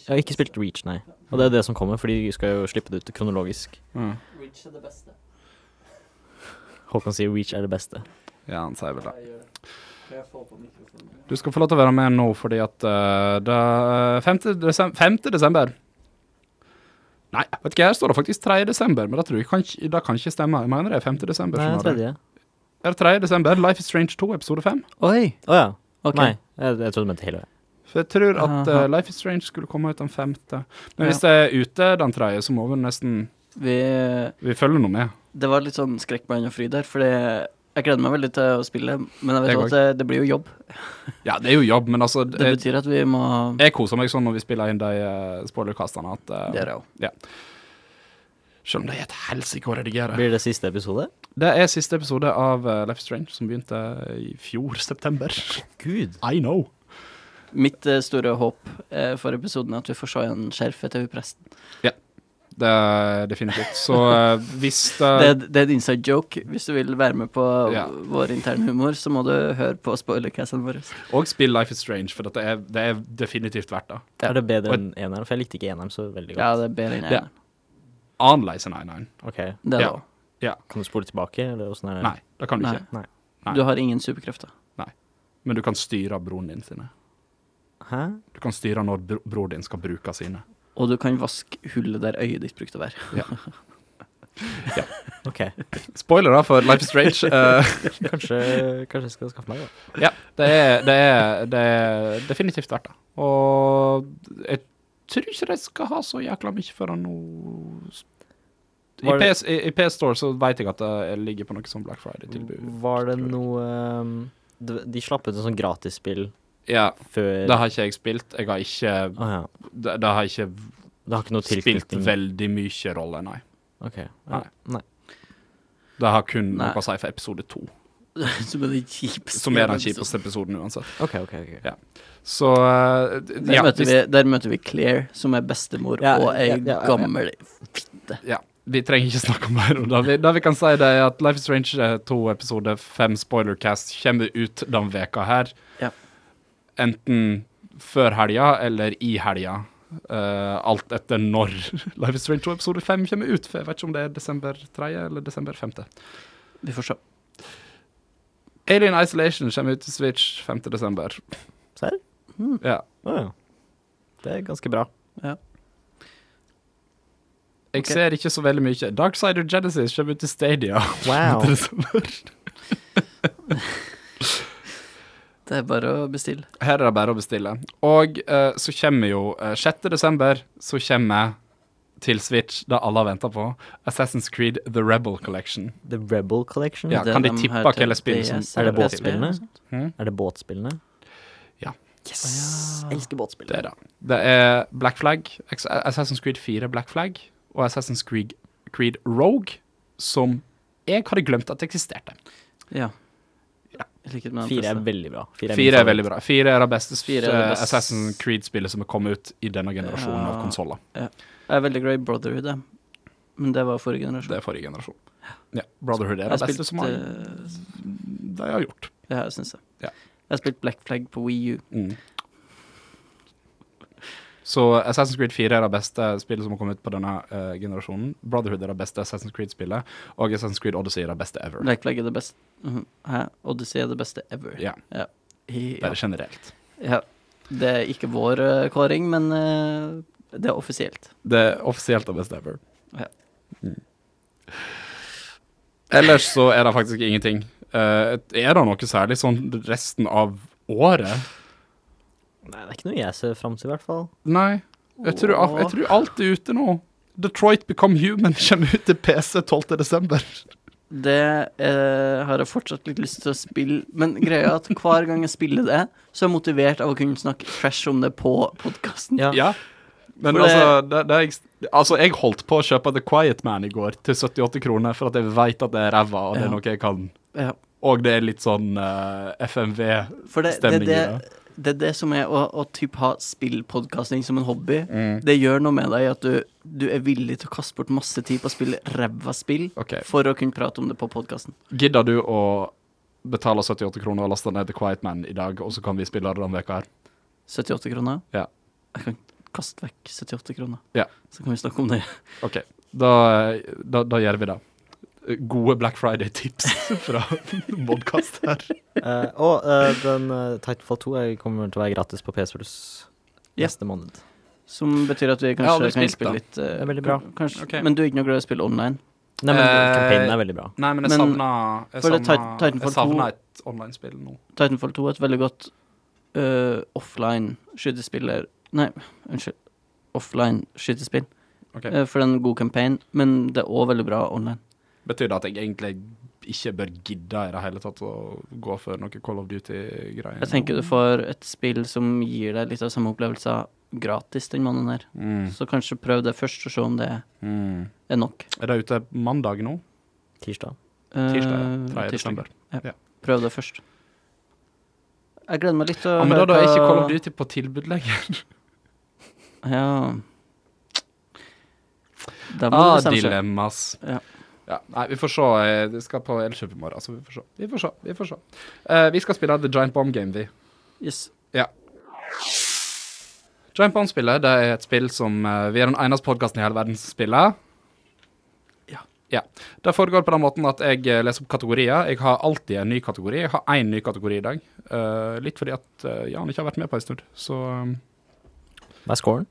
Speaker 2: jeg har ikke spilt Reach, nei. Og det er det som kommer, for de skal jo slippe det ut kronologisk.
Speaker 1: Mm.
Speaker 3: Rich er det beste.
Speaker 2: Håkon sier Reach er det beste.
Speaker 1: Ja, han sier vel det.
Speaker 3: gjør det. Kan jeg få på mikrofonen?
Speaker 1: Du skal få lov til å være med nå, fordi at eh, det er 5. Desember, 5. desember. Nei, vet ikke, her står det faktisk 3. desember, men det, tror jeg kan, ikke- det kan ikke stemme. Jeg mener det er 5. desember.
Speaker 2: Nei,
Speaker 1: skjønner du.
Speaker 2: tredje.
Speaker 1: Er det 3. desember? Life is Strange 2, episode 5.
Speaker 3: Oi.
Speaker 2: Å ja.
Speaker 3: Ok.
Speaker 2: Nei, jeg, jeg trodde du mente Halo. jeg.
Speaker 1: For jeg tror at
Speaker 3: Aha.
Speaker 1: eh, Life is Strange skulle komme ut den 5. Men hvis det er ute den 3., så må vi nesten
Speaker 3: Vi,
Speaker 1: Vi følger noe med.
Speaker 3: det var litt sånn skrekkblandet fryd der, for jeg gleder meg veldig til å spille, men jeg
Speaker 1: Jeg
Speaker 3: vet jo at det, det blir jo jobb.
Speaker 1: Ja, det er jo jobb, men altså
Speaker 3: Det
Speaker 1: Jeg,
Speaker 3: betyr at vi må
Speaker 1: jeg koser meg sånn når vi spiller inn de eh, spoilerkastene, at eh,
Speaker 3: Det er det òg.
Speaker 1: Selv om det er et helsike å redigere.
Speaker 2: Blir det siste episode?
Speaker 1: Det er siste episode av eh, Life is Strange, som begynte i fjor september.
Speaker 2: Gud.
Speaker 1: I know.
Speaker 3: Mitt eh, store håp eh, for episoden er at vi får se igjen skjerfet til hun presten.
Speaker 1: Det er definitivt. Så eh, hvis det,
Speaker 3: Det, er- det er en inside joke. Hvis du vil være med på
Speaker 1: Ja.
Speaker 3: vår interne humor, så må du høre på spoilercastene våre.
Speaker 1: Og spill Life is Strange, for dette er, det er definitivt verdt det.
Speaker 2: Er det bedre enn eneren? For jeg likte ikke eneren så veldig
Speaker 3: Ja,
Speaker 2: godt.
Speaker 3: det er bedre enn jeg.
Speaker 1: Ja. Annerledes enn 1-1.
Speaker 2: Ok,
Speaker 3: Det er
Speaker 1: Ja.
Speaker 3: det.
Speaker 2: Kan du spole tilbake, eller åssen er det?
Speaker 1: Nei, det kan du
Speaker 3: Nei.
Speaker 1: ikke. Nei.
Speaker 3: Du har ingen superkrefter.
Speaker 1: Men du kan styre broren din sine.
Speaker 2: Hæ?
Speaker 1: Du kan styre når bro broren din skal bruke sine.
Speaker 2: Å
Speaker 3: Og du kan vaske hullet der øyet ditt brukte å være.
Speaker 2: Ok,
Speaker 1: Spoiler da for Life is Strange. eh,
Speaker 2: kanskje, kanskje jeg skal skaffe meg det.
Speaker 1: ja, det er, det, er, det er definitivt verdt det. Og jeg tror ikke de skal ha så jækla mye for det nå. I
Speaker 2: Var det-
Speaker 1: PS, i, i PS Store så vet jeg at det ligger på noe sånn Black Friday-tilbud.
Speaker 2: Var det
Speaker 1: tror jeg.
Speaker 2: noe ehm, det- De slapp ut en sånn gratisspill
Speaker 1: Ja,
Speaker 2: før
Speaker 1: det har ikke jeg spilt. Jeg har ikke
Speaker 2: Å ja.
Speaker 1: Det, det har ikke
Speaker 2: Det har ikke noe
Speaker 1: spilt
Speaker 2: tilknytning
Speaker 1: veldig mye rolle, nei.
Speaker 2: Ok, ja.
Speaker 1: Nei. Det har kun
Speaker 3: Nei.
Speaker 1: noe å si for episode to,
Speaker 3: Som er den kjipeste.
Speaker 1: som er den kjipeste episoden uansett.
Speaker 2: ok, ok. ok.
Speaker 1: Så eh,
Speaker 3: Der,
Speaker 1: ja,
Speaker 3: møter
Speaker 1: hvis-
Speaker 3: vi, der møter vi Claire, som er bestemor
Speaker 2: Ja,
Speaker 3: og ei
Speaker 2: ja, ja, ja.
Speaker 3: gammel fitte.
Speaker 1: Ja, vi trenger ikke snakke mer om det. Vi, det vi kan si, det er at Life is Strange eh, 2 episode 5 spoilercast kommer ut den veka her.
Speaker 3: Ja.
Speaker 1: Enten før helga eller i helga. Eh, alt etter når Life is Strange 2 episode 5 kommer ut. For jeg vet ikke om det er desember 3. eller desember 5.
Speaker 3: Vi får se.
Speaker 1: Alien Isolation kommer ut til Switch 5. desember.
Speaker 2: Serr?
Speaker 3: Mm.
Speaker 1: Ja.
Speaker 2: Å ja. Det er ganske bra.
Speaker 1: Jeg
Speaker 3: Ok.
Speaker 1: ser ikke så veldig mye. Darksider Genesis kommer ut til Stadia. 5.
Speaker 2: Wow.
Speaker 1: desember.
Speaker 3: Det er bare å bestille.
Speaker 1: Her er det bare å bestille. Og eh, så kommer jo eh, 6. desember så kommer til Switch, det alle har venta på, Assassin's Creed The Rebel Collection.
Speaker 2: The Rebel Collection?
Speaker 1: Ja,
Speaker 3: Det
Speaker 1: kan de
Speaker 3: her
Speaker 1: tippe
Speaker 3: til
Speaker 1: hva slags spill
Speaker 3: DS,
Speaker 1: som-
Speaker 2: er det
Speaker 3: eller
Speaker 2: båtspillene?
Speaker 3: PSP?
Speaker 1: Hm?
Speaker 2: Er det båtspillene?
Speaker 1: Ja.
Speaker 2: Yes! Elsker båtspill.
Speaker 1: Det er det. Det er Black Flag, Ex- Assassin's Creed 4 Black Flag og Assassin's Creed, Creed Rogue, som jeg hadde glemt at eksisterte.
Speaker 3: Ja. I likhet med den
Speaker 2: Fire er
Speaker 3: første.
Speaker 2: veldig bra. Fire min
Speaker 1: Fire er
Speaker 2: favoritt.
Speaker 1: veldig bra. Fire er det beste, eh,
Speaker 3: Fire er det beste.
Speaker 1: Assassin's Creed-spillet som er kommet ut i denne generasjonen av
Speaker 3: Ja.
Speaker 1: konsoller.
Speaker 3: Jeg er veldig glad i Brotherhood, jeg. Men det var forrige
Speaker 1: Det
Speaker 3: generasjon.
Speaker 1: er forrige generasjon. Ja. Brotherhood er
Speaker 3: Jeg
Speaker 1: det beste som har,
Speaker 3: eh,
Speaker 1: de har gjort.
Speaker 3: Ja, jeg syns det.
Speaker 1: Ja.
Speaker 3: Jeg har spilt Black Flag på Wii U.
Speaker 1: Mm. Så Assassin's Creed 4 er det beste spillet som har kommet ut på denne eh, generasjonen. Brotherhood er det beste Assassin's Creed-spillet, og Assassin's Creed Odyssey er det beste ever.
Speaker 3: Black Flag er det beste Mhm. Hæ? Odyssey er det beste ever.
Speaker 1: Ja,
Speaker 3: Ja.
Speaker 1: bare generelt.
Speaker 3: ja. Det er ikke vår eh, kåring, men eh, det er offisielt.
Speaker 1: Det er offisielt det beste ever.
Speaker 3: Ja.
Speaker 1: Mm. Ellers så er det faktisk ingenting. Eh, er det noe særlig sånn resten av året?
Speaker 2: Nei, det er ikke noe jeg ser fram til, i hvert fall.
Speaker 1: Nei. Jeg tror, jeg tror alt er ute nå. Detroit Become Human kommer ut til PC 12. desember.
Speaker 3: Det eh, har jeg fortsatt litt lyst til å spille, men greia er at hver gang jeg spiller det, så er jeg motivert av å kunne snakke trash om det på podkasten.
Speaker 2: Ja.
Speaker 1: Ja. Men
Speaker 3: For det-
Speaker 1: altså, det, det er, ekst- altså, jeg holdt på å kjøpe The Quiet Man i går til 78 kroner, for at jeg veit at det er ræva, og det
Speaker 3: Ja.
Speaker 1: er noe jeg kan.
Speaker 3: Ja.
Speaker 1: Og det er litt sånn eh, FMV.
Speaker 3: For det, det,
Speaker 1: Stemning i
Speaker 3: det, det er det som er å, å typ ha spillpodkasting som en hobby.
Speaker 1: Mm.
Speaker 3: Det gjør noe med deg at du, du er villig til å kaste bort masse tid på å spille ræva spill
Speaker 1: Ok.
Speaker 3: for å kunne prate om det på podkasten.
Speaker 1: Gidder du å betale 78 kroner og laste ned The Quiet Man i dag, og så kan vi spille det denne veka her?
Speaker 3: 78 kroner.
Speaker 1: Ja.
Speaker 3: Jeg kan kaste vekk 78 kroner,
Speaker 1: Ja.
Speaker 3: så kan vi snakke om det.
Speaker 1: OK. Da, eh, da, da gjør vi det. Gode Black Friday-tips fra podkast her.
Speaker 2: Eh, og eh, den eh, Titanfall 2 er- kommer til å være gratis på PS Plus
Speaker 3: Ja.
Speaker 2: neste måned.
Speaker 3: Som betyr at vi
Speaker 1: har aldri
Speaker 3: kanskje kan
Speaker 1: spilt
Speaker 3: spille
Speaker 1: det.
Speaker 3: litt eh,
Speaker 2: Det er veldig bra.
Speaker 3: Kanskje,
Speaker 1: Ok.
Speaker 3: Men du er ikke noe glad i å spille online?
Speaker 2: Nei, men
Speaker 1: Eh,
Speaker 2: kampanjen er veldig bra.
Speaker 1: Nei, men
Speaker 3: Men-
Speaker 1: jeg savna Jeg
Speaker 3: for det
Speaker 1: savna-
Speaker 3: er Titan- Titanfall
Speaker 1: jeg savna et online-spill nå.
Speaker 3: Titanfall 2 er et veldig godt eh, offline skytespiller Nei, unnskyld. Offline skytespill.
Speaker 1: Ok.
Speaker 3: Eh, for det er en god campaign, men det er òg veldig bra online.
Speaker 1: Betyr det at jeg egentlig ikke bør gidde i det hele tatt å gå for noe Call of Duty-greier?
Speaker 3: Jeg tenker du får et spill som gir deg litt av samme opplevelser gratis den måneden her.
Speaker 1: mm.
Speaker 3: Så kanskje prøv det først, og se om det
Speaker 1: Mm.
Speaker 3: er nok.
Speaker 1: Er det ute mandag nå?
Speaker 2: Tirsdag.
Speaker 3: Eh,
Speaker 1: Tirsdag 3. desember.
Speaker 3: Prøv det først. Jeg gleder meg litt til å
Speaker 1: Ja, men da, da er ikke Call of
Speaker 3: Eh, hva-
Speaker 1: Duty på tilbud lenger.
Speaker 3: Ja. Da må
Speaker 1: Ah,
Speaker 3: du bestemme seg.
Speaker 1: dilemmas.
Speaker 3: Ja.
Speaker 1: Ja, nei, vi får se. Eh, Det skal på Elkjøp i morgen, så vi får se. Vi får se. Vi, får se. Eh, vi skal spille The Giant Bomb Game, vi.
Speaker 3: Yes.
Speaker 1: Giant Bomb-spillet det er et spill som eh, vi er den eneste podkasten i hele verden som spiller.
Speaker 3: Ja.
Speaker 1: Ja. Det foregår på den måten at jeg eh, leser opp kategorier. Jeg har alltid en ny kategori. Jeg har én ny kategori i dag. Eh, litt fordi at eh, Jan ikke har vært med på en stund. Så um,
Speaker 2: Hva er scoren?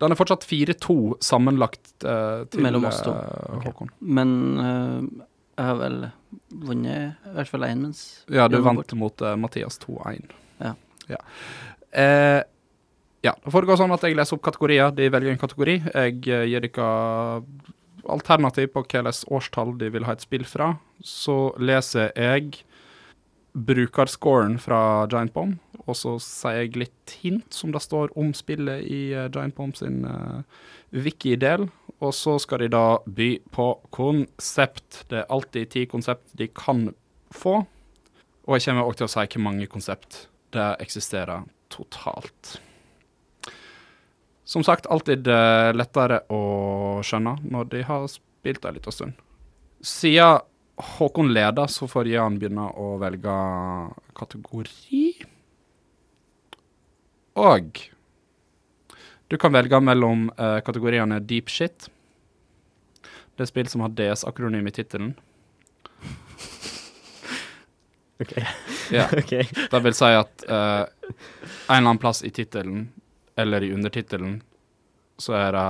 Speaker 1: Den er fortsatt 4-2 sammenlagt eh, til
Speaker 3: Mellom oss to.
Speaker 1: eh, Håkon.
Speaker 3: Men eh, jeg har vel vunnet i hvert fall én mens
Speaker 1: Ja, du
Speaker 3: Jon
Speaker 1: vant
Speaker 3: Bård.
Speaker 1: mot eh, Mathias 2-1.
Speaker 3: Ja.
Speaker 1: Ja. Eh, ja. Det foregår sånn at jeg leser opp kategorier. De velger en kategori. Jeg eh, gir dere alternativ på hvilket årstall de vil ha et spill fra. Så leser jeg brukerscoren fra Giant Bomb, og så sier jeg litt hint som det står om spillet i eh, Giant Bomb sin eh, wiki-del. Og så skal de da by på konsept. Det er alltid ti konsept de kan få. Og jeg kommer også til å si hvor mange konsept det eksisterer totalt. Som sagt, alltid eh, lettere å skjønne når de har spilt en liten stund. Siden Håkon leder, så får Jan begynne å velge kategori. Og du kan velge mellom eh, kategoriene Deep Shit, det er spill som har DS-akronym i tittelen.
Speaker 2: Ok.
Speaker 1: Ja.
Speaker 2: Ok.
Speaker 1: Det vil si at eh, en eller annen plass i tittelen, eller i undertittelen, så er det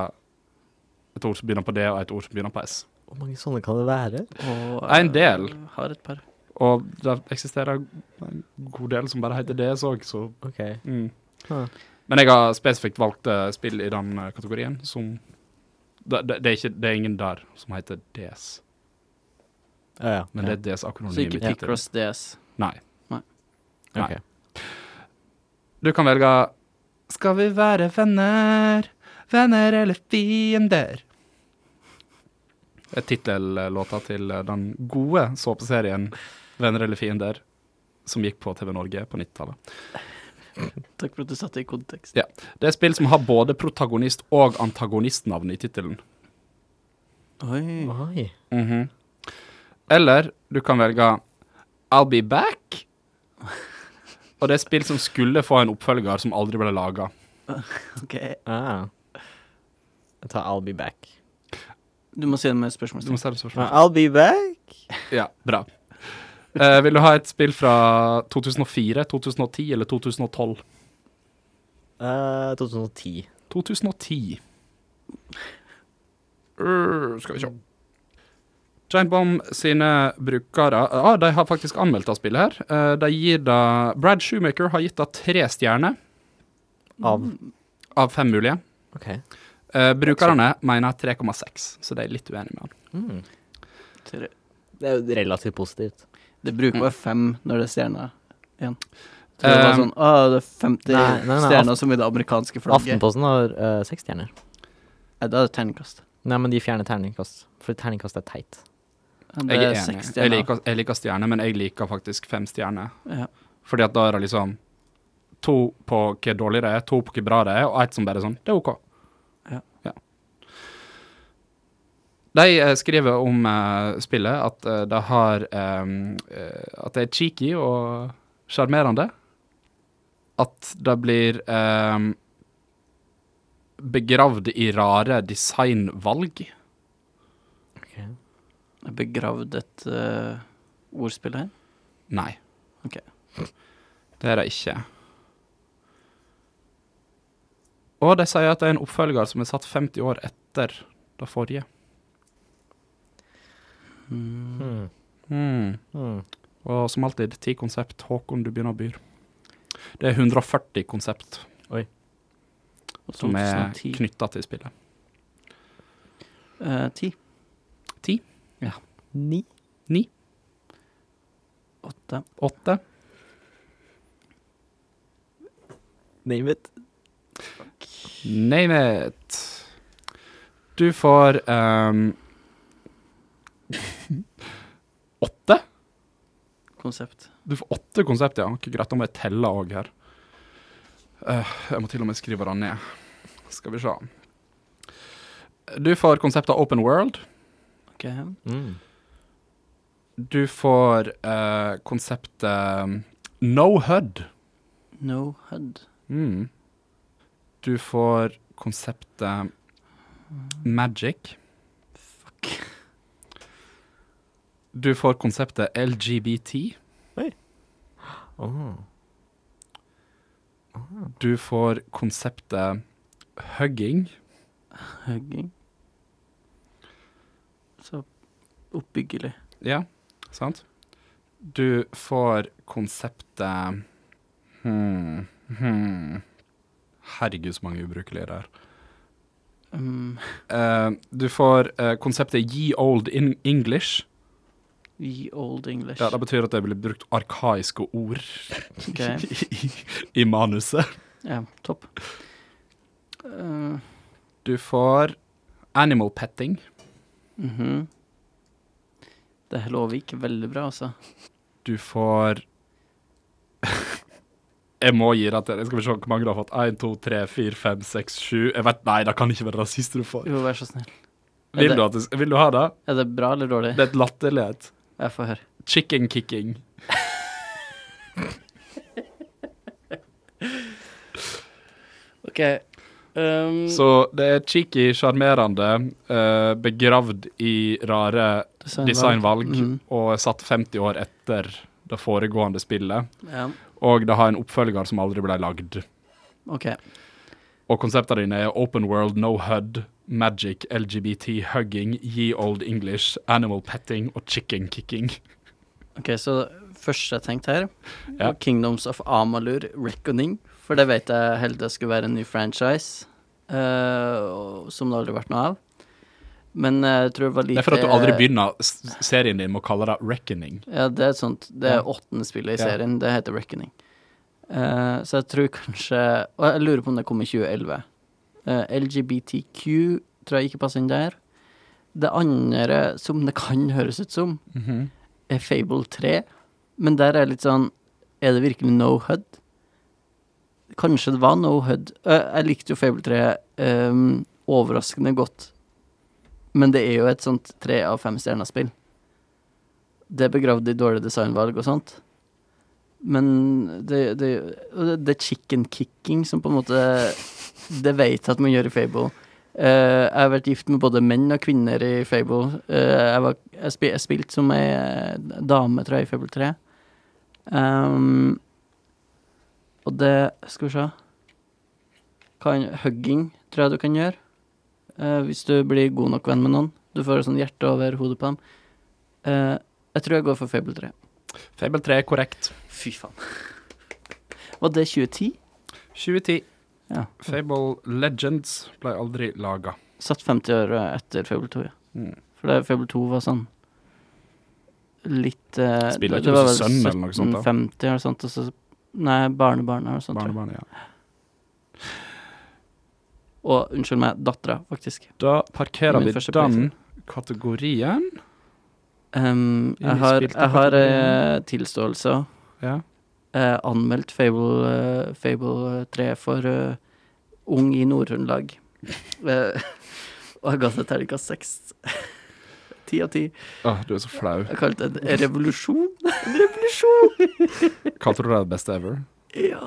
Speaker 1: et ord som begynner på D, og et ord som begynner på S.
Speaker 2: Hvor mange sånne kan det være?
Speaker 3: Og
Speaker 1: En
Speaker 3: jeg
Speaker 1: del.
Speaker 3: Har et par.
Speaker 1: Og det eksisterer en god del som bare heter DS òg, så
Speaker 2: Ok.
Speaker 1: mm.
Speaker 2: Ah.
Speaker 1: Men jeg har spesifikt valgt eh, spill i den eh, kategorien som det, det, det, er ikke, det er ingen der som heter DS,
Speaker 2: Ja, ja.
Speaker 1: men det er DS-akronym.
Speaker 3: Så ikke
Speaker 1: i tittelen.
Speaker 3: Picross DS.
Speaker 1: Nei.
Speaker 2: ja.
Speaker 1: nei. Du kan velge Skal vi være venner? Venner eller fiender? Det er tittellåta til den gode såpeserien Venner eller fiender, som gikk på TV Norge på 90-tallet.
Speaker 3: Takk for at du satte det i kontekst.
Speaker 1: Ja. Det er spill som har både protagonist- og antagonistnavn i tittelen.
Speaker 3: Oi.
Speaker 2: Mm. Oi.
Speaker 1: Mhm. Eller du kan velge I'll be back. Og det er spill som skulle få en oppfølger som aldri ble laga.
Speaker 3: Ok.
Speaker 2: Ah. Jeg tar I'll be back.
Speaker 3: Du må si det med
Speaker 1: Du må
Speaker 3: spørsmålstegn.
Speaker 1: stille spørsmål.
Speaker 2: I'll be back?
Speaker 1: Ja, bra. Eh, vil du ha et spill fra 2004, 2010 eller 2012?
Speaker 2: Eh, 2010.
Speaker 1: 2010. Uh, skal vi se. Giant Bomb sine brukere ah, De har faktisk anmeldt det spillet her. Eh, de gir det Brad Shoemaker har gitt det tre stjerner
Speaker 2: Av
Speaker 1: av fem mulige.
Speaker 2: OK.
Speaker 1: Eh, brukerne mener 3,6, så de er litt uenige med han.
Speaker 2: Mm.
Speaker 3: Tre.
Speaker 2: Det er jo relativt positivt.
Speaker 3: Det bruker å være fem når det er stjerna igjen. Så det
Speaker 1: Eh,
Speaker 3: var sånn, Å, det er 50
Speaker 2: Nei, nei, nei,
Speaker 3: stjerner som i det amerikanske flagget.
Speaker 2: Aftenposten har eh, seks stjerner.
Speaker 3: Nei, da er det terningkast.
Speaker 2: Nei, men de fjerner terningkast, for terningkast er teit.
Speaker 3: Ja, Det
Speaker 1: Jeg er
Speaker 3: er
Speaker 1: enig.
Speaker 3: seks
Speaker 1: Jeg
Speaker 3: stjerner.
Speaker 1: liker, jeg liker stjerner, men jeg liker faktisk fem stjerner.
Speaker 3: Ja.
Speaker 1: Fordi at da er det liksom to på hvor dårlig det er, to på hvor bra det er, og ett som bare er sånn Det er OK.
Speaker 3: Ja.
Speaker 1: De eh, skriver om eh, spillet at eh, det har em, eh, At det er cheeky og sjarmerende. At det blir em, begravd i rare designvalg.
Speaker 2: Okay.
Speaker 3: Jeg begravd et eh, ordspill her.
Speaker 1: Nei.
Speaker 3: Ok.
Speaker 1: Det er det ikke. Og de sier at det er en oppfølger som er satt 50 år etter det forrige.
Speaker 3: Mm.
Speaker 1: Hmm.
Speaker 2: Mm. Mm.
Speaker 1: Og som alltid, ti konsept. Håkon, du begynner å byr. Det er 140 konsept som er
Speaker 3: 2010.
Speaker 1: knytta til spillet.
Speaker 3: Eh, ti.
Speaker 2: Ni.
Speaker 3: Åtte.
Speaker 1: Åtte.
Speaker 2: Name it.
Speaker 1: Name it. Du får ehm, Åtte?
Speaker 3: Konsept.
Speaker 1: Du får åtte konsept, ja. Ok, greit, da må jeg telle òg her. Eh, jeg må til og med skrive det ned. Skal vi se. Du får konseptet Open World.
Speaker 3: Ok.
Speaker 2: Mm.
Speaker 1: Du får eh, konseptet um, No HUD.
Speaker 3: No HUD.
Speaker 1: Mm. Du får konseptet Magic.
Speaker 3: Fuck.
Speaker 1: Du får konseptet LGBT.
Speaker 2: Oh.
Speaker 1: Du får konseptet hugging.
Speaker 3: Hugging. Så oppbyggelig.
Speaker 1: Ja, sant? Du får konseptet hmm, hmm. Herregud, så mange ubrukelige der.
Speaker 3: Um,
Speaker 1: Eh, du får eh, konseptet ye old in English.
Speaker 3: ye old English.
Speaker 1: Ja, det betyr at det blir brukt arkaiske ord
Speaker 3: Ok.
Speaker 1: i, i manuset.
Speaker 3: Ja, topp. Uh,
Speaker 1: Du får animal petting.
Speaker 3: mhm. Det her lover ikke veldig bra, altså.
Speaker 1: Du får Jeg må gi deg til det. Skal vi se hvor mange du har fått. 1, 2, 3, 4, 5, 6, 7 Jeg vet, Nei, det kan ikke være det siste du får.
Speaker 3: Jo, vær så snill. Er
Speaker 1: Vil
Speaker 3: det-
Speaker 1: du, at det, vil du ha det?
Speaker 3: Er det bra eller dårlig?
Speaker 1: Det er et latterlighet.
Speaker 3: Jeg får høre.
Speaker 1: Chicken kicking.
Speaker 3: OK. Um,
Speaker 1: Så det er cheeky, sjarmerende, eh, begravd i rare designvalg
Speaker 3: Mhm.
Speaker 1: og er satt 50 år etter det foregående spillet.
Speaker 3: Ja,
Speaker 1: Og det har en oppfølger som aldri ble lagd.
Speaker 3: OK.
Speaker 1: Og konseptene dine er Open World, No HUD, Magic, LGBT, Hugging, Ye Old English, Animal Petting og Chicken Kicking.
Speaker 3: Ok, Så første jeg tenkte her,
Speaker 1: Ja.
Speaker 3: var Kingdoms of Amalur Reckoning. For det vet jeg heller det skulle være en ny franchise, eh, og- som det aldri har vært noe av. Men eh, jeg tror det var lite
Speaker 1: Det er for at du aldri begynner s- serien din med å kalle det Reckoning.
Speaker 3: Ja, det er et sånt Det er
Speaker 1: Ja.
Speaker 3: åttende spillet i
Speaker 1: Ja.
Speaker 3: serien. Det heter Reckoning. Eh, så jeg tror kanskje Og jeg lurer på om det kom i 2011. Eh, LGBTQ tror jeg ikke passer inn der. Det andre, som det kan høres ut som, er Fable 3. Men der er jeg litt sånn Er det virkelig no HUD? Kanskje det var no HUD. Eh, jeg likte jo Fable 3 ehm, overraskende godt. Men det er jo et sånt tre av fem stjerner-spill. Det er begravd i dårlige designvalg og sånt. Men det, det, og det- det er chicken kicking som på en måte Det vet jeg at man gjør i Fable. Eh, jeg har vært gift med både menn og kvinner i Fable. Eh, jeg, var, jeg, spil, jeg spilte som ei eh, dame, tror jeg, i Fable 3. Ehm, og det Skal vi se kan, Hugging tror jeg du kan gjøre. Eh, hvis du blir god nok venn med noen. Du får et sånt hjerte over hodet på dem. Eh, jeg tror jeg går for Fable 3.
Speaker 1: Fable 3 er korrekt.
Speaker 3: Fy faen. Var det 2010?
Speaker 1: 2010.
Speaker 3: Ja.
Speaker 1: Fable Legends ble aldri laga.
Speaker 3: Satt 50 år etter Fable 2, ja.
Speaker 1: Mm.
Speaker 3: For det, Fable 2 var sånn litt eh,
Speaker 1: Spiller
Speaker 3: det-
Speaker 1: ikke
Speaker 3: det var
Speaker 1: du som
Speaker 3: vel
Speaker 1: sønn eller noe sånt da?
Speaker 3: 1750 eller sånt, og så Nei, barnebarn eller noe sånt. tror jeg.
Speaker 1: Barnebarnet, ja.
Speaker 3: Og unnskyld meg, dattera, faktisk.
Speaker 1: Da parkerer
Speaker 3: Min
Speaker 1: vi
Speaker 3: første
Speaker 1: den kategorien.
Speaker 3: Ehm, jeg
Speaker 1: Ingen
Speaker 3: har,
Speaker 1: spilte
Speaker 3: jeg har
Speaker 1: kategorien.
Speaker 3: eh, tilståelser.
Speaker 1: Ja.
Speaker 3: Eh, anmeldt Fable, eh, Fable 3 for eh, Ung i Nord-Trøndelag. Eh, og jeg ga det terningkast seks. Ti av ti.
Speaker 1: Åh, du er så flau.
Speaker 3: Jeg kalte det en revolusjon.
Speaker 1: Kalte du det best ever?
Speaker 3: Ja.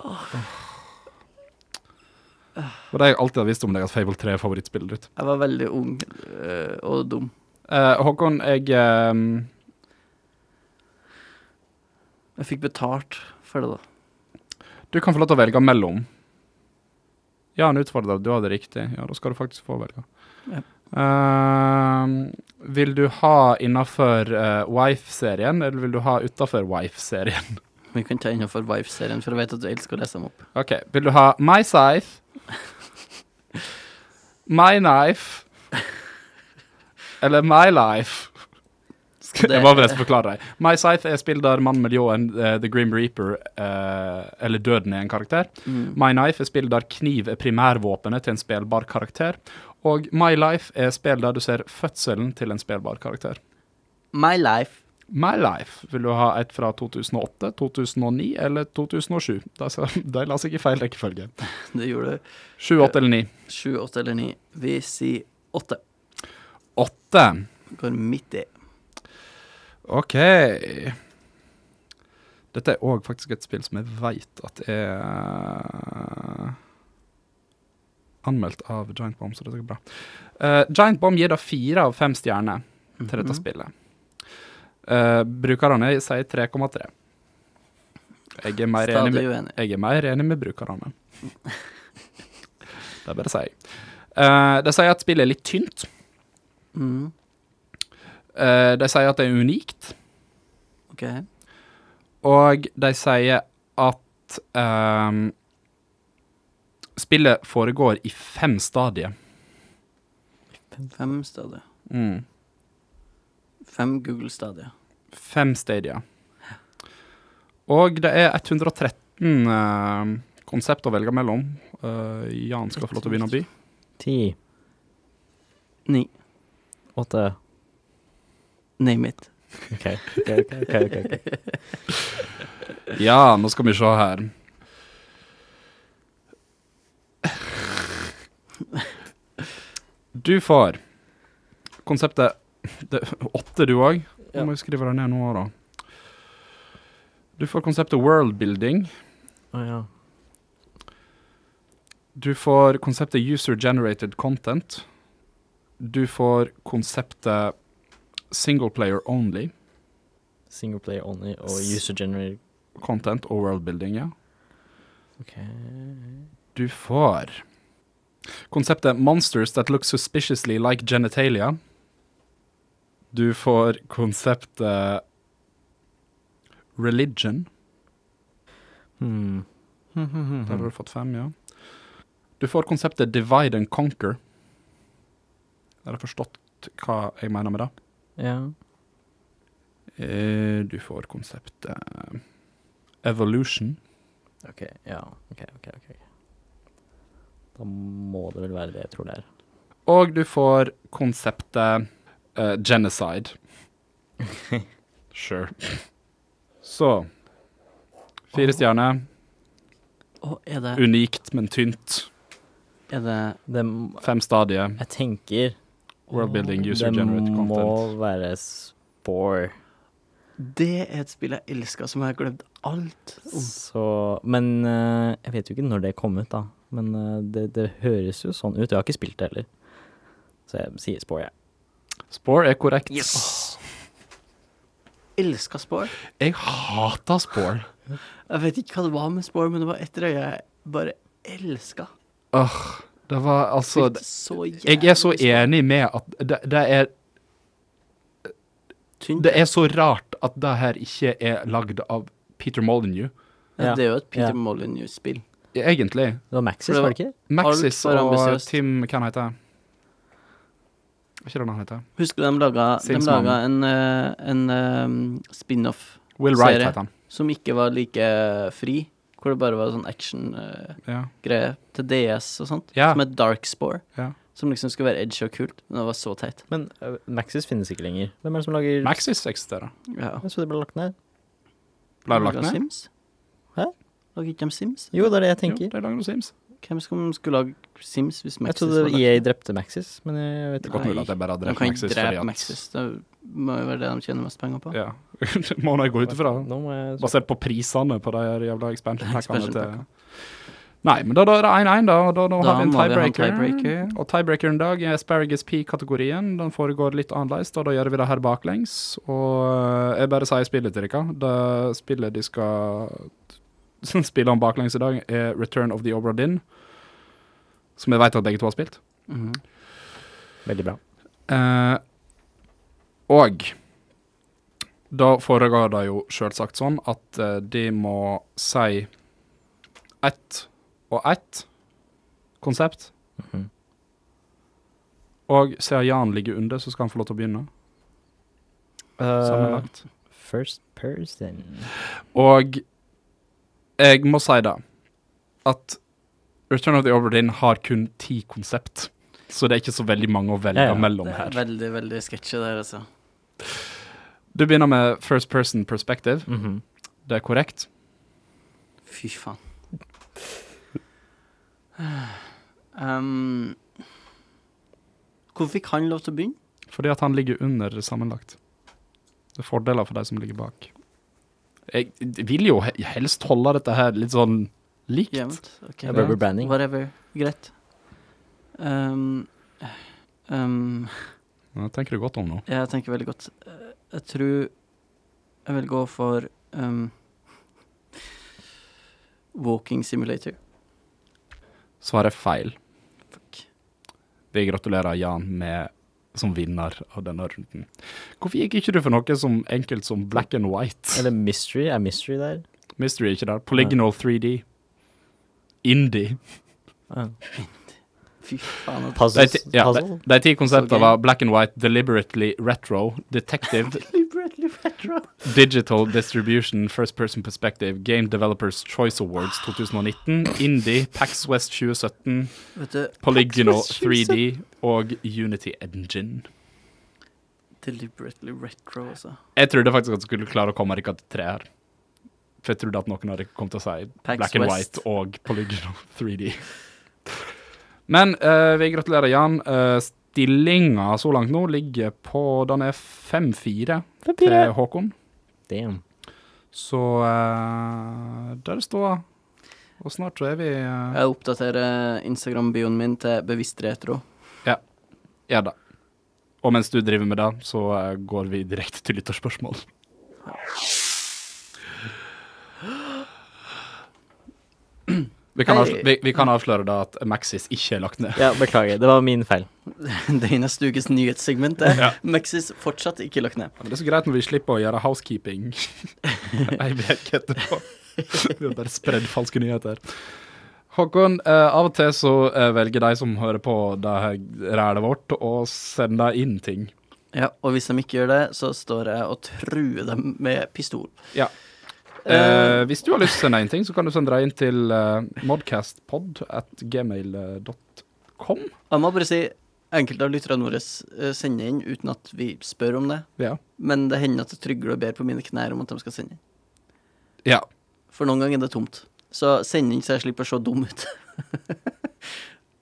Speaker 1: Og det jeg alltid har visst om deg, at Fable 3 er favorittspillet ditt.
Speaker 3: Jeg var veldig ung eh, og dum.
Speaker 1: Eh, Håkon, jeg ehm,
Speaker 3: Jeg fikk betalt for det, da.
Speaker 1: Du kan få lov til å velge mellom. Ja, han utfordrer deg. Du hadde riktig. Ja, da skal du faktisk få velge.
Speaker 3: Ja.
Speaker 1: Ehm, vil du ha innafor Wife-serien, eller vil du ha utafor Wife-serien?
Speaker 3: Vi kan ta innenfor Wife-serien, for jeg vet at du elsker å lese dem opp.
Speaker 1: OK. Vil du ha My Scythe? My Knife? Eller My Life?
Speaker 3: Så
Speaker 1: Jeg må forresten forklare deg. My Scythe er spill der mannen med ljåen, eh, The Grim Reaper, eh, eller Døden, er en karakter.
Speaker 3: Mm.
Speaker 1: My Knife er spill der kniv er primærvåpenet til en spillbar karakter. Og My Life er spill der du ser fødselen til en spillbar karakter.
Speaker 3: My life.
Speaker 1: My Life vil du ha et fra 2008, 2009 eller 2007? Da sa- De la seg i feil rekkefølge.
Speaker 3: Det gjorde du.
Speaker 1: 7, 8 eller 9?
Speaker 3: Sju, åtte eller ni. Vi sier åtte.
Speaker 1: 8.
Speaker 3: Går midt i.
Speaker 1: OK. Dette er òg faktisk et spill som jeg veit at er anmeldt av Giant Bomb, så dette går bra. Eh, Giant Bomb gir da fire av fem stjerner. til
Speaker 3: Mhm.
Speaker 1: dette spillet. Eh, brukerne sier 3,3. Jeg er mer enig
Speaker 3: Stadig
Speaker 1: med
Speaker 3: uenig.
Speaker 1: jeg er mer enig med brukerne. Det er bare å si. Eh, de sier at spillet er litt tynt.
Speaker 3: Mm,
Speaker 1: Eh, de sier at det er unikt.
Speaker 3: ok.
Speaker 1: Og de sier at ehm, Spillet foregår i fem stadier.
Speaker 3: Fem stadier. Fem Google-stadier.
Speaker 1: Fem stadier. Og det er 113 eh, konsept å velge mellom. Eh, Jan skal få lov til å begynne å by.
Speaker 2: Ti,
Speaker 3: Ni.
Speaker 2: åtte
Speaker 3: Name it.
Speaker 2: OK. ok, ok, ok, ok, ok.
Speaker 1: Ja, nå skal vi se her. Du får konseptet det, Åtte, du òg? Nå
Speaker 4: Ja.
Speaker 1: må jeg skrive det ned nå, da. Du får konseptet worldbuilding.
Speaker 2: Å, Oh, ja.
Speaker 1: Du får konseptet user generated content. Du får konseptet single player only
Speaker 2: Single player only og user generated
Speaker 1: content og worldbuilding, ja.
Speaker 2: OK.
Speaker 1: Du får konseptet 'Monsters that look suspiciously like genitalia'. Du får konseptet 'religion'.
Speaker 2: Hmm. Hmm, hmm, hmm,
Speaker 1: Der har
Speaker 2: hmm.
Speaker 1: du fått fem, ja. Du får konseptet 'divide and conquer'. Har jeg forstått hva jeg mener med det?
Speaker 2: Ja.
Speaker 1: Eh, Du får konseptet 'evolution'.
Speaker 2: OK, ja. OK, OK. ok. Da må det vel være det jeg tror det er.
Speaker 1: Og du får konseptet eh, genocide. sure. Så Fire stjerner.
Speaker 3: Å, er det,
Speaker 1: Unikt, men tynt.
Speaker 3: er det
Speaker 2: Det, m-
Speaker 1: Fem stadier.
Speaker 2: jeg tenker
Speaker 1: Worldbuilding, user
Speaker 2: det
Speaker 1: generated
Speaker 2: må
Speaker 1: content.
Speaker 2: være Spore.
Speaker 3: Det er et spill jeg elsker, som jeg har glemt alt om.
Speaker 2: Så Men eh, jeg vet jo ikke når det kom ut, da. Men eh, det, det høres jo sånn ut. Jeg har ikke spilt det heller. Så jeg sier Spore, jeg.
Speaker 1: Spore er korrekt.
Speaker 3: Elsker Spore.
Speaker 1: Jeg hater Spore.
Speaker 3: Jeg vet ikke hva det var med Spore, men det var et røye jeg bare elska.
Speaker 1: Åh, det var altså
Speaker 3: Spilte så
Speaker 1: Jeg er så
Speaker 3: jævlig Spore.
Speaker 1: enig med at det, det er
Speaker 3: Tynt.
Speaker 1: Det er så rart at det her ikke er lagd av Peter Molyneux,
Speaker 3: Ja, det er jo et Peter
Speaker 2: Ja.
Speaker 3: Molyneux-spill.
Speaker 1: egentlig.
Speaker 2: Det var Maxis,
Speaker 3: For det
Speaker 2: var det ikke?
Speaker 1: Maxis
Speaker 3: Alt for
Speaker 1: og
Speaker 3: ambisiøst.
Speaker 1: Tim Hva han heter han? Er ikke det han heter?
Speaker 3: Husker du de laga, de
Speaker 1: Sinnsmannen.
Speaker 3: laga en, eh, en eh, spin-off
Speaker 1: Will Wright
Speaker 3: Serie.
Speaker 1: heter han.
Speaker 3: som ikke var like fri, hvor det bare var sånn action-greie
Speaker 1: Ja.
Speaker 3: til DS og sånt,
Speaker 1: Ja.
Speaker 3: som het Dark Spore,
Speaker 1: Ja.
Speaker 3: som liksom skulle være edgy og kult, men det var så teit.
Speaker 2: Men eh, Maxis finnes ikke lenger. Hvem er det som lager
Speaker 1: Maxis eksisterer.
Speaker 3: Ja.
Speaker 2: Jeg så det ble lagt ned.
Speaker 1: Ble det lagt
Speaker 3: Laget
Speaker 1: ned?
Speaker 3: Sims?
Speaker 2: Hæ?
Speaker 3: Lager ikke de Sims?
Speaker 2: Jo, det er det jeg
Speaker 1: Jo, de
Speaker 2: tenker.
Speaker 1: lager noe Sims.
Speaker 3: Hvem som skulle lage Sims hvis
Speaker 2: jeg
Speaker 3: Maxis
Speaker 2: trodde
Speaker 3: var
Speaker 1: E
Speaker 3: lagt
Speaker 2: EA
Speaker 3: ned?
Speaker 2: drepte Maxis, men jeg vet
Speaker 1: Det er
Speaker 2: ikke.
Speaker 1: godt mulig at jeg bare har
Speaker 3: De
Speaker 1: drept
Speaker 3: kan ikke
Speaker 1: Maxis. fordi
Speaker 3: drepe
Speaker 1: at-
Speaker 3: Maxis. Det må jo være det de tjener mest penger på.
Speaker 1: Ja. Det Må nå gå ut ifra.
Speaker 2: Nå må jeg
Speaker 1: Basert på prisene på de her jævla expansion packene
Speaker 3: Expansion
Speaker 1: til
Speaker 3: packene.
Speaker 1: Nei, men da, da er det 1-1, da. Og da, da,
Speaker 3: Da
Speaker 1: har vi en
Speaker 3: må vi ha en
Speaker 1: tiebreaker.
Speaker 3: tiebreaker.
Speaker 1: Og tiebreakeren i dag er Asparagus P-kategorien. Den foregår litt annerledes, og da gjør vi det her baklengs. Og eh, jeg bare sier spillet til dere. Det spillet de skal spille om baklengs i dag, er Return of the Obra Dinn. Som jeg veit at begge to har spilt.
Speaker 3: Mhm.
Speaker 2: Veldig bra.
Speaker 1: Eh, og da foregår det jo selvsagt sånn at eh, de må si ett og ett konsept.
Speaker 2: Mhm.
Speaker 1: Og siden Jan ligger under, så skal han få lov til å begynne. Sammenlagt.
Speaker 2: First person.
Speaker 1: Og jeg må si det, at Return of the Overdin har kun ti konsept. Så det er ikke så veldig mange å velge
Speaker 2: Ja, ja.
Speaker 1: mellom
Speaker 3: Det er
Speaker 1: her.
Speaker 3: veldig, veldig sketsjy der, altså.
Speaker 1: Du begynner med first person perspective.
Speaker 2: Mhm.
Speaker 1: Det er korrekt.
Speaker 3: Fy faen. Um, hvorfor fikk han lov til å begynne?
Speaker 1: Fordi at han ligger under sammenlagt. Det er fordeler for de som ligger bak. Jeg vil jo he- helst holde dette her litt sånn likt.
Speaker 3: Jevnt. ok.
Speaker 1: Ja,
Speaker 2: Rubber branding.
Speaker 3: Whatever. Greit. Um, um,
Speaker 1: Ja, tenker du godt om nå.
Speaker 3: jeg tenker veldig godt. Eh, Jeg tror jeg vil gå for um, Walking Simulator.
Speaker 1: Svaret er feil. Vi gratulerer Jan med som vinner av denne runden. Hvorfor gikk ikke du for noe som enkelt som black and white?
Speaker 2: Eller mystery? Er mystery der?
Speaker 1: Mystery er ikke der. Polygonal 3D. Indie.
Speaker 3: Fy faen. altså. at-
Speaker 1: De,
Speaker 2: Puzzles?
Speaker 1: ti- ja, de,
Speaker 2: Altså, Puzzle?
Speaker 1: de ti konseptene
Speaker 3: Så gøy.
Speaker 1: var black and white, deliberately retro, detective,
Speaker 4: Liberally retro.
Speaker 1: digital distribution, first person perspective, game developers choice awards 2019, indie, Pax West 2017,
Speaker 3: Vet du,
Speaker 1: Polygonal
Speaker 4: Pax West
Speaker 1: 3D og Unity Engine.
Speaker 3: deliberately retro, altså.
Speaker 1: Jeg trodde faktisk at du skulle klare å komme deg til tre her. For jeg trodde at noen hadde kommet til å si
Speaker 3: Pax
Speaker 1: Black and
Speaker 3: West.
Speaker 1: White og Polygonal 3D. Men eh, vi gratulerer, Jan. Uh, Stillinga så langt nå ligger på Den er 5-4 til Håkon.
Speaker 2: Damn.
Speaker 1: Så eh, der står Og snart så er vi eh,
Speaker 3: Jeg oppdaterer eh, Instagram-bioen min til bevisst retro.
Speaker 1: Ja da. Og mens du driver med det, så eh, går vi direkte til lytterspørsmål. Vi kan,
Speaker 3: Hei.
Speaker 1: avsløre, vi, vi kan avsløre da at Maxis ikke er lagt ned.
Speaker 2: Ja, beklager. Det var min feil.
Speaker 3: Det er neste ukes nyhetssegment er
Speaker 1: Ja.
Speaker 3: Maxis fortsatt ikke lagt ned.
Speaker 1: Men det er så greit når vi slipper å gjøre housekeeping ei uke etterpå. Vi har bare spredd falske nyheter. Håkon, eh, av og til så eh, velger de som hører på det her rælet vårt, å sende inn ting.
Speaker 3: Ja, og hvis de ikke gjør det, så står jeg og truer dem med pistol.
Speaker 1: Ja.
Speaker 3: Eh,
Speaker 1: Eh, hvis du har lyst til å sende inn ting, så kan du sende deg inn til eh, modcastpod.gmail.com.
Speaker 3: Jeg må bare si, enkelte av lytterne våre eh, sender inn uten at vi spør om det,
Speaker 1: Ja.
Speaker 3: men det hender at jeg trygler og ber på mine knær om at de skal sende inn.
Speaker 1: ja.
Speaker 3: For noen ganger er det tomt. Så send inn så jeg slipper å se dum ut.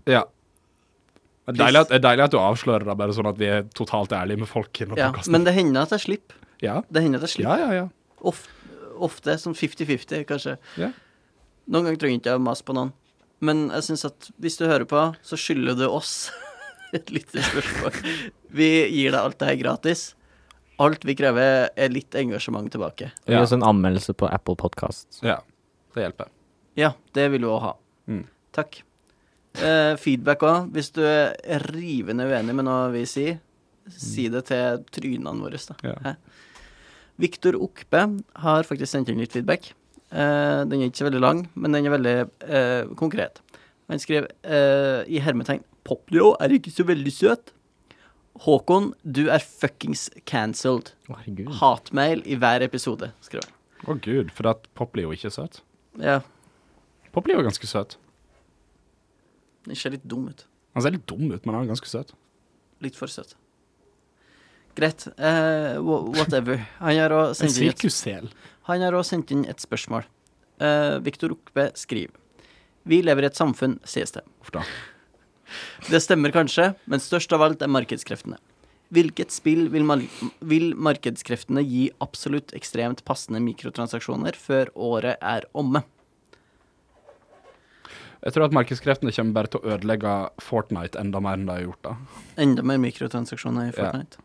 Speaker 1: ja. Det er deilig at, det er deilig at du avslører det, bare sånn at vi er totalt ærlige med folk. i denne
Speaker 3: Ja,
Speaker 1: podcasten.
Speaker 3: men det hender at jeg slipper.
Speaker 1: ja.
Speaker 3: Det hender at jeg slipper.
Speaker 1: ja, ja, ja.
Speaker 3: Of, ofte sånn 50-50, kanskje.
Speaker 1: Ja.
Speaker 3: Noen ganger trenger jeg ikke å mase på noen. Men jeg syns at hvis du hører på, så skylder du oss et lite spørsmål. Vi gir deg alt det her gratis. Alt vi krever, er litt engasjement tilbake.
Speaker 2: Vi har
Speaker 1: Ja.
Speaker 2: også en sånn anmeldelse på Apple Podcasts
Speaker 1: ja. Det hjelper.
Speaker 3: Ja, det vil du òg ha.
Speaker 1: Mm.
Speaker 3: Takk. Eh, feedback òg. Hvis du er rivende uenig med noe vi sier, si det til trynene våre, da.
Speaker 1: Mm. Ja.
Speaker 3: Hæ? Viktor Okpe har faktisk sendt inn litt feedback. Eh, den er ikke så veldig lang, men den er veldig eh, konkret. Han skrev eh, i hermetegn 'Popnio er ikke så veldig søt'. Håkon, du er fuckings cancelled.
Speaker 2: Å, herregud.
Speaker 1: Mm.
Speaker 3: Hatmail i hver episode, skrev han.
Speaker 1: Å gud, for at Pop blir jo ikke søt.
Speaker 3: Ja,
Speaker 1: Pop blir jo ganske søt.
Speaker 3: den ser litt dum ut.
Speaker 1: Han ser litt dum ut, men han er ganske søt.
Speaker 3: Litt for søt. Greit. eh, wha- whatever. Han har òg
Speaker 1: En
Speaker 3: sendt, inn et-
Speaker 1: sirkussel.
Speaker 3: han har også sendt inn et spørsmål. Eh, Viktor Okpe skriver Vi lever i et samfunn, sies det.
Speaker 1: Uff da.
Speaker 3: Det stemmer kanskje, men størst av alt er markedskreftene. Hvilket spill vil, mar vil markedskreftene gi absolutt ekstremt passende mikrotransaksjoner før året er omme?
Speaker 1: Jeg tror at markedskreftene kommer bare til å ødelegge Fortnite enda mer enn de har gjort da.
Speaker 3: Enda mer mikrotransaksjoner i
Speaker 1: Ja.
Speaker 3: Fortnite.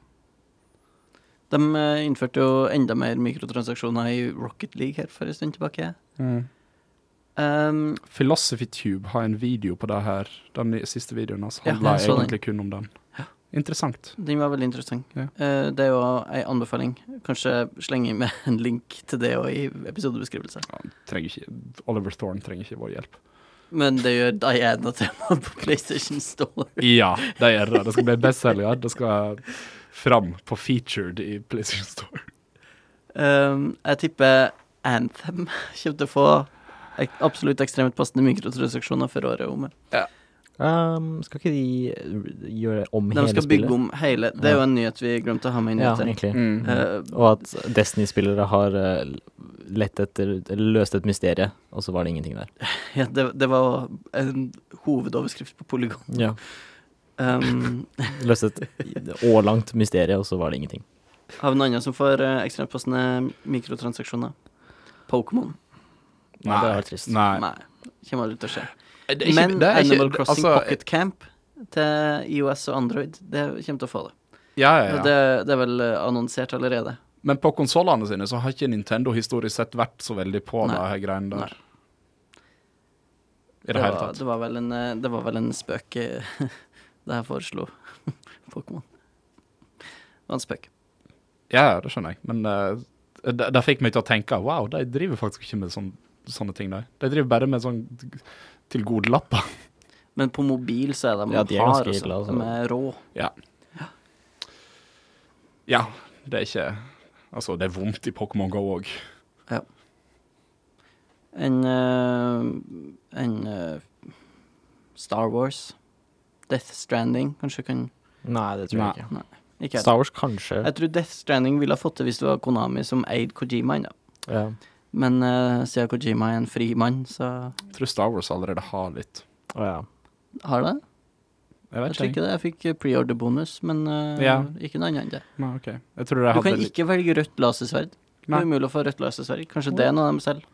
Speaker 3: De eh, innførte jo enda mer mikrotransaksjoner i Rocket League her for en stund tilbake.
Speaker 1: Mm.
Speaker 3: Um,
Speaker 1: Philosophy Tube har en video på det her. Den ny- siste videoen hans
Speaker 3: Ja,
Speaker 1: handla
Speaker 3: jeg så den.
Speaker 1: egentlig kun om den. Interessant.
Speaker 3: Den var veldig interessant.
Speaker 1: Ja.
Speaker 3: Eh, det er jo ei anbefaling. Kanskje slenge med en link til det òg i episodebeskrivelsen.
Speaker 1: Trenger ikke, Oliver Thorne trenger ikke vår hjelp.
Speaker 3: Men det gjør Diana tema på PlayStation Store.
Speaker 1: Ja, det gjør det. Det skal bli bestselger. Det skal fram på featured i PlayStation Store.
Speaker 3: Um, jeg tipper Anthem kommer til å få ek absolutt ekstremt passende mikrotransaksjoner for året om.
Speaker 2: Um, skal ikke de eh, gjøre om
Speaker 3: De
Speaker 2: hele
Speaker 3: skal
Speaker 2: spillet?
Speaker 3: bygge om hele Det er jo en nyhet vi glemte å ha med inn.
Speaker 2: Ja,
Speaker 3: etter.
Speaker 2: egentlig.
Speaker 1: Mm.
Speaker 3: Eh,
Speaker 2: Og at Destiny-spillere har eh, lett etter eller løst et mysterium, og så var det ingenting der.
Speaker 3: ja, det, det var en hovedoverskrift på Polygon.
Speaker 2: Ja.
Speaker 3: Um,
Speaker 2: Løst et årlangt mysterium, og så var det ingenting.
Speaker 3: Har vi noen andre som får eh, ekstremt passende mikrotransaksjoner? Pokémon?
Speaker 2: Nei, det var trist.
Speaker 1: Nei.
Speaker 3: Nei. Kommer aldri til å skje.
Speaker 1: Det er ikke-
Speaker 3: Men
Speaker 1: det er ikke-
Speaker 3: Animal Crossing
Speaker 1: altså,
Speaker 3: Pocket Camp til IOS og Android, det kommer til å få det.
Speaker 1: Ja, ja,
Speaker 3: Det,
Speaker 1: ja.
Speaker 3: det er vel eh, annonsert allerede.
Speaker 1: Men på konsollene sine så har ikke Nintendo historisk sett vært så veldig på
Speaker 3: Nei.
Speaker 1: det her greiene
Speaker 3: Nei.
Speaker 1: der. I det,
Speaker 3: Det
Speaker 1: hele
Speaker 3: var,
Speaker 1: tatt.
Speaker 3: det, var vel en, eh, det var vel en spøk eh, Det her foreslo Pokémon. Det var en spøk.
Speaker 1: Ja, det skjønner jeg, men eh, det, det fikk meg til å tenke wow, de driver faktisk ikke med sånn, sånne ting, de. De driver bare med sånn tilgodelapper.
Speaker 3: Men på mobil så er de
Speaker 2: Ja, de er
Speaker 3: hard,
Speaker 2: ganske
Speaker 3: altså.
Speaker 2: ille, altså.
Speaker 3: De er rå.
Speaker 1: Ja. Ja, det er ikke Altså, det er vondt i Pokémon GO òg.
Speaker 3: Enn eh, enn, eh, Star Wars. Death Stranding kanskje kan
Speaker 2: Nei, det tror jeg ikke.
Speaker 3: Ikke jeg.
Speaker 2: Star Wars kanskje.
Speaker 3: Jeg tror Death Stranding ville ha fått det hvis det var Konami som eide Kojima ennå.
Speaker 2: Ja.
Speaker 3: Men eh, siden Kojima er en fri mann, så
Speaker 1: Jeg tror Star Wars allerede har litt.
Speaker 2: Å, ja.
Speaker 3: har det.
Speaker 1: Jeg
Speaker 3: Jeg
Speaker 1: vet
Speaker 3: tror
Speaker 1: ikke.
Speaker 3: ikke det. Jeg fikk pre-order bonus, men eh,
Speaker 1: Ja.
Speaker 3: ikke noe annet enn det.
Speaker 1: Nei, ok. Jeg tror de
Speaker 3: Du
Speaker 1: hadde
Speaker 3: kan
Speaker 1: litt
Speaker 3: ikke velge rødt lasersverd. Det
Speaker 1: Nei.
Speaker 3: er umulig å få rødt lasersverd. Kanskje det er noe av dem selv.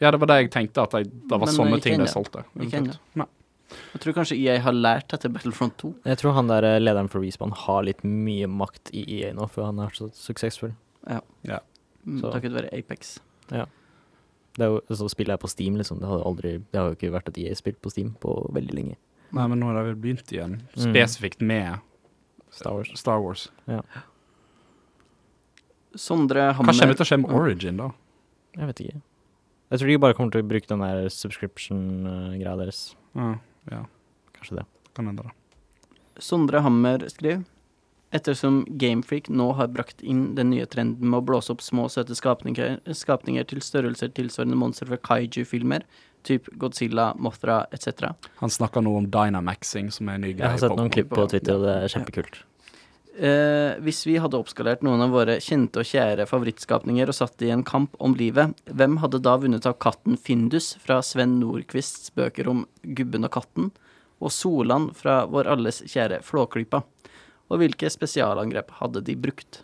Speaker 1: Ja, det var det jeg tenkte, at jeg, det var
Speaker 3: Men eh,
Speaker 1: sånne
Speaker 3: ikke
Speaker 1: ting de
Speaker 3: ennå.
Speaker 1: solgte.
Speaker 3: Ikke
Speaker 1: eventuelt. Nei.
Speaker 3: Jeg tror kanskje EA har lært etter Battlefront 2.
Speaker 2: Jeg tror han der eh, lederen for Respawn har litt mye makt i EA nå, for han er så suksessfull.
Speaker 3: Mm,
Speaker 2: Så.
Speaker 3: takket være Apex.
Speaker 2: Det er jo, så spiller jeg på Steam, liksom. Det, hadde aldri, det har jo ikke vært et EA-spill på Steam på veldig lenge.
Speaker 1: Nei, men nå har de vel begynt igjen,
Speaker 2: Mm.
Speaker 1: spesifikt med
Speaker 2: Star Wars.
Speaker 1: Star Wars.
Speaker 3: Sondre
Speaker 1: Hva kommer
Speaker 3: Hammer
Speaker 1: til å
Speaker 2: Mm.
Speaker 1: skje med Origin, da?
Speaker 2: Jeg vet ikke. Jeg tror de bare kommer til å bruke den der subscription-greia deres.
Speaker 1: Ja, ja,
Speaker 2: Kanskje det.
Speaker 1: kan hende, da.
Speaker 3: Sondre Hammer skriver Ettersom Gamefreak nå har brakt inn den nye trenden med å blåse opp små, søte skapninger, skapninger til størrelser tilsvarende monstre fra kaiju-filmer, typ Godzilla, Mothra etc.,
Speaker 1: Han snakka nå om dynamaxing, som er en ny
Speaker 2: Jeg
Speaker 1: greie.
Speaker 2: har
Speaker 1: i
Speaker 2: sett noen
Speaker 1: Pokémon.
Speaker 2: klipp på Twitter, og det er kjempekult.
Speaker 3: Eh, hvis vi hadde oppskalert noen av våre kjente og kjære favorittskapninger og satt de i en kamp om livet, hvem hadde da vunnet av katten Findus fra Sven Nordquists bøker om Gubben og katten, og Solan fra vår alles kjære Flåklypa? Og hvilke spesialangrep hadde de brukt?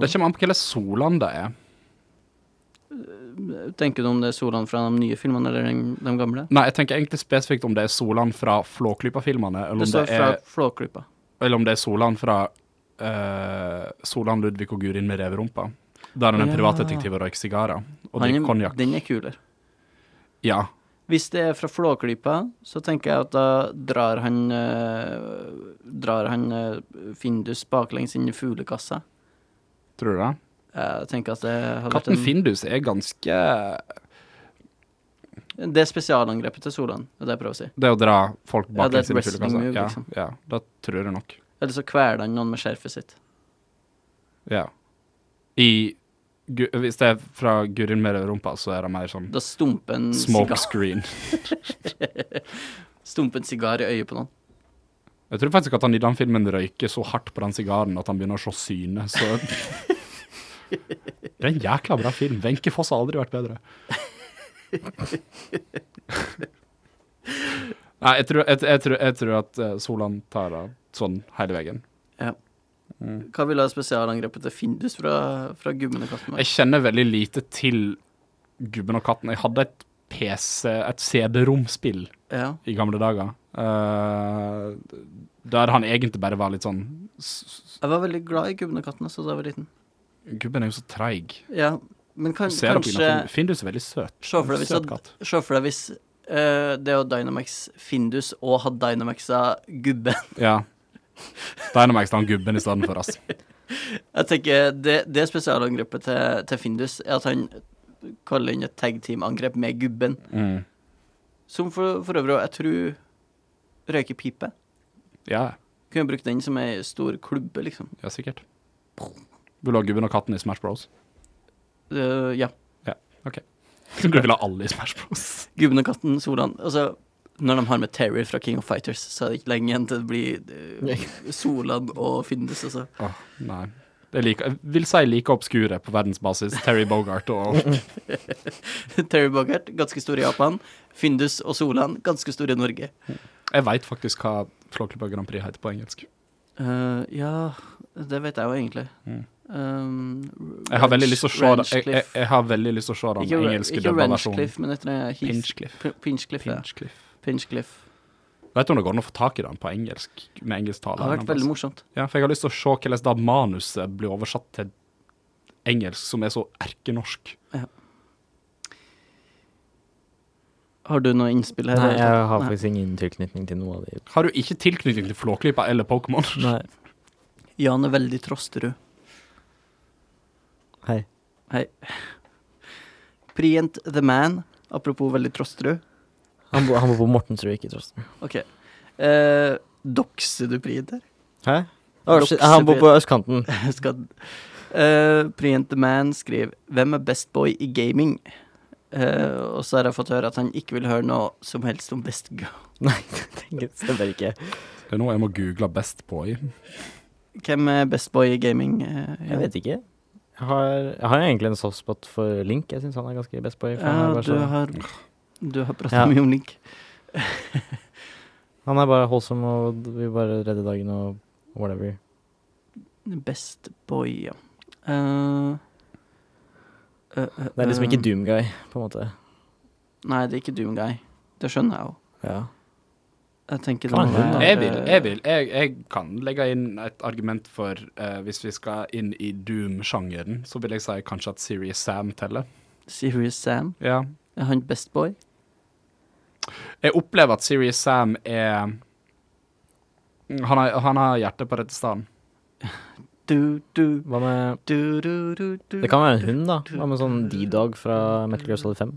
Speaker 1: Det kommer an på hvilken Solan det er.
Speaker 3: Tenker du om det er Solan fra de nye filmene eller den- de gamle?
Speaker 1: Nei, jeg tenker egentlig spesifikt om det er Solan fra Flåklypa-filmene, eller,
Speaker 3: Det
Speaker 1: om det
Speaker 3: står fra
Speaker 1: er-
Speaker 3: Flåklypa.
Speaker 1: eller om det er Solan fra eh, Solan, Ludvig og Gurin med reverumpa. Der han er
Speaker 3: Ja.
Speaker 1: privatdetektiv og røyker sigarer og
Speaker 3: Han
Speaker 1: drikker
Speaker 3: er-
Speaker 1: konjakk.
Speaker 3: Den er kulere.
Speaker 1: Ja.
Speaker 3: Hvis det er fra Flåklypa, så tenker jeg at da drar han eh, Drar han eh, Findus baklengs inn i fuglekassa.
Speaker 1: Tror du det?
Speaker 3: Jeg tenker at det har vært
Speaker 1: Katten Findus er ganske
Speaker 3: en, Det er spesialangrepet til Solan, det er det jeg prøver å si.
Speaker 1: Det å dra folk
Speaker 3: Ja, det er
Speaker 1: baklengs inn
Speaker 3: et
Speaker 1: i fuglekassa.
Speaker 3: wrestling move,
Speaker 1: Ja,
Speaker 3: liksom.
Speaker 1: ja, det tror jeg nok.
Speaker 3: Eller så kveler han noen med skjerfet sitt.
Speaker 1: Ja. I Gu- Hvis det er fra Gurin med rumpa, så er det mer sånn
Speaker 3: Da stumper en
Speaker 1: smoke
Speaker 3: sigar,
Speaker 1: screen.
Speaker 3: stumper en sigar i øyet på noen.
Speaker 1: Jeg tror faktisk at han i den filmen røyker så hardt på den sigaren at han begynner å se syne, så Det er en jækla bra film. Wenche Foss har aldri vært bedre. Nei, jeg tror, jeg, jeg, tror, jeg tror at eh, Solan tar av sånn hele veien. Mm.
Speaker 3: Hva ville spesialangrepet til Findus fra, fra gubben og katten? vært?
Speaker 1: Jeg kjenner veldig lite til Gubben og katten. Jeg hadde et PC, et CD-romspill
Speaker 3: Ja.
Speaker 1: i gamle dager. eh, der han egentlig bare var litt sånn s- s-
Speaker 3: Jeg var veldig glad i gubben og katten altså, da jeg var liten.
Speaker 1: Gubben er jo så treig.
Speaker 3: Ja, men kan,
Speaker 1: Du ser det på
Speaker 3: kanskje
Speaker 1: Ina Findus er veldig søt.
Speaker 3: Se for deg hvis,
Speaker 1: søt
Speaker 3: at,
Speaker 1: katt.
Speaker 3: se for deg hvis eh, det å Dynamax Findus og ha Dynamaxa gubben
Speaker 1: Ja. Dynamax han gubben i stedet for oss.
Speaker 3: Jeg tenker Det, det spesialangrepet til, til Findus er at han kaller inn et tag team-angrep med gubben.
Speaker 1: Mm.
Speaker 3: Som for, for øvrig, jeg tror røyker pipe.
Speaker 1: Ja,
Speaker 3: Kunne brukt den som ei stor klubbe, liksom.
Speaker 1: ja, sikkert. Vil du ha gubben og katten i Smash Bros?
Speaker 3: Eh, ja.
Speaker 1: Du vil ha alle i Smash Bros.
Speaker 3: Gubben og katten, Solan. Altså, når de har med Terry fra King of Fighters, så er det ikke lenge igjen til det blir eh, Solan og Findus, altså.
Speaker 1: Åh, nei. Det er like, jeg vil si like obskure på verdensbasis. Terry Bogart og
Speaker 3: Terry Bogart, ganske stor i Japan. Findus og Solan, ganske stor i Norge.
Speaker 1: Jeg veit faktisk hva Flåklypa Grand Prix heter på engelsk.
Speaker 3: Eh, ja, det vet jeg jo egentlig.
Speaker 1: Mm.
Speaker 3: Um,
Speaker 1: Jeg har veldig lyst til å se den, jeg, jeg,
Speaker 3: Ranchcliffe.
Speaker 1: jeg har veldig lyst til å se den
Speaker 3: Ikke,
Speaker 1: engelske
Speaker 3: ikke
Speaker 1: dubba versjonen.
Speaker 3: Ranchcliffe, men etter Heath
Speaker 1: Pinchcliff.
Speaker 3: P- Pinchcliffe. ja.
Speaker 1: Pinchcliff.
Speaker 3: Pinchcliffe.
Speaker 1: Vet du om det går an å få tak i den på engelsk? Med engelsk tale?
Speaker 3: Det har vært veldig morsomt.
Speaker 1: Ja, for jeg har lyst til å se hvordan da manuset blir oversatt til engelsk, som er så erkenorsk.
Speaker 3: Har du noe innspill her?
Speaker 2: Nei, jeg har
Speaker 3: Nei.
Speaker 2: faktisk ingen tilknytning til noe av det.
Speaker 1: Har du ikke tilknytning til Flåklypa eller Pokémon?
Speaker 2: Nei.
Speaker 3: Jan er veldig trosterud.
Speaker 2: Hei.
Speaker 3: Prient the man, apropos veldig trosterud.
Speaker 2: Han, bo, han bor på Mortensrud, ikke Trosten.
Speaker 3: Ok. Eh, dokser du Prient her?
Speaker 2: Hæ? Å, shit, han bor på østkanten.
Speaker 3: Skal... Eh, Prient the man skriver 'Hvem er best boy i gaming?' Eh, og så har jeg fått høre at han ikke vil høre noe som helst om best girl.
Speaker 2: Nei, det stemmer ikke.
Speaker 1: Det er noe jeg må google best på i.
Speaker 3: Hvem er best boy i gaming? eh, Jan?
Speaker 2: Jeg vet ikke. Jeg har, jeg har egentlig en softspot for Link. Jeg syns han er ganske best boy. for han, er
Speaker 3: Ja,
Speaker 2: bare
Speaker 3: du
Speaker 2: så,
Speaker 3: har, du har prata
Speaker 2: Ja.
Speaker 3: mye om Link.
Speaker 2: han er bare holdsom og vil bare redde dagen og whatever.
Speaker 3: Best boy, ja. Eh, eh, eh,
Speaker 2: Det er liksom
Speaker 3: eh,
Speaker 2: ikke Doomguy, på en måte.
Speaker 3: Nei, det er ikke Doom Guy. Det skjønner jeg jo.
Speaker 2: Ja.
Speaker 3: Jeg tenker det
Speaker 2: Kan
Speaker 3: må
Speaker 2: hun, da?
Speaker 3: være-
Speaker 1: Jeg vil, jeg vil. Jeg, jeg kan legge inn et argument for eh, Hvis vi skal inn i Doom-sjangeren, så vil jeg si kanskje at Serious Sam teller.
Speaker 3: eh, Serious Sam.
Speaker 1: Ja.
Speaker 3: Er han best boy?
Speaker 1: Jeg opplever at Serious Sam er Han har, han har hjertet på rette stedet.
Speaker 3: Du, du,
Speaker 2: Hva med
Speaker 3: du, du, du, du.
Speaker 2: Det kan være en hund, da. Hva med sånn D-Dog fra Metal Gear Solid 5?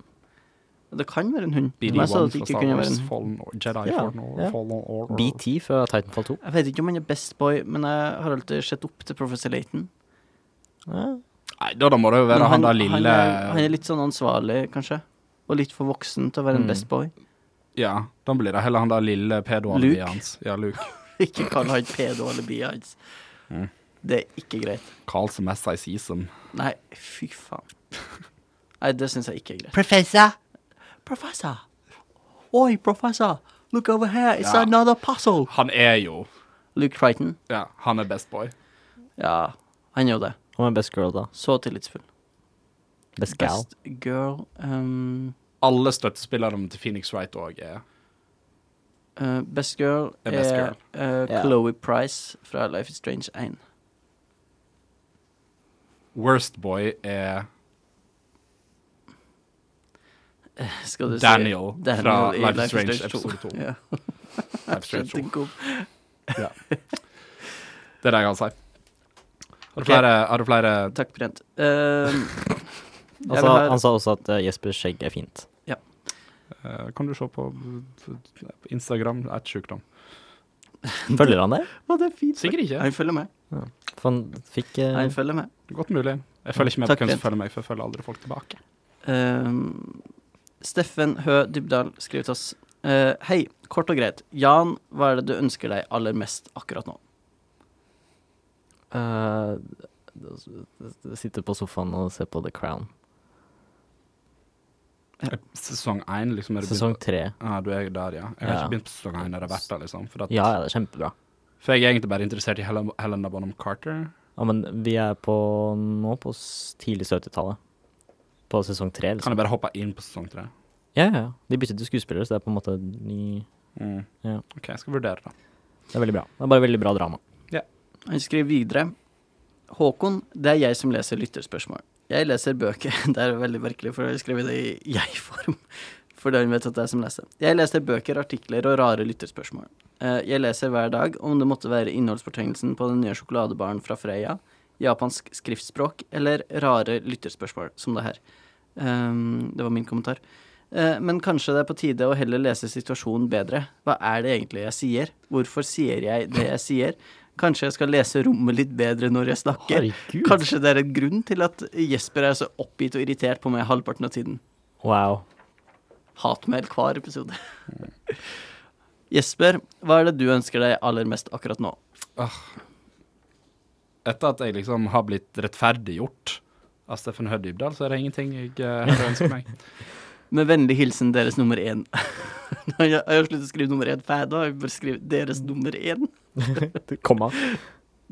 Speaker 3: Det kan være en hund. Men jeg sa
Speaker 1: BD1 fra
Speaker 3: at det ikke
Speaker 1: Star
Speaker 3: kunne være
Speaker 1: Wars,
Speaker 3: en hund.
Speaker 1: Fallen, Or- Jedi
Speaker 2: Ja,
Speaker 1: Fallen, Or-
Speaker 2: ja.
Speaker 1: Fallen Or- Or-
Speaker 2: BT fra Titanfall 2.
Speaker 3: Jeg vet ikke om han er best boy, men jeg har alltid sett opp til Professor Layton.
Speaker 2: Ja.
Speaker 1: Nei, da, da må det jo
Speaker 3: Men
Speaker 1: være han, der
Speaker 3: han,
Speaker 1: lille
Speaker 3: er, han er litt sånn ansvarlig, kanskje. Og litt for voksen til å være en
Speaker 2: Mm.
Speaker 3: best boy.
Speaker 1: Ja, da blir det heller han der lille pedoen
Speaker 3: Luke?
Speaker 1: hans. Ja, Luke.
Speaker 3: Ikke kall han pedo eller bia hans.
Speaker 1: Mm.
Speaker 3: Det er ikke greit.
Speaker 1: Carl som mest I see som.
Speaker 3: Nei, fy faen. Nei, det syns jeg ikke er greit.
Speaker 5: Professor,
Speaker 3: Professor! Oi, professor! Look over here, it's
Speaker 1: Ja.
Speaker 3: another puzzle!
Speaker 1: Han er jo
Speaker 3: Luke Triton.
Speaker 1: Ja, han er best boy.
Speaker 3: Ja, han gjør det.
Speaker 2: Hva med Best Girl, da?
Speaker 3: Så tillitsfull.
Speaker 2: Best Gal?
Speaker 3: Best girl um,
Speaker 1: Alle støttespillerne til Phoenix Wright òg er
Speaker 3: uh, Best girl
Speaker 1: Det
Speaker 3: er,
Speaker 1: er best girl.
Speaker 3: uh,
Speaker 2: Ja.
Speaker 3: Chloé Price fra Life is Strange 1.
Speaker 1: Worst boy er
Speaker 3: Skal du
Speaker 1: Daniel
Speaker 3: si
Speaker 1: fra
Speaker 3: i
Speaker 1: Life is Strange episode 2.
Speaker 3: Ja.
Speaker 1: Life Strange 2.
Speaker 3: Skjønte ikke om-
Speaker 1: Det er det jeg kan si. Har du
Speaker 3: Ok.
Speaker 1: flere, har du flere
Speaker 3: Takk, Brent.
Speaker 2: Han sa,
Speaker 3: Um, jeg vil ha-
Speaker 2: Altså, han sa også at eh, Jespers skjegg er fint.
Speaker 1: eh, Kan du se på eh, Instagram? Et sjukdom.
Speaker 2: Følger han det?
Speaker 3: Å, det er fint.
Speaker 1: Sikkert ikke.
Speaker 3: Han følger med.
Speaker 2: For han fikk eh,
Speaker 3: Han følger med.
Speaker 1: Godt mulig. Jeg følger ikke med
Speaker 3: Takk,
Speaker 1: på hvem som
Speaker 3: Bent.
Speaker 1: følger meg, for jeg følger aldri folk tilbake.
Speaker 3: Ehm, Steffen Hø Dybdahl skriver til oss. eh, hei, kort og greit. Jan, hva er det du ønsker deg aller mest akkurat nå?
Speaker 2: eh, Sitter på sofaen og ser på The Crown.
Speaker 1: Sesong én, liksom. Er det
Speaker 2: Sesong
Speaker 1: begynt-
Speaker 2: tre.
Speaker 1: Ja, du er der, ja. Jeg har
Speaker 2: Ja.
Speaker 1: ikke begynt på sesong én, er det verdt det, liksom? For, at,
Speaker 2: Ja, ja, det er kjempebra.
Speaker 1: for jeg er egentlig bare interessert i Helen- Helena Bonham Carter.
Speaker 2: Ja, men vi er på nå på s- tidlig 70-tallet. På sesong tre,
Speaker 1: Kan
Speaker 2: liksom.
Speaker 1: jeg bare hoppe inn på sesong tre?
Speaker 2: Ja, ja. ja. De byttet jo skuespillere, så det er på en måte ny
Speaker 1: Mm.
Speaker 2: Ja.
Speaker 1: OK, jeg skal vurdere det.
Speaker 2: Det er veldig bra. Det er bare veldig bra drama.
Speaker 3: Han skriver videre. Håkon, det er jeg som leser lytterspørsmål. Jeg leser bøker. Det er veldig merkelig, for jeg har skrevet det i jeg-form. Fordi han vet at det er jeg som leser. Jeg leser bøker, artikler og rare lytterspørsmål. Eh, Jeg leser hver dag, om det måtte være innholdsfortegnelsen på den nye sjokoladebaren fra Freia, japansk skriftspråk eller rare lytterspørsmål, som det her. Ehm, det var min kommentar. Eh, men kanskje det er på tide å heller lese situasjonen bedre. Hva er det egentlig jeg sier? Hvorfor sier jeg det jeg sier? Kanskje jeg skal lese rommet litt bedre når jeg snakker?
Speaker 2: Herregud.
Speaker 3: Kanskje det er en grunn til at Jesper er så oppgitt og irritert på meg halvparten av tiden.
Speaker 2: Wow.
Speaker 3: Hatmail hver episode. Jesper, hva er det du ønsker deg aller mest akkurat nå?
Speaker 1: Etter at jeg liksom har blitt rettferdiggjort av Steffen Hødd Dybdahl, så er det ingenting jeg eh, hadde ønsket meg.
Speaker 3: Med vennlig hilsen deres nummer én. Nå har jeg jeg har sluttet å skrive nummer én, for jeg da har jeg bare skrevet deres nummer én.
Speaker 2: Komma.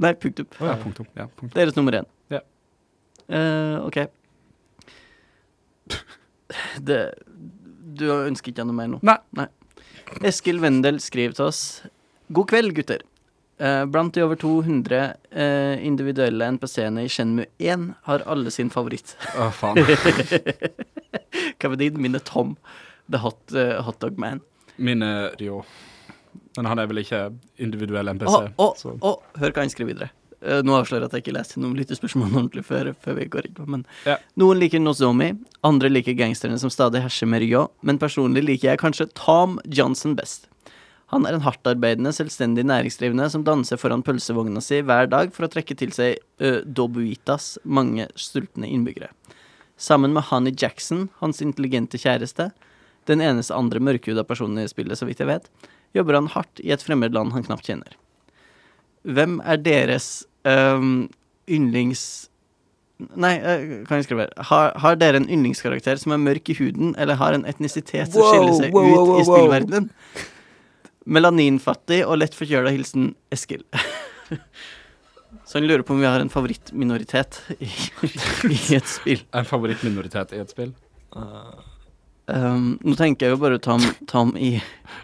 Speaker 3: Nei, punktum.
Speaker 1: Ja, punktum. Ja, punktum.
Speaker 3: Deres nummer én.
Speaker 1: Ja.
Speaker 3: Eh, ok. Det Du ønsker ikke noe mer nå?
Speaker 1: Nei.
Speaker 3: Eskil Wendel skriver til oss God kveld, gutter. Eh, Blant de over 200 eh, individuelle NPC-ene i Shenmue 1 har alle sin favoritt.
Speaker 1: Å, faen.
Speaker 3: Hva var din? Min er Tom. The Hot, eh, hot Dog Man.
Speaker 1: Min er Rio. Men han er vel ikke individuell NPC.
Speaker 3: Å, å,
Speaker 1: så-
Speaker 3: å, hør hva han skriver videre. Eh, nå avslører jeg at jeg ikke leser noen lyttespørsmål ordentlig før, før vi går inn på, men
Speaker 1: Ja.
Speaker 3: Noen liker Nozomi, andre liker gangsterne som stadig herser med Rio, men personlig liker jeg kanskje Tom Johnson best. Han er en hardtarbeidende, selvstendig næringsdrivende som danser foran pølsevogna si hver dag for å trekke til seg eh, Dobuitas mange sultne innbyggere. Sammen med Honey Jackson, hans intelligente kjæreste, den eneste andre mørkhuda personen i spillet, så vidt jeg vet, jobber han hardt i et fremmed land han knapt kjenner. Hvem er deres øhm, yndlings... Nei, øh, kan jeg skrive her. Har, har dere en yndlingskarakter som er mørk i huden, eller har en etnisitet som
Speaker 2: Wow,
Speaker 3: skiller seg
Speaker 2: wow, wow,
Speaker 3: ut
Speaker 2: wow,
Speaker 3: i spillverdenen? Melaninfattig og lett forkjøla hilsen Eskil. Så han lurer på om vi har en favorittminoritet i, i et spill.
Speaker 1: En favorittminoritet i et spill.
Speaker 3: Øhm, Ehm, nå tenker jeg jo bare Tom, Tom i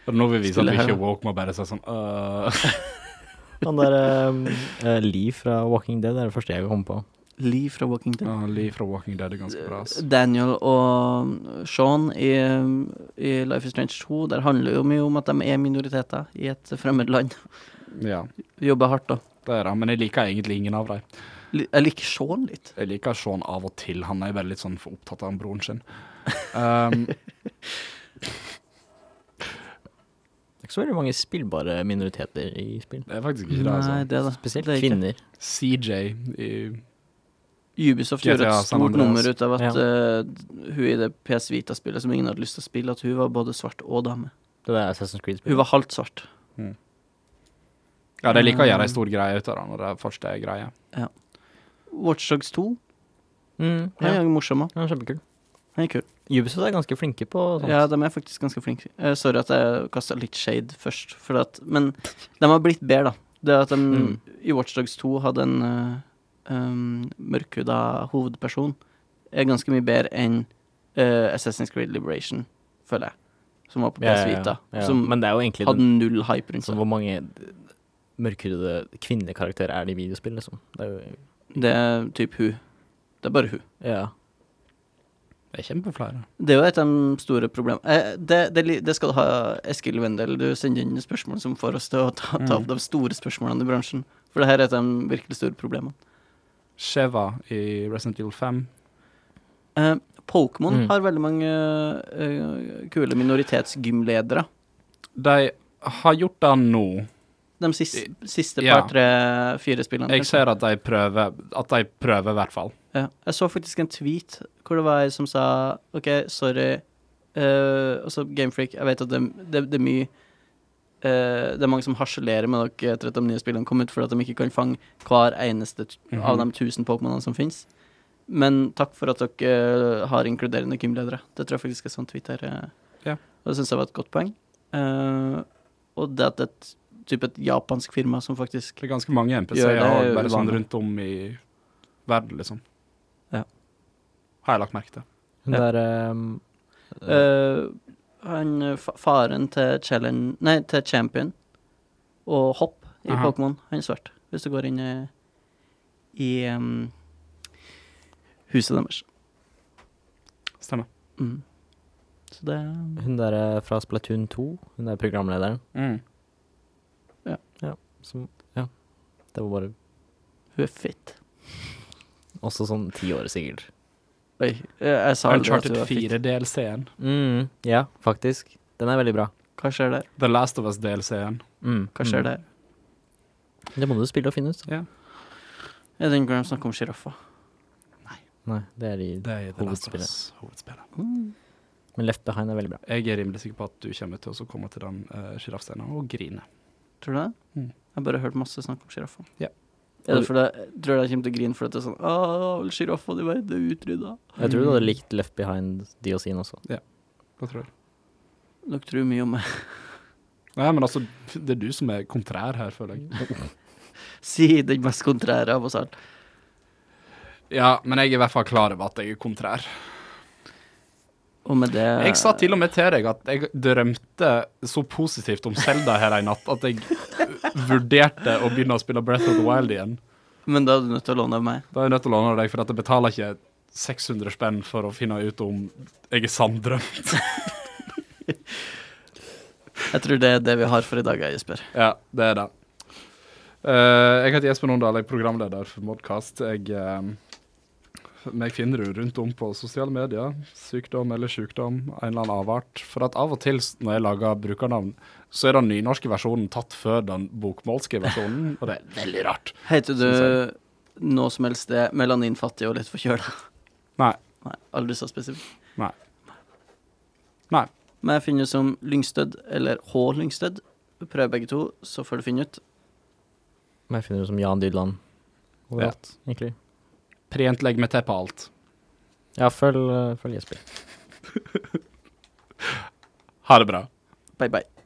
Speaker 1: Og nå vil vi vise at
Speaker 3: Spillet
Speaker 1: vi
Speaker 3: her,
Speaker 1: ikke
Speaker 3: da.
Speaker 1: woke må bare si sånn øh.
Speaker 2: Han der eh, Lee fra Walking Dead er det første jeg kom på.
Speaker 3: Lee fra Walking Dead.
Speaker 1: Ja, Lee fra Walking Dead er ganske bra. ass.
Speaker 2: Eh,
Speaker 3: Daniel og Sean i, i Life is Strange 2, der handler jo mye om at de er minoriteter i et fremmed land.
Speaker 1: Ja,
Speaker 3: Jobber hardt, da.
Speaker 1: det er det. Men jeg liker egentlig ingen av dem.
Speaker 3: Li- Jeg liker Sean litt.
Speaker 1: Jeg liker Sean av og til. Han er bare litt sånn for opptatt av broren sin. Um,
Speaker 2: Det er ikke så veldig mange spillbare minoriteter i spill.
Speaker 1: det er faktisk ikke det, altså.
Speaker 3: det er det.
Speaker 2: Spesielt
Speaker 3: Det er ikke-
Speaker 2: kvinner.
Speaker 1: CJ i
Speaker 3: Ubisoft
Speaker 1: GTA
Speaker 3: gjorde et
Speaker 1: San
Speaker 3: stort
Speaker 1: Andreas.
Speaker 3: nummer ut av at
Speaker 2: Ja.
Speaker 3: eh, hun i det PS Vita-spillet som ingen hadde lyst til å spille, at hun var både svart og dame.
Speaker 2: Det der Assassin's
Speaker 3: Hun
Speaker 2: Creed-spillet.
Speaker 3: var halvt svart.
Speaker 1: Ja, de liker å gjøre
Speaker 3: Mm.
Speaker 1: ei stor greie ut av det når det først er greie.
Speaker 3: Watchdogs 2,
Speaker 2: Mm,
Speaker 3: han er
Speaker 2: ja.
Speaker 3: jo morsom òg.
Speaker 2: Ja, kjempekul.
Speaker 3: Han er kul.
Speaker 2: Ubisoft er ganske flinke på sånt.
Speaker 3: Ja, de er faktisk ganske flinke. Eh, sorry at jeg kasta litt shade først, for at, men de har blitt bedre, da. Det at de
Speaker 2: Mm.
Speaker 3: i Watchdogs 2 hadde en uh, um, mørkhuda hovedperson, er ganske mye bedre enn eh, Assassin's Creed Liberation, føler jeg, som var på PS Vita.
Speaker 2: ja.
Speaker 3: Som
Speaker 2: Men det er jo egentlig den-
Speaker 3: hadde null hype rundt
Speaker 2: Så
Speaker 3: seg.
Speaker 2: Sånn hvor mange mørkhudede kvinnelige karakterer er det i videospill, liksom? Det er jo
Speaker 3: Det er typ hun. Det er bare hun.
Speaker 2: Ja.
Speaker 1: Det er kjempeflere.
Speaker 3: Det er jo et av de store problemene. Eh, det, det, li- det skal du ha, Eskil Wendel. Du sender inn spørsmål som får oss til å ta, ta
Speaker 1: Mm.
Speaker 3: opp de store spørsmålene i bransjen. For det her er et av de virkelig store problemene.
Speaker 1: Sheva i Resident Evil 5.
Speaker 3: Eh, Pokémon
Speaker 2: Mm.
Speaker 3: har veldig mange eh, kule minoritetsgymledere.
Speaker 1: De har gjort det nå.
Speaker 3: De siste, siste
Speaker 1: Ja.
Speaker 3: par, tre, fire spillene.
Speaker 1: Jeg
Speaker 3: kanskje.
Speaker 1: ser at de prøver, at de prøver i hvert fall.
Speaker 3: Ja. Jeg så faktisk en tweet hvor det var ei som sa OK, sorry. eh, altså, Gamefreak, jeg vet at det, det, det er mye eh, Det er mange som harselerer med dere etter at de nye spillene kom ut, fordi at de ikke kan fange hver eneste t
Speaker 1: Mhm.
Speaker 3: av de tusen Pokémonene som finnes. Men takk for at dere eh, har inkluderende gymledere. Det tror jeg faktisk er sånn tweet her. eh.
Speaker 1: Ja.
Speaker 3: Og det syns jeg var et godt poeng. Eh, og det at det er et, typ et japansk firma som faktisk
Speaker 1: Det er ganske mange
Speaker 3: Gjør
Speaker 1: NPC-er
Speaker 3: det
Speaker 1: og bare sånn
Speaker 3: uvanlig.
Speaker 1: rundt om i verden, liksom.
Speaker 3: Ja.
Speaker 1: Har jeg lagt merke til.
Speaker 2: Hun
Speaker 3: Ja.
Speaker 2: der um,
Speaker 3: Eh, han, eh, fa- faren til, challenge, nei, til champion og hopp i
Speaker 1: Aha.
Speaker 3: Pokémon, han er svart. Hvis du går inn i, i em, huset deres.
Speaker 1: Stemmer.
Speaker 3: Mm. Så det er
Speaker 2: Hun der eh, fra Splatoon 2, hun der programlederen
Speaker 1: Mm.
Speaker 2: som Ja. Det var bare
Speaker 3: Hun er fit.
Speaker 2: også sånn ti år, sikkert.
Speaker 3: Oi, eh, jeg sa aldri at
Speaker 1: Uncharted
Speaker 3: hun var fit.
Speaker 1: 4-DLC-en.
Speaker 2: Mm, ja, faktisk. Den er veldig bra.
Speaker 3: Hva skjer der?
Speaker 1: The Last of Us-DLC-en.
Speaker 2: Mm,
Speaker 3: Hva
Speaker 2: mm.
Speaker 3: skjer der?
Speaker 2: Det må du spille og finne ut.
Speaker 3: Jeg tenker når de snakker om sjiraffer.
Speaker 2: Nei, det er de
Speaker 1: Det er The Last of
Speaker 2: Hovedspillet.
Speaker 1: Us. Hovedspillet.
Speaker 2: Men Left Behind er veldig bra.
Speaker 1: Jeg er rimelig sikker på at du kommer til å komme til den uh, sjiraffscenen og grine.
Speaker 3: Tror du det?
Speaker 1: Mm.
Speaker 3: Jeg har bare hørt masse snakk om sjiraffer.
Speaker 1: Ja.
Speaker 3: Er det fordi jeg tror jeg kommer til å grine fordi det er sånn Å, sjiraffer, de var utrydda.
Speaker 2: Jeg tror du hadde likt Left Behind DOC-en også.
Speaker 1: Hva tror du?
Speaker 3: Dere tror mye om meg.
Speaker 1: Nei, men altså, det er du som er kontrær her, føler jeg.
Speaker 3: Si den mest kontrære av oss alle.
Speaker 1: Ja, men jeg er i hvert fall klar over at jeg er kontrær.
Speaker 3: Og med det
Speaker 1: Jeg sa til og med til deg at jeg drømte så positivt om Selda her en natt at jeg vurderte å begynne å spille Breath of the Wild igjen.
Speaker 3: Men da er du nødt til å låne av meg.
Speaker 1: Da er jeg nødt til å låne deg, for at jeg betaler ikke 600 spenn for å finne ut om jeg er sanndrømt.
Speaker 3: Jeg tror det er det vi har for i dag, Jesper.
Speaker 1: Ja, det er det. Eh, jeg heter Jesper Nondal, jeg er programleder for Modcast. Jeg, eh, meg finner du rundt om på sosiale medier. Sykdom eller sykdom, en eller annen avart. For at av og til s- når jeg lager brukernavn, så er den nynorske versjonen tatt før den bokmålske versjonen, og det er veldig rart.
Speaker 3: Heter du
Speaker 1: Synes
Speaker 3: noe som helst det melaninfattig og litt forkjøla?
Speaker 1: Nei.
Speaker 3: Nei, aldri så spesifikt.
Speaker 1: Nei. Nei.
Speaker 3: Men jeg finner som Lyngstød eller H. Lyngstød. Prøv begge to, så får du finne ut.
Speaker 2: Men jeg finner det som Jan Dydland. Overalt, egentlig.
Speaker 1: Prent legg meg til på alt.
Speaker 2: Ja, følg, eh, følg Jesper.
Speaker 1: Ha det bra.
Speaker 3: Bye, bye.